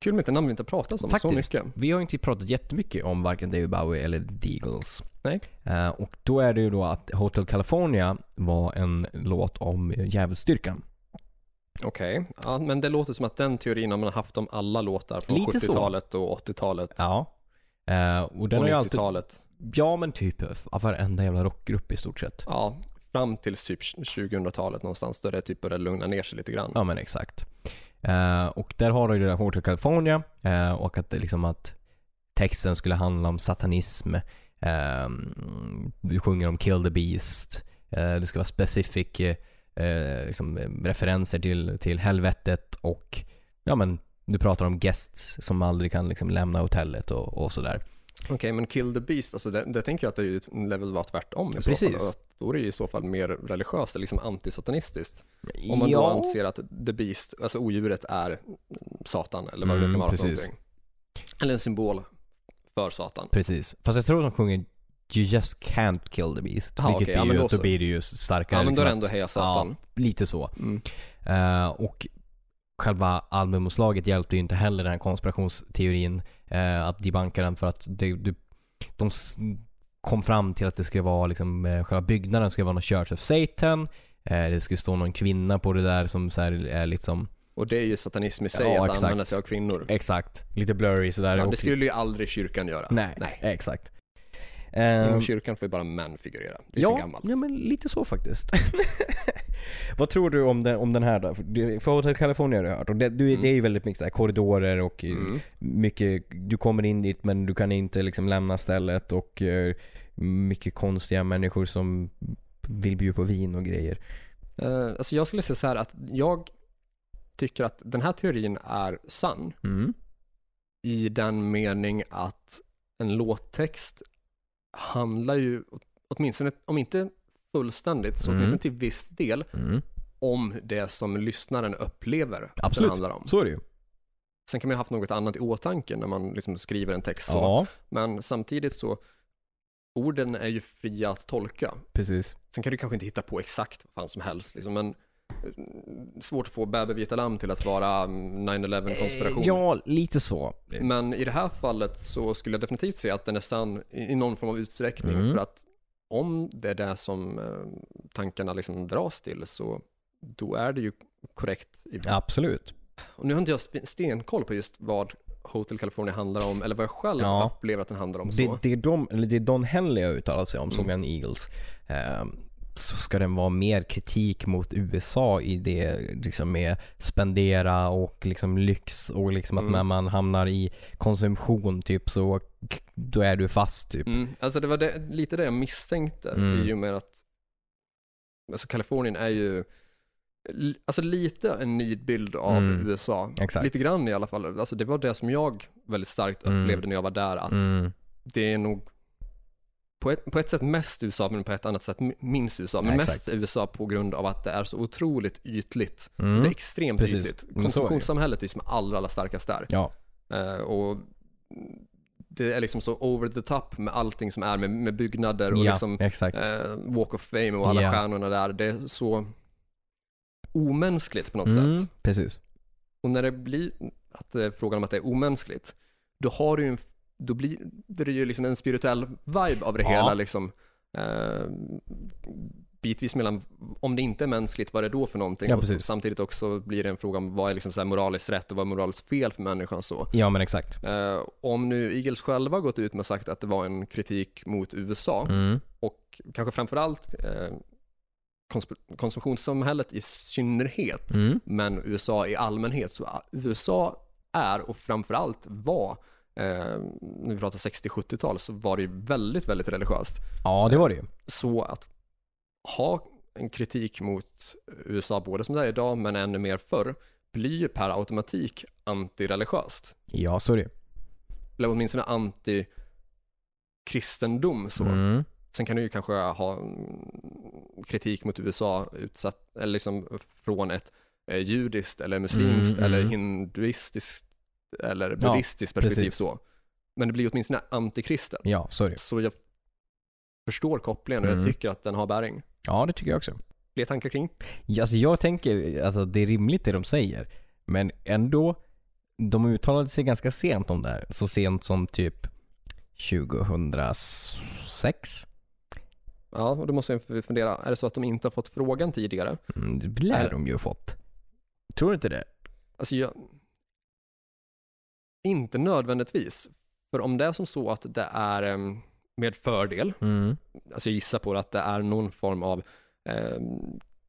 [SPEAKER 1] Kul med ett namn vi inte har pratat om så
[SPEAKER 3] Faktiskt.
[SPEAKER 1] mycket.
[SPEAKER 3] Vi har inte pratat jättemycket om varken David Bowie eller The Eagles.
[SPEAKER 1] Nej.
[SPEAKER 3] Eh, och då är det ju då att Hotel California var en låt om djävulsdyrkan.
[SPEAKER 1] Okej, ja, men det låter som att den teorin har man haft om alla låtar från
[SPEAKER 3] Lite så.
[SPEAKER 1] 70-talet och 80-talet
[SPEAKER 3] Ja. Eh, och den
[SPEAKER 1] och
[SPEAKER 3] har ju alltid...
[SPEAKER 1] 90-talet.
[SPEAKER 3] Ja men typ av varenda jävla rockgrupp i stort sett.
[SPEAKER 1] Ja, fram till typ 2000-talet någonstans då det typ började lugna ner sig lite grann.
[SPEAKER 3] Ja men exakt. Eh, och där har du ju det där Hotel California eh, och att, det liksom att texten skulle handla om satanism. Eh, du sjunger om Kill the Beast. Eh, det ska vara specific eh, eh, liksom, eh, referenser till, till helvetet och ja men du pratar om guests som aldrig kan liksom, lämna hotellet och, och sådär.
[SPEAKER 1] Okej, men Kill the Beast, alltså det, det tänker jag att det ju level var tvärtom i så
[SPEAKER 3] Precis.
[SPEAKER 1] fall. Och att Då är det ju i så fall mer religiöst, eller liksom antisatanistiskt. Om man då
[SPEAKER 3] Ja.
[SPEAKER 1] anser att the beast, alltså odjuret är Satan eller vad det
[SPEAKER 3] Mm,
[SPEAKER 1] nu kan vara för
[SPEAKER 3] precis.
[SPEAKER 1] någonting. Eller en symbol för Satan.
[SPEAKER 3] Precis. Fast jag tror de sjunger You just can't kill the beast.
[SPEAKER 1] Ah,
[SPEAKER 3] vilket
[SPEAKER 1] okej, ja,
[SPEAKER 3] blir
[SPEAKER 1] men
[SPEAKER 3] ju,
[SPEAKER 1] då
[SPEAKER 3] då
[SPEAKER 1] så.
[SPEAKER 3] blir det ju starkare.
[SPEAKER 1] Ja, men då är det
[SPEAKER 3] liksom
[SPEAKER 1] ändå
[SPEAKER 3] att-
[SPEAKER 1] Heja Satan.
[SPEAKER 3] Ja, lite så.
[SPEAKER 1] Mm.
[SPEAKER 3] Eh, och själva albumomslaget hjälpte ju inte heller den här konspirationsteorin eh, att debanka den för att det, du, de s- kom fram till att det skulle vara liksom, eh, själva byggnaden skulle vara någon Church of Satan. Eh, det skulle stå någon kvinna på det där som så här är liksom
[SPEAKER 1] Och det är ju satanism i sig,
[SPEAKER 3] Ja,
[SPEAKER 1] att
[SPEAKER 3] exakt.
[SPEAKER 1] använda sig av kvinnor.
[SPEAKER 3] Exakt. Lite blurry sådär.
[SPEAKER 1] Ja,
[SPEAKER 3] och-
[SPEAKER 1] det skulle ju aldrig kyrkan göra.
[SPEAKER 3] Nej,
[SPEAKER 1] Nej.
[SPEAKER 3] exakt.
[SPEAKER 1] Inom
[SPEAKER 3] Ehm,
[SPEAKER 1] kyrkan får ju bara män figurera. Det är så
[SPEAKER 3] ja,
[SPEAKER 1] gammalt.
[SPEAKER 3] ja, men lite så faktiskt. Vad tror du om den, om den här då? För du- För Hotel California har du hört och det, du,
[SPEAKER 1] Mm.
[SPEAKER 3] det är ju väldigt mycket så här, korridorer och eh,
[SPEAKER 1] Mm.
[SPEAKER 3] mycket, du kommer in dit men du kan inte liksom lämna stället och eh, mycket konstiga människor som vill bjuda på vin och grejer.
[SPEAKER 1] Eh, alltså jag skulle säga så här att jag tycker att den här teorin är sann i den mening att en låttext handlar ju, åtminstone om inte fullständigt, så
[SPEAKER 3] Mm.
[SPEAKER 1] åtminstone till viss del om det som lyssnaren upplever att
[SPEAKER 3] Absolut.
[SPEAKER 1] den handlar om.
[SPEAKER 3] Så är det ju.
[SPEAKER 1] Sen kan man ju ha haft något annat i åtanke när man liksom skriver en text så.
[SPEAKER 3] Ja,
[SPEAKER 1] Men samtidigt så, orden är ju fria att tolka.
[SPEAKER 3] precis.
[SPEAKER 1] Sen kan du kanske inte hitta på exakt vad fan som helst, liksom, men eh, svårt att få Bäbe vita lamm till att vara mm, 9-11 konspiration.
[SPEAKER 3] Eh, Ja, lite så.
[SPEAKER 1] Men i det här fallet så skulle jag definitivt säga att den är sann i i någon form av utsträckning.
[SPEAKER 3] Mm.
[SPEAKER 1] För att om det är det som eh, tankarna liksom dras till så då är det ju korrekt. I...
[SPEAKER 3] Absolut.
[SPEAKER 1] Och nu har inte jag sp- stenkoll på just vad Hotel California handlar om eller vad jag själv
[SPEAKER 3] Ja.
[SPEAKER 1] upplever att den handlar om. Så.
[SPEAKER 3] Det, det, är de, eller det är Don Henley har uttalat sig om, som
[SPEAKER 1] Mm.
[SPEAKER 3] en Eagles. Ehm, så ska den vara mer kritik mot USA i det liksom med spendera och liksom lyx och liksom att
[SPEAKER 1] Mm.
[SPEAKER 3] när man hamnar i konsumtion typ så k- då är du fast typ.
[SPEAKER 1] Mm, alltså det var det, lite det jag misstänkte
[SPEAKER 3] Mm.
[SPEAKER 1] i och med att alltså Kalifornien är ju li- alltså lite en nidbild av
[SPEAKER 3] Mm,
[SPEAKER 1] USA.
[SPEAKER 3] exakt.
[SPEAKER 1] Lite grann i alla fall. Alltså det var det som jag väldigt starkt
[SPEAKER 3] Mm.
[SPEAKER 1] upplevde när jag var där att
[SPEAKER 3] Mm.
[SPEAKER 1] det är nog på ett, på ett sätt mest USA men på ett annat sätt mi- minst USA. Men
[SPEAKER 3] Ja,
[SPEAKER 1] mest
[SPEAKER 3] exakt.
[SPEAKER 1] USA på grund av att det är så otroligt ytligt.
[SPEAKER 3] Mm.
[SPEAKER 1] Det är extremt
[SPEAKER 3] Precis. Men
[SPEAKER 1] ytligt.
[SPEAKER 3] så är det ju.
[SPEAKER 1] Konsumtionssamhället är ju som allra, allra starkast där.
[SPEAKER 3] Ja,
[SPEAKER 1] Eh, och det är liksom så over the top med allting som är med, med byggnader och
[SPEAKER 3] ja
[SPEAKER 1] liksom,
[SPEAKER 3] exakt.
[SPEAKER 1] eh, walk of fame och alla
[SPEAKER 3] Ja.
[SPEAKER 1] stjärnorna där. Det är så omänskligt på något
[SPEAKER 3] Mm,
[SPEAKER 1] sätt.
[SPEAKER 3] precis.
[SPEAKER 1] Och när det blir att det är frågan om att det är omänskligt, då har du ju en, då blir det är ju liksom en spirituell vibe av det
[SPEAKER 3] Ja.
[SPEAKER 1] hela liksom. Eh, bitvis mellan, om det inte är mänskligt, vad är det då för någonting?
[SPEAKER 3] Ja,
[SPEAKER 1] och
[SPEAKER 3] precis.
[SPEAKER 1] samtidigt också blir det en fråga om vad är liksom så här moraliskt rätt och vad är moraliskt fel för människan så.
[SPEAKER 3] Ja men exakt.
[SPEAKER 1] Eh, om nu Eagles själva har gått ut med och sagt att det var en kritik mot USA
[SPEAKER 3] Mm.
[SPEAKER 1] och kanske framförallt eh, konsp- konsumtionssamhället i synnerhet,
[SPEAKER 3] Mm.
[SPEAKER 1] men USA i allmänhet. Så a- USA är och framförallt var, eh, när vi pratar 60-70-tal, så var det ju väldigt, väldigt religiöst.
[SPEAKER 3] Ja det var det ju.
[SPEAKER 1] Så att ha en kritik mot USA, både som det är idag, men ännu mer förr, blir ju per automatik antireligiöst
[SPEAKER 3] Ja så är det ju.
[SPEAKER 1] eller åtminstone anti-kristendom så.
[SPEAKER 3] Mm.
[SPEAKER 1] Sen kan du ju kanske ha mm, kritik mot USA utsatt, eller liksom från ett eh, judiskt eller muslimskt
[SPEAKER 3] Mm,
[SPEAKER 1] eller
[SPEAKER 3] mm.
[SPEAKER 1] hinduistiskt eller
[SPEAKER 3] Ja,
[SPEAKER 1] buddhistiskt perspektiv
[SPEAKER 3] precis.
[SPEAKER 1] så. Men det blir ju åtminstone antikristet.
[SPEAKER 3] Ja så är det ju.
[SPEAKER 1] Så jag förstår kopplingen och
[SPEAKER 3] Mm.
[SPEAKER 1] jag tycker att den har bäring.
[SPEAKER 3] Ja det tycker jag också.
[SPEAKER 1] Fler tankar kring?
[SPEAKER 3] Ja, Alltså jag tänker, alltså det är rimligt det de säger. Men ändå, de uttalade sig ganska sent om det här. Så sent som typ 2006.
[SPEAKER 1] Ja, och då måste jag fundera, är det så att de inte har fått frågan tidigare?
[SPEAKER 3] Mm, Det lär
[SPEAKER 1] Eller-
[SPEAKER 3] de ju ha fått. Tror du inte det?
[SPEAKER 1] Alltså jag... Inte nödvändigtvis. För om det är som så att det är em, med fördel,
[SPEAKER 3] Mm.
[SPEAKER 1] alltså jag gissar på det, att det är någon form av em,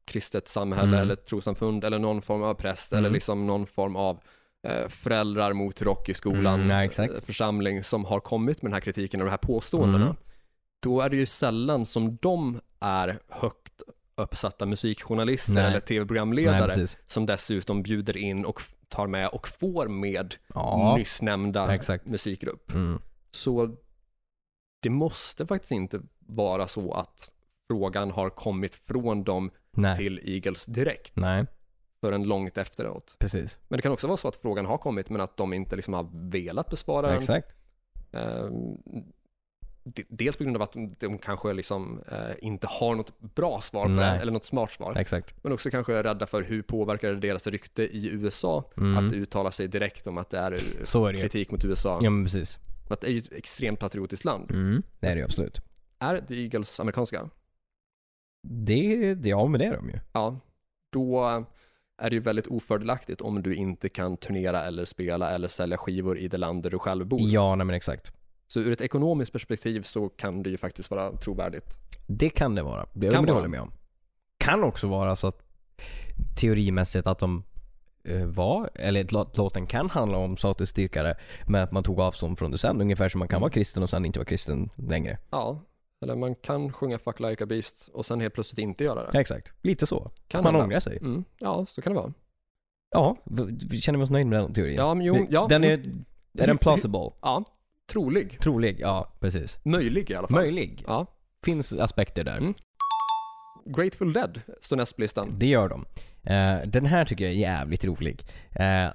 [SPEAKER 1] kristet samhälle
[SPEAKER 3] Mm.
[SPEAKER 1] eller trossamfund eller någon form av präst
[SPEAKER 3] Mm.
[SPEAKER 1] eller liksom någon form av eh, föräldrar mot rock i skolan,
[SPEAKER 3] Mm, ja, exakt.
[SPEAKER 1] eh, församling som har kommit med den här kritiken och de här påståendena.
[SPEAKER 3] Mm.
[SPEAKER 1] Då är det ju sällan som de är högt uppsatta musikjournalister
[SPEAKER 3] Nej.
[SPEAKER 1] eller
[SPEAKER 3] Nej,
[SPEAKER 1] tv-programledare
[SPEAKER 3] precis.
[SPEAKER 1] som dessutom bjuder in och f- tar med och får med
[SPEAKER 3] Ja,
[SPEAKER 1] nyss nämnda
[SPEAKER 3] exakt.
[SPEAKER 1] musikgrupp.
[SPEAKER 3] Mm.
[SPEAKER 1] Så det måste faktiskt inte vara så att frågan har kommit från dem
[SPEAKER 3] Nej.
[SPEAKER 1] till Eagles direkt
[SPEAKER 3] Nej,
[SPEAKER 1] förrän långt efteråt.
[SPEAKER 3] precis.
[SPEAKER 1] Men det kan också vara så att frågan har kommit men att de inte liksom har velat besvara den.
[SPEAKER 3] Exakt.
[SPEAKER 1] Ehm, de- dels på grund av att de, de kanske liksom, eh, inte har något bra svar på
[SPEAKER 3] Nej.
[SPEAKER 1] det, eller något smart svar.
[SPEAKER 3] Exakt.
[SPEAKER 1] Men också kanske är rädda för hur påverkar det deras rykte i USA
[SPEAKER 3] Mm.
[SPEAKER 1] att uttala sig direkt om att det är eh,
[SPEAKER 3] Så är det ju.
[SPEAKER 1] kritik mot USA.
[SPEAKER 3] Ja men precis.
[SPEAKER 1] För att det är ju ett extremt patriotiskt land.
[SPEAKER 3] Mm. Det är det ju absolut.
[SPEAKER 1] Är The Eagles amerikanska?
[SPEAKER 3] Det, det, ja men det är de ju.
[SPEAKER 1] Ja. Då är det ju väldigt ofördelaktigt om du inte kan turnera eller spela eller sälja skivor i det land där du själv bor.
[SPEAKER 3] Ja, nej men exakt.
[SPEAKER 1] Så ur ett ekonomiskt perspektiv så kan det ju faktiskt vara trovärdigt.
[SPEAKER 3] Det kan det vara. Det,
[SPEAKER 1] Kan
[SPEAKER 3] kan det
[SPEAKER 1] vara.
[SPEAKER 3] håller jag med om. Kan också vara så att teorimässigt att de eh, var, eller att lå- låten kan handla om statens dyrkare men att man tog avstånd från det sen. Ungefär som man kan
[SPEAKER 1] Mm.
[SPEAKER 3] vara kristen och sen inte vara kristen längre.
[SPEAKER 1] Ja, eller man kan sjunga Fuck Like a Beast och sen helt plötsligt inte göra det.
[SPEAKER 3] Ja, exakt. Lite så.
[SPEAKER 1] Kan
[SPEAKER 3] man
[SPEAKER 1] hända.
[SPEAKER 3] ångrar sig.
[SPEAKER 1] Mm, ja, så kan det vara.
[SPEAKER 3] Ja, v- vi känner vi oss nöjda med den teorin?
[SPEAKER 1] Ja, men jo, ja.
[SPEAKER 3] Den är, är den plausible?
[SPEAKER 1] Ja, trolig.
[SPEAKER 3] Trolig? Ja, precis.
[SPEAKER 1] Möjlig i alla fall.
[SPEAKER 3] Möjlig?
[SPEAKER 1] Ja.
[SPEAKER 3] Finns aspekter där.
[SPEAKER 1] Mm. Grateful Dead står näst på listan.
[SPEAKER 3] Det gör de. Eh, den här tycker jag är jävligt rolig. Eh,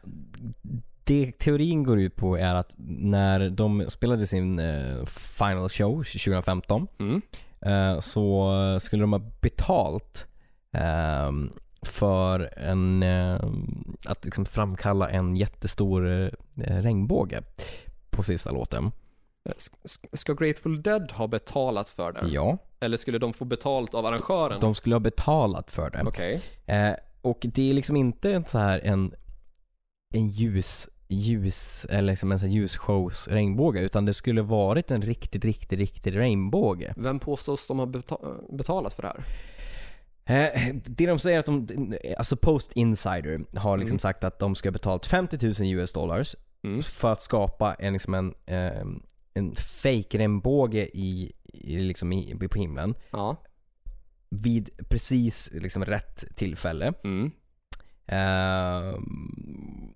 [SPEAKER 3] det teorin går ut på är att när de spelade sin eh, final show 2015
[SPEAKER 1] Mm.
[SPEAKER 3] eh, så skulle de ha betalt ehm, för en, ehm, att liksom framkalla en jättestor eh, regnbåge på sista låten.
[SPEAKER 1] S- Eh, Ska Grateful Dead ha betalat för det?
[SPEAKER 3] Ja.
[SPEAKER 1] Eller skulle de få betalt av arrangören?
[SPEAKER 3] De skulle ha betalat för det.
[SPEAKER 1] Okej.
[SPEAKER 3] Eh, och det är liksom inte en så här en, en ljus, ljus eller liksom en sån här ljusshows regnbåge utan det skulle varit en riktigt, riktigt, riktigt regnbåge.
[SPEAKER 1] Vem påstås de har beta- betalat för det här?
[SPEAKER 3] Eh, det de säger att de, alltså Post Insider har liksom
[SPEAKER 1] Mm.
[SPEAKER 3] sagt att de ska ha betalt 50 000 US dollars
[SPEAKER 1] Mm.
[SPEAKER 3] för att skapa en, liksom en, eh, en fake regnbåge i, i, liksom i, på himlen
[SPEAKER 1] Ja.
[SPEAKER 3] vid precis liksom rätt tillfälle.
[SPEAKER 1] Mm.
[SPEAKER 3] Ehm,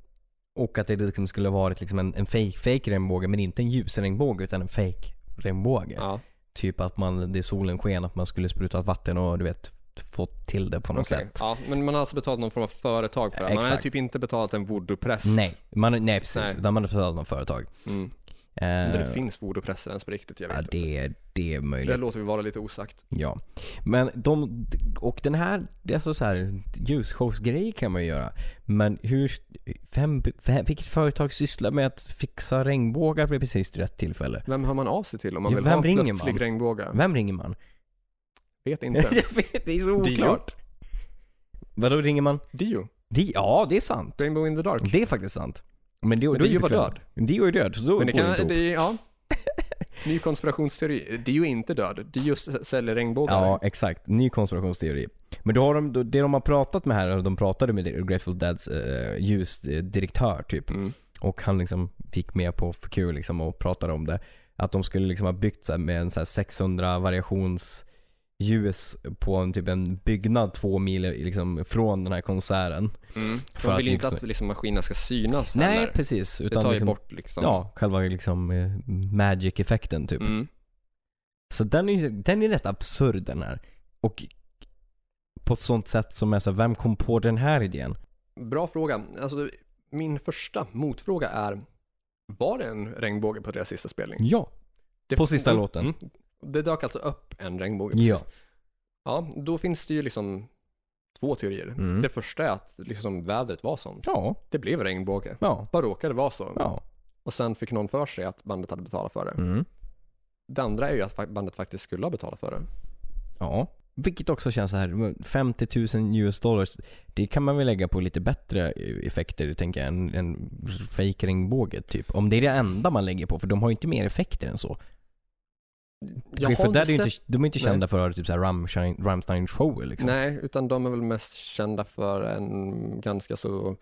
[SPEAKER 3] och att det liksom skulle varit liksom en, en fake, fake regnbåge men inte en ljus regnbåge utan en fake regnbåge.
[SPEAKER 1] Ja.
[SPEAKER 3] Typ att man, det solen sken, att man skulle spruta vatten och du vet fått till det på något
[SPEAKER 1] Okej.
[SPEAKER 3] sätt.
[SPEAKER 1] ja. Men man har alltså betalat någon form av företag för det här. Man har
[SPEAKER 3] Exakt.
[SPEAKER 1] typ inte betalat en voodoo-präst.
[SPEAKER 3] Nej, man, nej precis.
[SPEAKER 1] Nej.
[SPEAKER 3] Utan man har pratat om företag.
[SPEAKER 1] Mm.
[SPEAKER 3] Ehm,
[SPEAKER 1] Undrar om det finns voodoo-präster ens på riktigt. Jag vet
[SPEAKER 3] ja,
[SPEAKER 1] inte.
[SPEAKER 3] det, är- det är
[SPEAKER 1] Det
[SPEAKER 3] möjligt.
[SPEAKER 1] låter vi vara lite osagt.
[SPEAKER 3] Ja. Men de, och den här, det är alltså så här ljusshowsgrejer kan man ju göra. Men hur, fem, fem, vilket företag sysslar med att fixa regnbågar vid precis rätt tillfälle?
[SPEAKER 1] Vem hör man av sig till om man
[SPEAKER 3] Ja,
[SPEAKER 1] vill
[SPEAKER 3] vem
[SPEAKER 1] ha en
[SPEAKER 3] ringer
[SPEAKER 1] plötslig
[SPEAKER 3] man?
[SPEAKER 1] regnbåge?
[SPEAKER 3] Vem ringer man?
[SPEAKER 1] Vet
[SPEAKER 3] Jag
[SPEAKER 1] inte.
[SPEAKER 3] vet, det är så
[SPEAKER 1] Dio.
[SPEAKER 3] oklart. Vadå ringer man?
[SPEAKER 1] Dio.
[SPEAKER 3] Di ja, det är sant.
[SPEAKER 1] Rainbow in the dark.
[SPEAKER 3] Det är faktiskt sant. Men Dio,
[SPEAKER 1] Men
[SPEAKER 3] då är
[SPEAKER 1] Dio
[SPEAKER 3] det
[SPEAKER 1] var
[SPEAKER 3] klart. Dio är död, så då
[SPEAKER 1] Men det
[SPEAKER 3] går det
[SPEAKER 1] kan,
[SPEAKER 3] inte ihop.
[SPEAKER 1] det, ja. Oh, Ny konspirationsteori. Dio är inte död. Dio s- säljer regnbågar.
[SPEAKER 3] Ja, exakt. Ny konspirationsteori. Men då har de, då, det de har pratat med här, de pratade med Grateful Deads eh, ljusdirektör typ.
[SPEAKER 1] Mm.
[SPEAKER 3] Och han liksom gick med på för kul liksom och pratade om det. Att de skulle liksom ha byggt så här, med en så här 600 variations ljus på en, typ en byggnad två mil liksom, från den här konserten.
[SPEAKER 1] Mm.
[SPEAKER 3] För
[SPEAKER 1] Man
[SPEAKER 3] att
[SPEAKER 1] vill ju inte
[SPEAKER 3] liksom-
[SPEAKER 1] att liksom, maskinerna ska synas
[SPEAKER 3] Nej
[SPEAKER 1] heller.
[SPEAKER 3] precis.
[SPEAKER 1] Det tar ju
[SPEAKER 3] liksom,
[SPEAKER 1] bort liksom.
[SPEAKER 3] Ja, själva liksom eh, magic-effekten typ.
[SPEAKER 1] Mm.
[SPEAKER 3] Så den är, ju- den är rätt absurd den här. Och på ett sånt sätt som är så här, vem kom på den här idén?
[SPEAKER 1] Bra fråga. Alltså, min första motfråga är, var det en regnbåge på deras sista spelning?
[SPEAKER 3] Ja.
[SPEAKER 1] Det,
[SPEAKER 3] På sista låten.
[SPEAKER 1] Mm. Det dök alltså upp en regnbåge.
[SPEAKER 3] Ja.
[SPEAKER 1] precis. ja, då finns det ju liksom två teorier.
[SPEAKER 3] Mm.
[SPEAKER 1] Det första är att liksom vädret var sånt.
[SPEAKER 3] Ja.
[SPEAKER 1] Det blev regnbåge.
[SPEAKER 3] Ja.
[SPEAKER 1] Bara råkade vara så.
[SPEAKER 3] Ja.
[SPEAKER 1] Och sen fick någon för sig att bandet hade betalat för det.
[SPEAKER 3] Mm.
[SPEAKER 1] Det andra är ju att fa- bandet faktiskt skulle ha betalat för det.
[SPEAKER 3] Ja. Vilket också känns så här 50 000 US dollars. Det kan man väl lägga på lite bättre effekter tänker jag. En, en fake regnbåge typ. Om det är det enda man lägger på. För de har ju inte mer effekter än så.
[SPEAKER 1] Jag
[SPEAKER 3] för
[SPEAKER 1] har
[SPEAKER 3] där
[SPEAKER 1] inte
[SPEAKER 3] är ju
[SPEAKER 1] sett...
[SPEAKER 3] inte, de är inte
[SPEAKER 1] Nej.
[SPEAKER 3] kända för att ha typ så här Rammstein, Rammstein shower liksom.
[SPEAKER 1] Nej, utan de är väl mest kända för en ganska så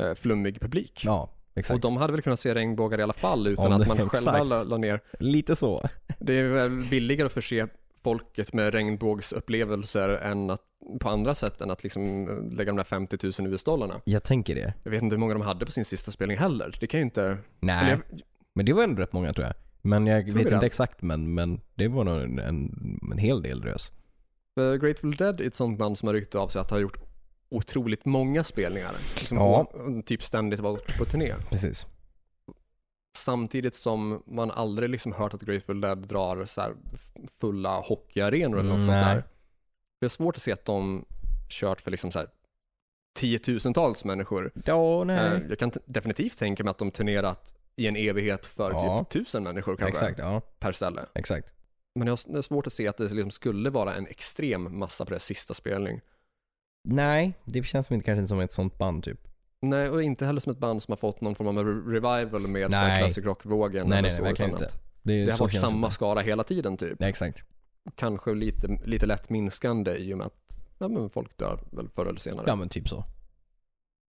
[SPEAKER 1] eh, flummig publik.
[SPEAKER 3] Ja,
[SPEAKER 1] Och
[SPEAKER 3] exakt.
[SPEAKER 1] de hade väl kunnat se regnbågar i alla fall utan
[SPEAKER 3] Om det-
[SPEAKER 1] att man själva
[SPEAKER 3] exakt.
[SPEAKER 1] la, la ner.
[SPEAKER 3] Lite så.
[SPEAKER 1] Det är väl billigare att förse folket med regnbågsupplevelser än att, på andra sätt än att liksom eh, lägga de där 50 000 US-dollarna.
[SPEAKER 3] Jag tänker det.
[SPEAKER 1] Jag vet inte hur många de hade på sin sista spelning heller. Det kan ju inte...
[SPEAKER 3] Nej.
[SPEAKER 1] Eller jag,
[SPEAKER 3] Men det var ändå rätt många tror jag. Men jag
[SPEAKER 1] Tror
[SPEAKER 3] vet
[SPEAKER 1] vi
[SPEAKER 3] inte
[SPEAKER 1] det?
[SPEAKER 3] exakt men, men det var nog en, en, en hel del drös.
[SPEAKER 1] Eh, Grateful Dead är ett sånt band som har rykte av sig att ha gjort otroligt många spelningar. Liksom
[SPEAKER 3] Ja.
[SPEAKER 1] å- Typ ständigt varit på turné.
[SPEAKER 3] Precis.
[SPEAKER 1] Samtidigt som man aldrig liksom hört att Grateful Dead drar så här fulla hockeyarenor eller något sånt
[SPEAKER 3] Nej.
[SPEAKER 1] där. Det är svårt att se att de kört för liksom så här tiotusentals människor.
[SPEAKER 3] Ja,
[SPEAKER 1] Eh, Jag kan t- definitivt tänka mig att de turnerat i en evighet för
[SPEAKER 3] Ja.
[SPEAKER 1] typ tusen människor kanske
[SPEAKER 3] Exakt, ja.
[SPEAKER 1] per ställe.
[SPEAKER 3] Exakt.
[SPEAKER 1] Men jag har s- det är svårt att se att det liksom skulle vara en extrem massa på deras sista spelning.
[SPEAKER 3] Nej, det känns som inte kanske inte som ett sånt band typ.
[SPEAKER 1] Nej, och inte heller som ett band som har fått någon form av re- revival med så här
[SPEAKER 3] Nej.
[SPEAKER 1] classic rock-vågen
[SPEAKER 3] Nej,
[SPEAKER 1] eller
[SPEAKER 3] nej, nej,
[SPEAKER 1] så.
[SPEAKER 3] verkligen
[SPEAKER 1] utan
[SPEAKER 3] inte.
[SPEAKER 1] att
[SPEAKER 3] är-
[SPEAKER 1] det har
[SPEAKER 3] så
[SPEAKER 1] varit
[SPEAKER 3] känns
[SPEAKER 1] samma
[SPEAKER 3] inte.
[SPEAKER 1] skara hela tiden typ.
[SPEAKER 3] Nej, exakt.
[SPEAKER 1] Kanske lite, lite lätt minskande i och med att ja, men folk dör väl förr eller senare.
[SPEAKER 3] Ja men typ
[SPEAKER 1] Mm.
[SPEAKER 3] så.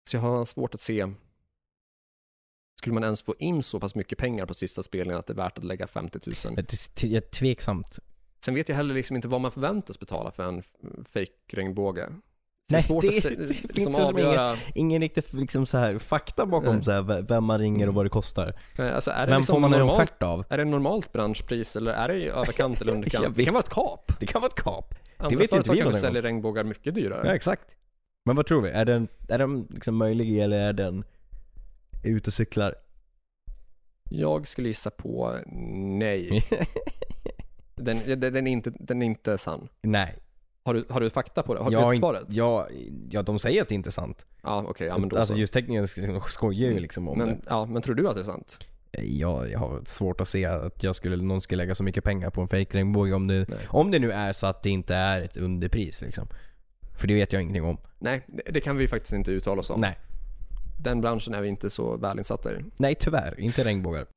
[SPEAKER 1] Så jag har svårt att se, skulle man ens få in så pass mycket pengar på sista spelningen att det är värt att lägga 50 000?
[SPEAKER 3] Jag t- t- jag är tveksamt.
[SPEAKER 1] Sen vet jag heller liksom inte vad man förväntas betala för en fake regnbåge. Så det är
[SPEAKER 3] Nej,
[SPEAKER 1] svårt
[SPEAKER 3] det-
[SPEAKER 1] att se,
[SPEAKER 3] det
[SPEAKER 1] liksom
[SPEAKER 3] finns det som ingen-
[SPEAKER 1] avgöra.
[SPEAKER 3] Ingen riktigt liksom så här fakta bakom
[SPEAKER 1] Nej.
[SPEAKER 3] så här, v- vem man ringer och vad det kostar.
[SPEAKER 1] Nej, Alltså, är det
[SPEAKER 3] Vem
[SPEAKER 1] liksom
[SPEAKER 3] får man en
[SPEAKER 1] normalt,
[SPEAKER 3] offert av?
[SPEAKER 1] Är det normalt branschpris eller är det i överkant eller
[SPEAKER 3] Jag
[SPEAKER 1] underkant? Det
[SPEAKER 3] vet.
[SPEAKER 1] kan vara ett kap.
[SPEAKER 3] Det kan vara ett kap.
[SPEAKER 1] Andra
[SPEAKER 3] vet ju inte
[SPEAKER 1] företag
[SPEAKER 3] vi någon
[SPEAKER 1] kanske
[SPEAKER 3] gång.
[SPEAKER 1] säljer regnbågar mycket dyrare.
[SPEAKER 3] Ja, exakt. Men vad tror vi? Är den, är den liksom möjlig eller är den ute och cyklar?
[SPEAKER 1] Jag skulle gissa på nej. Den, den, den, är, inte, den är inte sann.
[SPEAKER 3] Nej.
[SPEAKER 1] Har du, har du fakta på det? Har du
[SPEAKER 3] Jag,
[SPEAKER 1] vet svaret?
[SPEAKER 3] jag, ja, de säger att det inte är sant.
[SPEAKER 1] Ja, okej. ja, men då
[SPEAKER 3] alltså
[SPEAKER 1] så. Mm.
[SPEAKER 3] ljustekniken liksom skojar ju liksom om
[SPEAKER 1] men, ja, men tror du att det är sant?
[SPEAKER 3] det. Jag, jag har svårt att se att jag skulle, någon skulle lägga så mycket pengar på en fake regnbåge om det,
[SPEAKER 1] Nej.
[SPEAKER 3] om det nu är så att det inte är ett underpris liksom. För det vet jag ingenting om.
[SPEAKER 1] Nej, det- det kan vi faktiskt inte uttala oss om.
[SPEAKER 3] Nej.
[SPEAKER 1] Den branschen är vi inte så väl insatta i.
[SPEAKER 3] Nej tyvärr, inte regnbågar.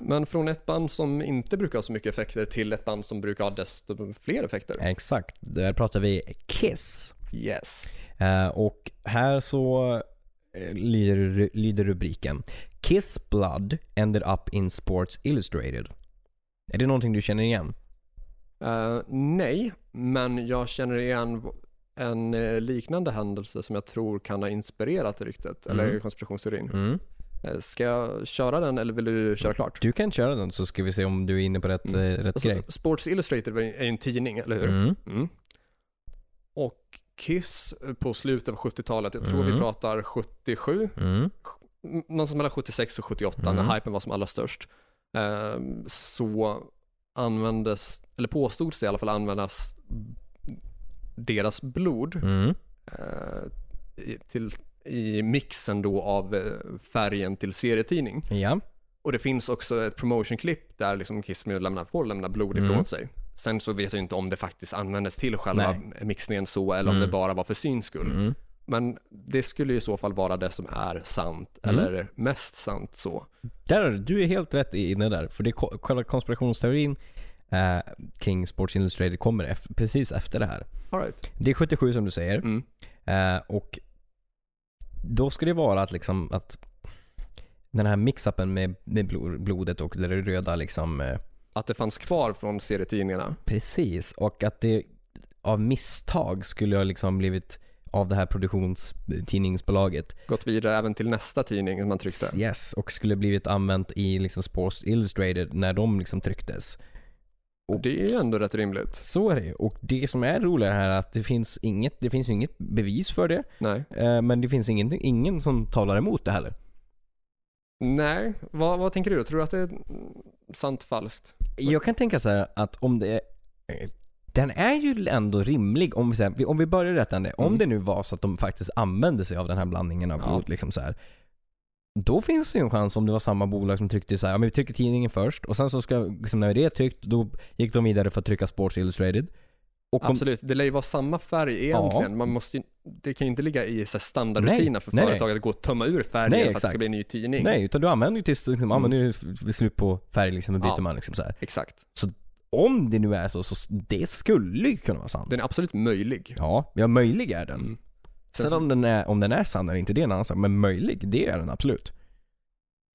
[SPEAKER 1] Men från ett band som inte brukar ha så mycket effekter till ett band som brukar ha desto fler effekter.
[SPEAKER 3] Exakt, där pratar vi Kiss.
[SPEAKER 1] Yes.
[SPEAKER 3] Eh, och här så eh, lyder, lyder rubriken Kiss Blood ended up in Sports Illustrated. Är det någonting du känner igen?
[SPEAKER 1] Eh, nej, men jag känner igen v- en eh, liknande händelse som jag tror kan ha inspirerat ryktet, eller
[SPEAKER 3] Mm.
[SPEAKER 1] konspirationsteorin. Eh, ska jag köra den eller vill du köra klart?
[SPEAKER 3] Du kan köra den så ska vi se om du är inne på rätt, eh, rätt
[SPEAKER 1] Alltså,
[SPEAKER 3] grej.
[SPEAKER 1] Sports Illustrated är ju en tidning, eller hur?
[SPEAKER 3] Mm.
[SPEAKER 1] Mm. Och Kiss på slutet av 70-talet, jag tror vi
[SPEAKER 3] Mm.
[SPEAKER 1] pratar 77,
[SPEAKER 3] Mm.
[SPEAKER 1] m- någonstans mellan 76 och 78
[SPEAKER 3] Mm.
[SPEAKER 1] när hypen var som allra störst, ehm, så användes, eller påstods det i alla fall användas deras blod
[SPEAKER 3] Mm.
[SPEAKER 1] eh, i, till, i mixen då av eh, färgen till serietidning.
[SPEAKER 3] Ja.
[SPEAKER 1] Och det finns också ett promotion-klipp där liksom Kiss Me lämnar, får lämna blod
[SPEAKER 3] Mm.
[SPEAKER 1] ifrån sig. Sen så vet jag inte om det faktiskt användes till själva mixningen så eller om
[SPEAKER 3] Mm.
[SPEAKER 1] det bara var för syns skull.
[SPEAKER 3] Mm.
[SPEAKER 1] Men det skulle ju i så fall vara det som är sant
[SPEAKER 3] Mm.
[SPEAKER 1] eller mest sant så.
[SPEAKER 3] Där, har du- du är helt rätt i- inne där. För det ko- själva konspirationsteorin eh, kring Sports Illustrated kommer ef- precis efter det här.
[SPEAKER 1] All right.
[SPEAKER 3] Det är 77 som du säger.
[SPEAKER 1] Mm.
[SPEAKER 3] Eh, och då ska det vara att liksom att den här mix-upen med, med blo- blodet och det röda liksom eh,
[SPEAKER 1] Att det fanns kvar från serietidningarna.
[SPEAKER 3] precis och att det av misstag skulle ha liksom blivit av det här produktionstidningsbolaget
[SPEAKER 1] Gått vidare även till nästa tidning som man tryckte.
[SPEAKER 3] yes, och skulle blivit använt i liksom Sports Illustrated när de liksom trycktes.
[SPEAKER 1] Det är ju ändå rätt rimligt.
[SPEAKER 3] Så är det ju. Och det som är roligt här är att det finns inget, det finns ju inget bevis för det.
[SPEAKER 1] Nej.
[SPEAKER 3] eh, Men det finns ingen, ingen som talar emot det heller.
[SPEAKER 1] Nej, vad, vad tänker du? Tror du att det är sant falskt?
[SPEAKER 3] Jag kan tänka så här att om det eh, den är ju ändå rimlig om vi, så här, om vi börjar i rätt ände. Om
[SPEAKER 1] Mm.
[SPEAKER 3] det nu var så att de faktiskt använde sig av den här blandningen av
[SPEAKER 1] Ja.
[SPEAKER 3] blod. Liksom så här, då finns det ju en chans om det var samma bolag som tryckte så här, ja, men vi trycker tidningen först och sen så ska, liksom, när det är tryckt, då gick de vidare för att trycka Sports Illustrated. Och om-
[SPEAKER 1] Absolut, det lär ju vara samma färg egentligen. Man måste ju, det kan ju inte ligga i så här standardrutiner
[SPEAKER 3] Nej,
[SPEAKER 1] för
[SPEAKER 3] nej,
[SPEAKER 1] företag att gå och tömma ur färgen
[SPEAKER 3] Nej,
[SPEAKER 1] för att det
[SPEAKER 3] exakt.
[SPEAKER 1] ska bli en ny tidning.
[SPEAKER 3] Nej, utan du använder ju tills liksom, ja, men nu är det slut på färg liksom, och byter
[SPEAKER 1] Mm. Ja.
[SPEAKER 3] man liksom så här.
[SPEAKER 1] Exakt.
[SPEAKER 3] Om det nu är så, så s- det skulle ju kunna vara sant.
[SPEAKER 1] Den är absolut möjlig.
[SPEAKER 3] Ja, ja möjlig är den.
[SPEAKER 1] Mm.
[SPEAKER 3] Sen
[SPEAKER 1] så-
[SPEAKER 3] om den, är, om den är sann eller inte, det är en annan sak. Men möjlig, det är den absolut.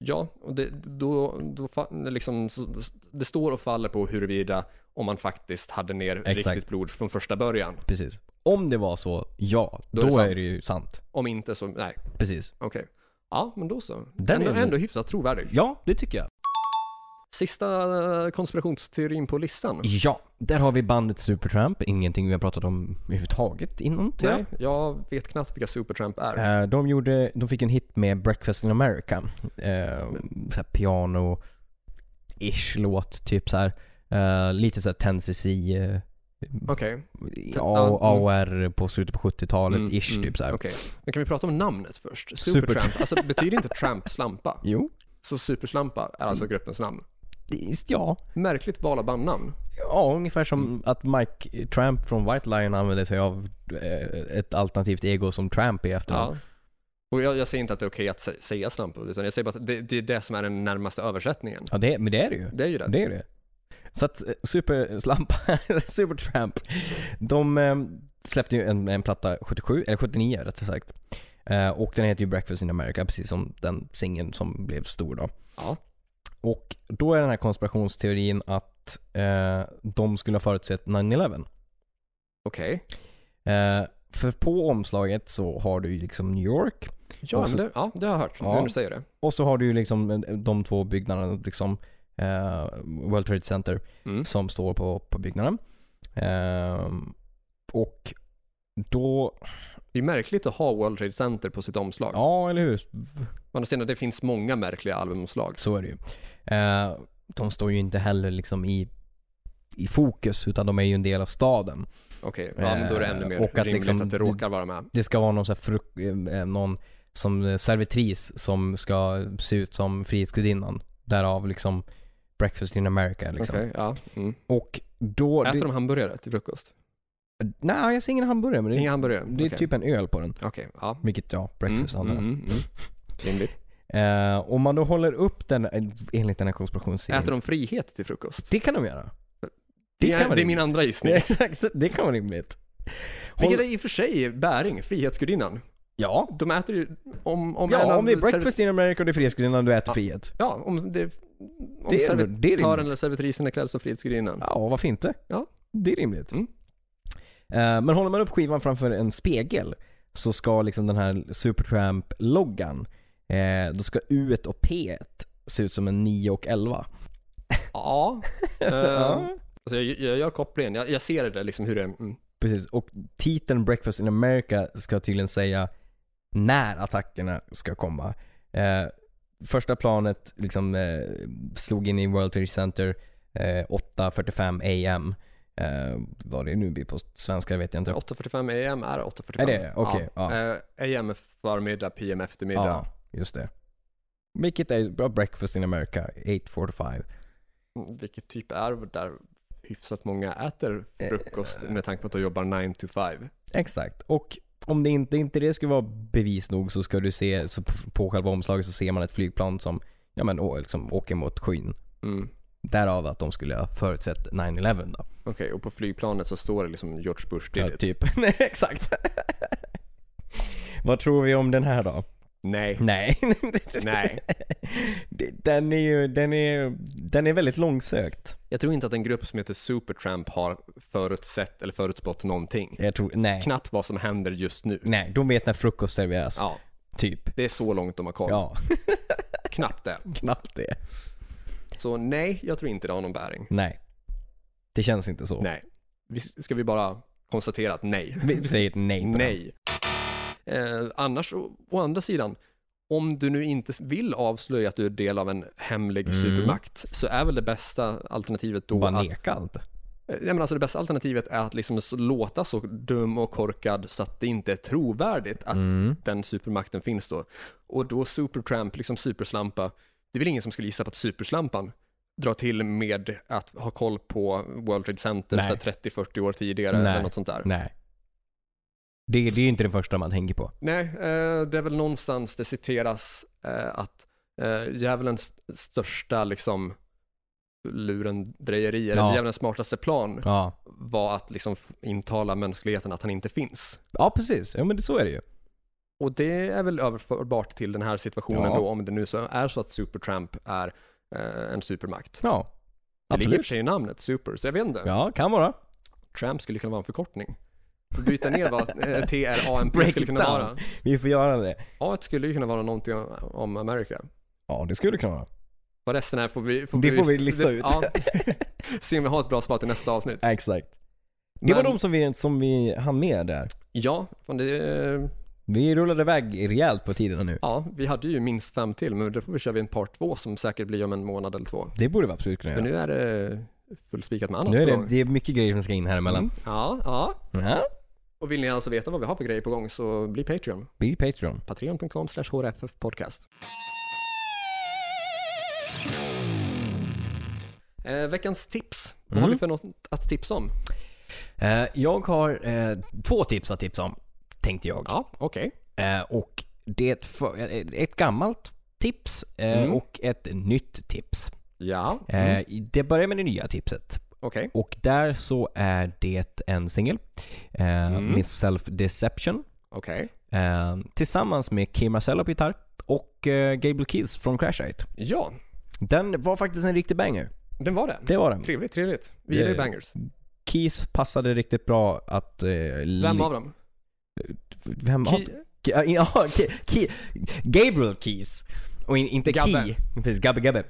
[SPEAKER 1] Ja, och det, då, då, fa- liksom, så, det står och faller på huruvida om man faktiskt hade ner
[SPEAKER 3] Exakt.
[SPEAKER 1] riktigt blod från första början.
[SPEAKER 3] Precis. Om det var så, ja. Då,
[SPEAKER 1] Då är det sant.
[SPEAKER 3] är, det ju sant.
[SPEAKER 1] Om inte så, nej,
[SPEAKER 3] Precis.
[SPEAKER 1] okej. Ja, men då så.
[SPEAKER 3] Den
[SPEAKER 1] Den ändå,
[SPEAKER 3] är-
[SPEAKER 1] ändå hyfsat trovärdig.
[SPEAKER 3] Ja, det tycker jag.
[SPEAKER 1] Sista eh, konspirationsteorin på listan.
[SPEAKER 3] Ja, där har vi bandet Supertramp. Ingenting vi har pratat om överhuvudtaget innan tror jag.
[SPEAKER 1] Nej, jag vet knappt vilka Supertramp är.
[SPEAKER 3] Eh, De, gjorde, de fick en hit med Breakfast in America. Eh, så här piano-ish låt, typ så här. Eh, lite så här 10cc, eh,
[SPEAKER 1] Okej.
[SPEAKER 3] A-
[SPEAKER 1] ja, mm.
[SPEAKER 3] AOR på slutet på 70-talet-ish
[SPEAKER 1] Mm, mm,
[SPEAKER 3] typ så här.
[SPEAKER 1] Okej. Men kan vi prata om namnet först?
[SPEAKER 3] Supertramp.
[SPEAKER 1] Supertramp, alltså betyder inte Tramp slampa?
[SPEAKER 3] Jo,
[SPEAKER 1] Så Superslampa är alltså gruppens namn.
[SPEAKER 3] visst ja.
[SPEAKER 1] Märkligt val av bandnamn.
[SPEAKER 3] Ja, ungefär som att Mike Tramp från White Lion använde sig av eh, ett alternativt ego som Tramp i efternamn.
[SPEAKER 1] Ja. Och jag, jag säger inte att det är okej att sä- säga slampa, utan jag säger bara att det, det är det som är den närmaste översättningen.
[SPEAKER 3] Ja, det, men det är det ju.
[SPEAKER 1] Det är ju det.
[SPEAKER 3] Det är det. Så att eh, Superslampa, Supertramp, de eh, släppte ju en, en platta 77, eller 79 rättare sagt. Eh, och den heter ju Breakfast in America, precis som den singeln som blev stor då.
[SPEAKER 1] Ja.
[SPEAKER 3] Och då är den här konspirationsteorin att eh, de skulle ha förutsett 9-11.
[SPEAKER 1] Okej.
[SPEAKER 3] Eh, för på omslaget så har du ju liksom New York
[SPEAKER 1] Ja,
[SPEAKER 3] Och så-
[SPEAKER 1] men det, ja, det har jag hört.
[SPEAKER 3] Ja.
[SPEAKER 1] Nu när du säger det.
[SPEAKER 3] och så har du ju liksom de två byggnaderna liksom eh, World Trade Center
[SPEAKER 1] Mm.
[SPEAKER 3] som står på, på byggnaden. Ehm, och då,
[SPEAKER 1] Det är märkligt att ha World Trade Center på sitt omslag.
[SPEAKER 3] ja eller hur,
[SPEAKER 1] Å andra sidan, det finns många märkliga albumomslag.
[SPEAKER 3] så är det ju. Eh, de står ju inte heller liksom i, i fokus utan de är ju en del av staden.
[SPEAKER 1] Okej, ja, men då är det ännu mer
[SPEAKER 3] Eh, och att
[SPEAKER 1] rimligt
[SPEAKER 3] liksom-
[SPEAKER 1] att det råkar vara med.
[SPEAKER 3] Det ska vara någon, så här fruk- eh, någon som eh, servitris som ska se ut som Frihetsgudinnan. Därav liksom Breakfast in America liksom.
[SPEAKER 1] Okej, ja. Mm.
[SPEAKER 3] Och då...
[SPEAKER 1] Äter
[SPEAKER 3] det,
[SPEAKER 1] de hamburgare till frukost?
[SPEAKER 3] Nej, jag ser ingen hamburgare men det,
[SPEAKER 1] Inga hamburgare?
[SPEAKER 3] det är
[SPEAKER 1] Okej.
[SPEAKER 3] typ en öl på den.
[SPEAKER 1] Okej, ja.
[SPEAKER 3] Vilket ja, breakfast
[SPEAKER 1] mm,
[SPEAKER 3] handlar
[SPEAKER 1] mm, mm. Rimligt.
[SPEAKER 3] Eh, om man då håller upp den eh, enligt den här konspirationsteorin.
[SPEAKER 1] Äter de frihet till frukost?
[SPEAKER 3] Det kan de göra.
[SPEAKER 1] Det är, det är min
[SPEAKER 3] rimligt.
[SPEAKER 1] andra
[SPEAKER 3] Nej,
[SPEAKER 1] gissning.
[SPEAKER 3] exakt, det kan vara rimligt. Håll...
[SPEAKER 1] Vilket är i och för sig bäring, Frihetsgudinnan.
[SPEAKER 3] Ja,
[SPEAKER 1] De äter ju, om, om en
[SPEAKER 3] ja
[SPEAKER 1] av
[SPEAKER 3] om det är
[SPEAKER 1] serv-
[SPEAKER 3] breakfast in America och det är frihetsgudinnan du äter frihet.
[SPEAKER 1] Ja, om det... Om
[SPEAKER 3] Det är ändå- det är
[SPEAKER 1] servitören
[SPEAKER 3] rimligt.
[SPEAKER 1] eller servitrisen är klädd som Frihetsgudinnan.
[SPEAKER 3] Ja, varför inte?
[SPEAKER 1] Ja.
[SPEAKER 3] Det är rimligt.
[SPEAKER 1] Mm.
[SPEAKER 3] Eh, men håller man upp skivan framför en spegel så ska liksom den här Supertramp-loggan, eh, då ska U och P se ut som en 9 och 11.
[SPEAKER 1] Ja.
[SPEAKER 3] Ja.
[SPEAKER 1] Ehm, alltså jag, jag gör kopplingen. Jag, jag ser det där liksom hur det... Mm.
[SPEAKER 3] Precis, och titeln Breakfast in America ska tydligen säga när attackerna ska komma. Eh, första planet liksom, eh, slog in i World Trade Center eh, 8.45 AM. Eh, vad det nu blir på svenska vet jag inte.
[SPEAKER 1] 8.45 AM är 8.45.
[SPEAKER 3] Är det? Okej, ja.
[SPEAKER 1] Eh, AM är förmiddag, PM eftermiddag.
[SPEAKER 3] Ja, just det. Vilket är bra Breakfast in America 8.45.
[SPEAKER 1] Mm, Vilket typ är där hyfsat många äter
[SPEAKER 3] Eh,
[SPEAKER 1] frukost med tanke på att de jobbar 9 to 5.
[SPEAKER 3] Exakt. Och om det inte, inte det skulle vara bevis nog så ska du se, så på, på själva omslaget så ser man ett flygplan som ja, men, å, liksom, åker mot skyn.
[SPEAKER 1] Mm.
[SPEAKER 3] Därav att de skulle ha förutsett 9-11 då.
[SPEAKER 1] Okej, och på flygplanet så står det liksom George Bush did
[SPEAKER 3] Ja,
[SPEAKER 1] it.
[SPEAKER 3] typ. Nej, exakt. Vad tror vi om den här då?
[SPEAKER 1] Nej.
[SPEAKER 3] Nej.
[SPEAKER 1] Nej.
[SPEAKER 3] den är ju, den är, den är väldigt långsökt.
[SPEAKER 1] Jag tror inte att en grupp som heter Supertramp har förutsett eller förutspått någonting.
[SPEAKER 3] Jag tror, nej.
[SPEAKER 1] Knappt vad som händer just nu.
[SPEAKER 3] nej, de vet när frukost serveras.
[SPEAKER 1] Ja,
[SPEAKER 3] Typ.
[SPEAKER 1] det är så långt de har koll.
[SPEAKER 3] Ja,
[SPEAKER 1] Knappt det.
[SPEAKER 3] knappt det.
[SPEAKER 1] Så nej, jag tror inte det har någon bäring.
[SPEAKER 3] Nej. Det känns inte så.
[SPEAKER 1] Nej. Vi, ska vi bara konstatera att nej.
[SPEAKER 3] Vi säger nej på den.
[SPEAKER 1] Nej. Eh, annars, å, å andra sidan, om du nu inte vill avslöja att du är del av en hemlig supermakt, så är väl det bästa alternativet då
[SPEAKER 3] Mm. Bara
[SPEAKER 1] att...
[SPEAKER 3] neka allt.
[SPEAKER 1] Eh, Nej, men alltså det bästa alternativet är att liksom s- låta så dum och korkad så att det inte är trovärdigt att
[SPEAKER 3] Mm.
[SPEAKER 1] den supermakten finns då. Och då Supertramp, liksom Superslampa, det är väl ingen som skulle gissa på att Superslampan drar till med att ha koll på World Trade Center
[SPEAKER 3] Nej.
[SPEAKER 1] så här 30-40 år tidigare
[SPEAKER 3] Nej.
[SPEAKER 1] eller något sånt där.
[SPEAKER 3] Nej. Det, det är ju inte det första man tänker på.
[SPEAKER 1] Nej, eh, det är väl någonstans det citeras eh, att eh, djävulens största liksom lurendrejeri, eller
[SPEAKER 3] Ja.
[SPEAKER 1] djävulens smartaste plan
[SPEAKER 3] Ja.
[SPEAKER 1] var att liksom f- intala mänskligheten att han inte finns.
[SPEAKER 3] Ja, precis. Ja, men det, så är det ju.
[SPEAKER 1] Och det är väl överförbart till den här situationen
[SPEAKER 3] Ja.
[SPEAKER 1] då, om det nu så är så att Supertramp är eh, en supermakt.
[SPEAKER 3] Ja.
[SPEAKER 1] Det ligger i och för sig i namnet, super, så jag vet inte.
[SPEAKER 3] Ja, kan vara.
[SPEAKER 1] Tramp skulle kunna vara en förkortning. Byta ner vad eh, TRAMP
[SPEAKER 3] Break
[SPEAKER 1] skulle
[SPEAKER 3] it
[SPEAKER 1] kunna
[SPEAKER 3] down.
[SPEAKER 1] vara.
[SPEAKER 3] Vi får göra det.
[SPEAKER 1] A skulle ju kunna vara någonting om Amerika.
[SPEAKER 3] Ja, det skulle kunna vara.
[SPEAKER 1] Vad resten är får vi...
[SPEAKER 3] Det får vi lista ut.
[SPEAKER 1] Ja. Se om vi har ett bra svar till nästa avsnitt.
[SPEAKER 3] Exakt. Det var
[SPEAKER 1] Men-
[SPEAKER 3] de som vi, som vi hann med där.
[SPEAKER 1] Ja, fan det,
[SPEAKER 3] Vi rullade iväg rejält på tiden nu.
[SPEAKER 1] ja, vi hade ju minst fem till, men då får vi köra en part två som säkert blir om en månad eller två.
[SPEAKER 3] Det borde vi absolut kunna göra.
[SPEAKER 1] Men nu är det Mm. fullspikat med annat
[SPEAKER 3] Nu är
[SPEAKER 1] på
[SPEAKER 3] det,
[SPEAKER 1] gång.
[SPEAKER 3] det är mycket grejer som ska in här emellan.
[SPEAKER 1] Ja, ja.
[SPEAKER 3] Ja,
[SPEAKER 1] Och vill ni alltså veta vad vi har för grejer på gång så bli Patreon.
[SPEAKER 3] bli Patreon.
[SPEAKER 1] Patreon.com slash hrffpodcast. Eh, veckans tips. Vad har
[SPEAKER 3] Mm.
[SPEAKER 1] vi för något att tipsa om?
[SPEAKER 3] Eh, jag har eh, två tips att tipsa om, tänkte jag.
[SPEAKER 1] Ja, okej.
[SPEAKER 3] Eh, och det är ett, för, eh, ett gammalt tips eh,
[SPEAKER 1] Mm.
[SPEAKER 3] och ett nytt tips.
[SPEAKER 1] Ja,
[SPEAKER 3] Eh,
[SPEAKER 1] mm.
[SPEAKER 3] i- Det börjar med det nya tipset.
[SPEAKER 1] okej.
[SPEAKER 3] Och där så är det en singel, eh,
[SPEAKER 1] Mm.
[SPEAKER 3] Miss Self Deception,
[SPEAKER 1] Okej.
[SPEAKER 3] eh, tillsammans med Kim Marcello på gitarr och eh, Gable Keys från Crashite.
[SPEAKER 1] Ja,
[SPEAKER 3] Den var faktiskt en riktig banger.
[SPEAKER 1] den var det.
[SPEAKER 3] Det var den.
[SPEAKER 1] Trevligt, trevligt. Vi gillar ju
[SPEAKER 3] Det-
[SPEAKER 1] bangers.
[SPEAKER 3] Keys passade riktigt bra att... Eh,
[SPEAKER 1] Vem
[SPEAKER 3] li-
[SPEAKER 1] av dem?
[SPEAKER 3] Vem av
[SPEAKER 1] Ki-
[SPEAKER 3] Ke- Ja, ja, Ke- Ke- Gabriel Keys. Och in, inte
[SPEAKER 1] Gabbe.
[SPEAKER 3] Key. Precis, Gabbe Gabbe.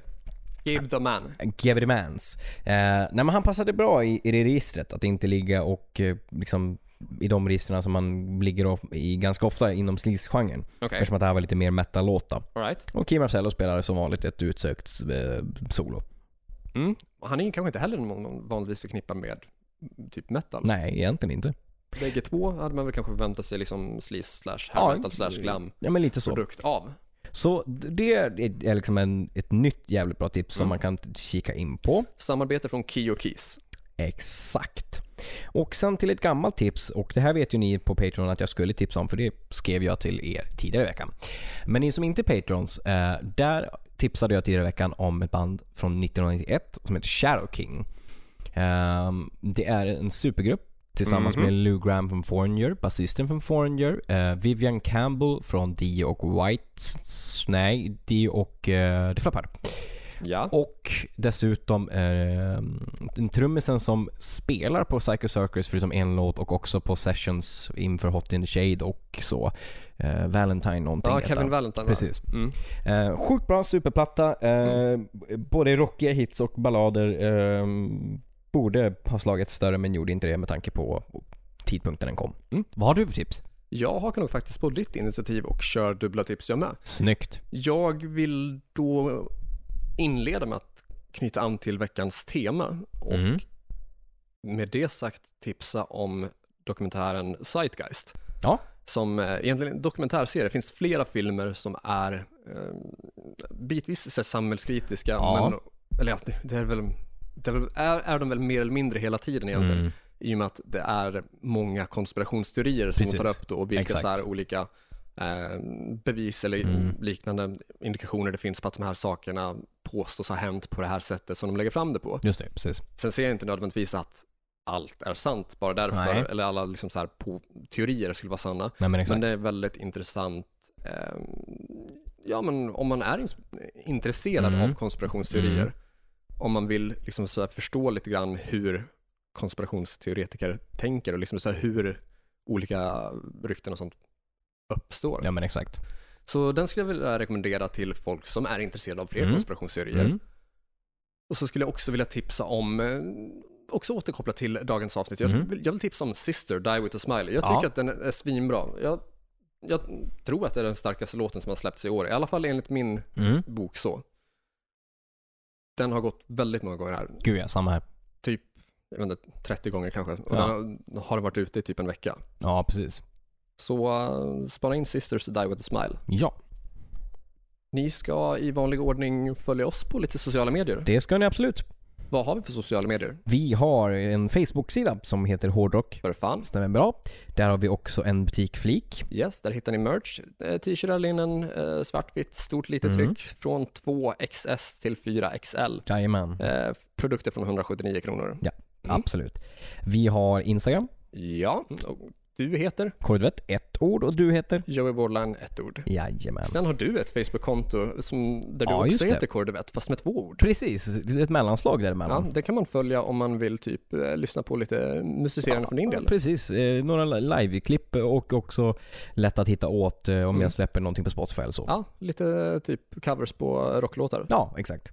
[SPEAKER 1] Give the man.
[SPEAKER 3] Gabbe the Mans. Eh, nej men han passade bra i, i det registret. Att inte ligga och eh, liksom i de registren som man ligger of- i ganska ofta inom sleaze-genren.
[SPEAKER 1] Okej,
[SPEAKER 3] Eftersom att det här var lite mer metal-låt då.
[SPEAKER 1] alright.
[SPEAKER 3] Och Kim Marcello spelar som vanligt ett utsökt eh, solo.
[SPEAKER 1] Mm. Han är ju kanske inte heller någon man vanligtvis förknippar med typ metal.
[SPEAKER 3] Nej, egentligen inte.
[SPEAKER 1] Bägge två hade man väl kanske förväntat sig liksom sleaze slash
[SPEAKER 3] Ja,
[SPEAKER 1] hair metal slash glam
[SPEAKER 3] Ja men lite så.
[SPEAKER 1] produkt av.
[SPEAKER 3] Så det är är liksom en, ett nytt jävligt bra tips som man kan kika in på.
[SPEAKER 1] Samarbete från Key och Keys.
[SPEAKER 3] Exakt. Och sen till ett gammalt tips och det här vet ju ni på Patreon att jag skulle tipsa om för det skrev jag till er tidigare i veckan. Men ni som inte är Patrons, eh, där tipsade jag tidigare i veckan om ett band från 1991 som heter Shadow King. Ehm, det är en supergrupp tillsammans med Lou Graham från Foreigner, basisten från Foreigner, eh, Vivian Campbell från Dio och White, nej, Dio och eh, The Flappard.
[SPEAKER 1] Ja.
[SPEAKER 3] Och dessutom eh, den trummisen som spelar på Psycho Circus förutom en låt och också på sessions inför Hot in the Shade och så. Eh, Valentine någonting
[SPEAKER 1] Ja,
[SPEAKER 3] heter
[SPEAKER 1] Kevin
[SPEAKER 3] han.
[SPEAKER 1] Valentine va?
[SPEAKER 3] Precis.
[SPEAKER 1] Mm.
[SPEAKER 3] Eh, sjukt bra superplatta. Eh, Både rockiga hits och ballader. Eh, borde ha slagit större men gjorde inte det med tanke på tidpunkten den kom.
[SPEAKER 1] Mm.
[SPEAKER 3] Vad har du för tips?
[SPEAKER 1] Jag hakar nog faktiskt på ditt initiativ och kör dubbla tips jag med.
[SPEAKER 3] Snyggt.
[SPEAKER 1] Jag vill då inleda med att knyta an till veckans tema och
[SPEAKER 3] Mm.
[SPEAKER 1] med det sagt tipsa om dokumentären Zeitgeist.
[SPEAKER 3] Ja.
[SPEAKER 1] som eh, egentligen en dokumentärserie. Det finns flera filmer som är eh, bitvis så här, samhällskritiska,
[SPEAKER 3] Ja.
[SPEAKER 1] men, eller ja, det- det är väl, det är, väl- är, är de väl mer eller mindre hela tiden
[SPEAKER 3] Mm.
[SPEAKER 1] egentligen. I och med att det är många konspirationsteorier som
[SPEAKER 3] Precis.
[SPEAKER 1] de tar upp då och vilka
[SPEAKER 3] Exakt. Mm.
[SPEAKER 1] så här, olika eh, bevis eller liknande indikationer det finns på att de här sakerna påstås ha hänt på det här sättet som de lägger fram det på.
[SPEAKER 3] Just det, precis.
[SPEAKER 1] Sen ser jag inte nödvändigtvis att allt är sant bara därför,
[SPEAKER 3] Nej.
[SPEAKER 1] eller alla liksom så här på teorier skulle vara sanna.
[SPEAKER 3] Nej men exakt.
[SPEAKER 1] Men det är väldigt intressant. Eh, ja, men om man är ins- intresserad
[SPEAKER 3] Mm.
[SPEAKER 1] av konspirationsteorier,
[SPEAKER 3] Mm.
[SPEAKER 1] om man vill liksom så här förstå lite grann hur konspirationsteoretiker tänker och liksom så här hur olika rykten och sånt uppstår.
[SPEAKER 3] Ja men exakt.
[SPEAKER 1] Så den skulle jag vilja rekommendera till folk som är intresserade av fler
[SPEAKER 3] Mm.
[SPEAKER 1] konspirationsteorier.
[SPEAKER 3] Mm.
[SPEAKER 1] Och så skulle jag också vilja tipsa om, eh, också återkoppla till dagens avsnitt. Jag,
[SPEAKER 3] Mm.
[SPEAKER 1] vill, jag vill tipsa om Sister, Die With A Smile. Jag
[SPEAKER 3] Ja.
[SPEAKER 1] tycker att den är svinbra. Jag, jag tror att det är den starkaste låten som har släppts i år, i alla fall enligt min
[SPEAKER 3] Mm.
[SPEAKER 1] bok så. Den har gått väldigt många gånger här,
[SPEAKER 3] Gud ja, samma här.
[SPEAKER 1] typ jag vet inte, 30 gånger kanske. Och
[SPEAKER 3] Ja.
[SPEAKER 1] den har, har varit ute i typ en vecka.
[SPEAKER 3] Ja precis.
[SPEAKER 1] Så eh, spana in Sisters Die With A Smile.
[SPEAKER 3] Ja.
[SPEAKER 1] Ni ska i vanlig ordning följa oss på lite sociala medier.
[SPEAKER 3] Det ska ni absolut.
[SPEAKER 1] Vad har vi för sociala medier?
[SPEAKER 3] Vi har en Facebook-sida som heter Hårdrock.
[SPEAKER 1] För fan.
[SPEAKER 3] Stämmer bra. Där har vi också en butikflik.
[SPEAKER 1] Yes, där hittar ni merch. Eh, T-shirtar, linnen, eh, svartvitt, stort litet
[SPEAKER 3] Mm.
[SPEAKER 1] tryck från 2XS till 4XL.
[SPEAKER 3] Jajamän.
[SPEAKER 1] Eh, f- produkter från 179 kronor.
[SPEAKER 3] Absolut. Vi har Instagram.
[SPEAKER 1] Ja, och Du heter
[SPEAKER 3] Korvett, ett ord och du heter?
[SPEAKER 1] Joey Borderline, ett ord.
[SPEAKER 3] Jajamän.
[SPEAKER 1] Sen har du ett Facebook-konto som, där du
[SPEAKER 3] Ja, just
[SPEAKER 1] också
[SPEAKER 3] det.
[SPEAKER 1] heter Kordevett, fast med två ord.
[SPEAKER 3] Precis, det är ett mellanslag
[SPEAKER 1] Ja,
[SPEAKER 3] däremellan.
[SPEAKER 1] det kan man följa om man vill typ eh, lyssna på lite musicerande från din del.
[SPEAKER 3] Precis, eh, några live-klipp eh, och också lätt att hitta åt eh, om jag släpper någonting på Spotify eller så.
[SPEAKER 1] Mm. Ja, lite eh, typ covers på rocklåtar.
[SPEAKER 3] Ja, exakt.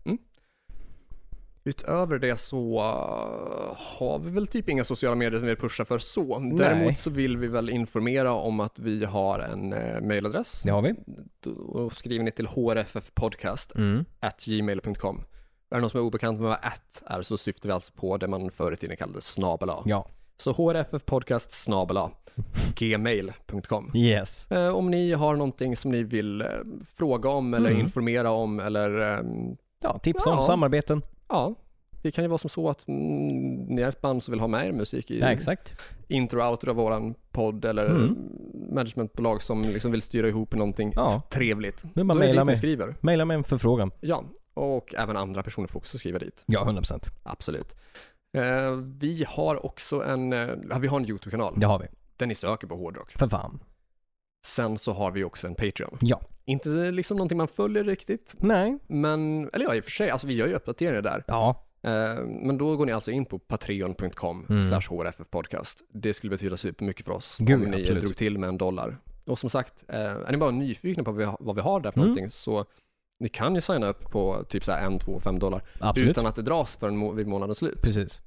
[SPEAKER 1] Utöver det så eh, har vi väl typ inga sociala medier som vi pushar för så. Däremot så vill vi väl informera om att vi har en eh, mailadress.
[SPEAKER 3] Det har vi.
[SPEAKER 1] Då skriver ni till hrffpodcast at gmail.com. Är det någon som är obekant med vad at är så syftar vi alltså på det man förr i tiden kallade snabel A.
[SPEAKER 3] Ja.
[SPEAKER 1] Så hrffpodcast snabel A, gmail.com.
[SPEAKER 3] Yes.
[SPEAKER 1] Eh, Om ni har någonting som ni vill eh, fråga om eller informera om eller ehm,
[SPEAKER 3] Ja, tips
[SPEAKER 1] Ja.
[SPEAKER 3] om samarbeten.
[SPEAKER 1] ja, det kan ju vara som så att mm, ni är ett band som vill ha med er musik i
[SPEAKER 3] Ja, exakt. Mm.
[SPEAKER 1] intro och outro av våran podd eller managementbolag som liksom vill styra ihop någonting
[SPEAKER 3] Ja.
[SPEAKER 1] trevligt.
[SPEAKER 3] Det är bara
[SPEAKER 1] Då
[SPEAKER 3] att
[SPEAKER 1] är det
[SPEAKER 3] mejla
[SPEAKER 1] dit ni
[SPEAKER 3] mig.
[SPEAKER 1] skriver.
[SPEAKER 3] Mejla mig en förfrågan.
[SPEAKER 1] Ja, och även andra personer får också skriva dit.
[SPEAKER 3] Ja, 100%.
[SPEAKER 1] Absolut. Eh, Vi har också en, eh, ja, vi har en YouTube-kanal
[SPEAKER 3] Det har vi.
[SPEAKER 1] där ni söker på hårdrock.
[SPEAKER 3] För fan.
[SPEAKER 1] Sen så har vi också en Patreon.
[SPEAKER 3] Ja.
[SPEAKER 1] Inte liksom någonting man följer riktigt,
[SPEAKER 3] Nej.
[SPEAKER 1] men, eller ja i och för sig, alltså vi gör ju uppdateringar där.
[SPEAKER 3] Ja.
[SPEAKER 1] Eh, Men då går ni alltså in på patreon.com slash hrffpodcast. Det skulle betyda supermycket för oss
[SPEAKER 3] Mm. Gud,
[SPEAKER 1] om ni
[SPEAKER 3] absolut.
[SPEAKER 1] drog till med en dollar. Och som sagt, eh, är ni bara nyfikna på vad vi har- vad vi har där för
[SPEAKER 3] Mm.
[SPEAKER 1] någonting så ni kan ju signa upp på typ så här en, två, fem dollar
[SPEAKER 3] Absolut.
[SPEAKER 1] utan att det dras förrän må- vid månadens slut.
[SPEAKER 3] Precis.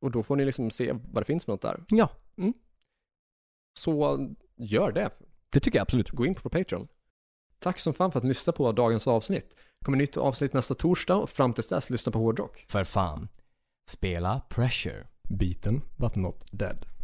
[SPEAKER 1] Och då får ni liksom se vad det finns för något där.
[SPEAKER 3] Ja.
[SPEAKER 1] Så gör det.
[SPEAKER 3] Det tycker jag absolut.
[SPEAKER 1] Gå in på Patreon. Tack som fan för att ni lyssnade på dagens avsnitt. kommer nytt avsnitt nästa torsdag och fram tills dess lyssna på hårdrock.
[SPEAKER 4] För fan. Spela Pressure.
[SPEAKER 1] Beaten but not dead.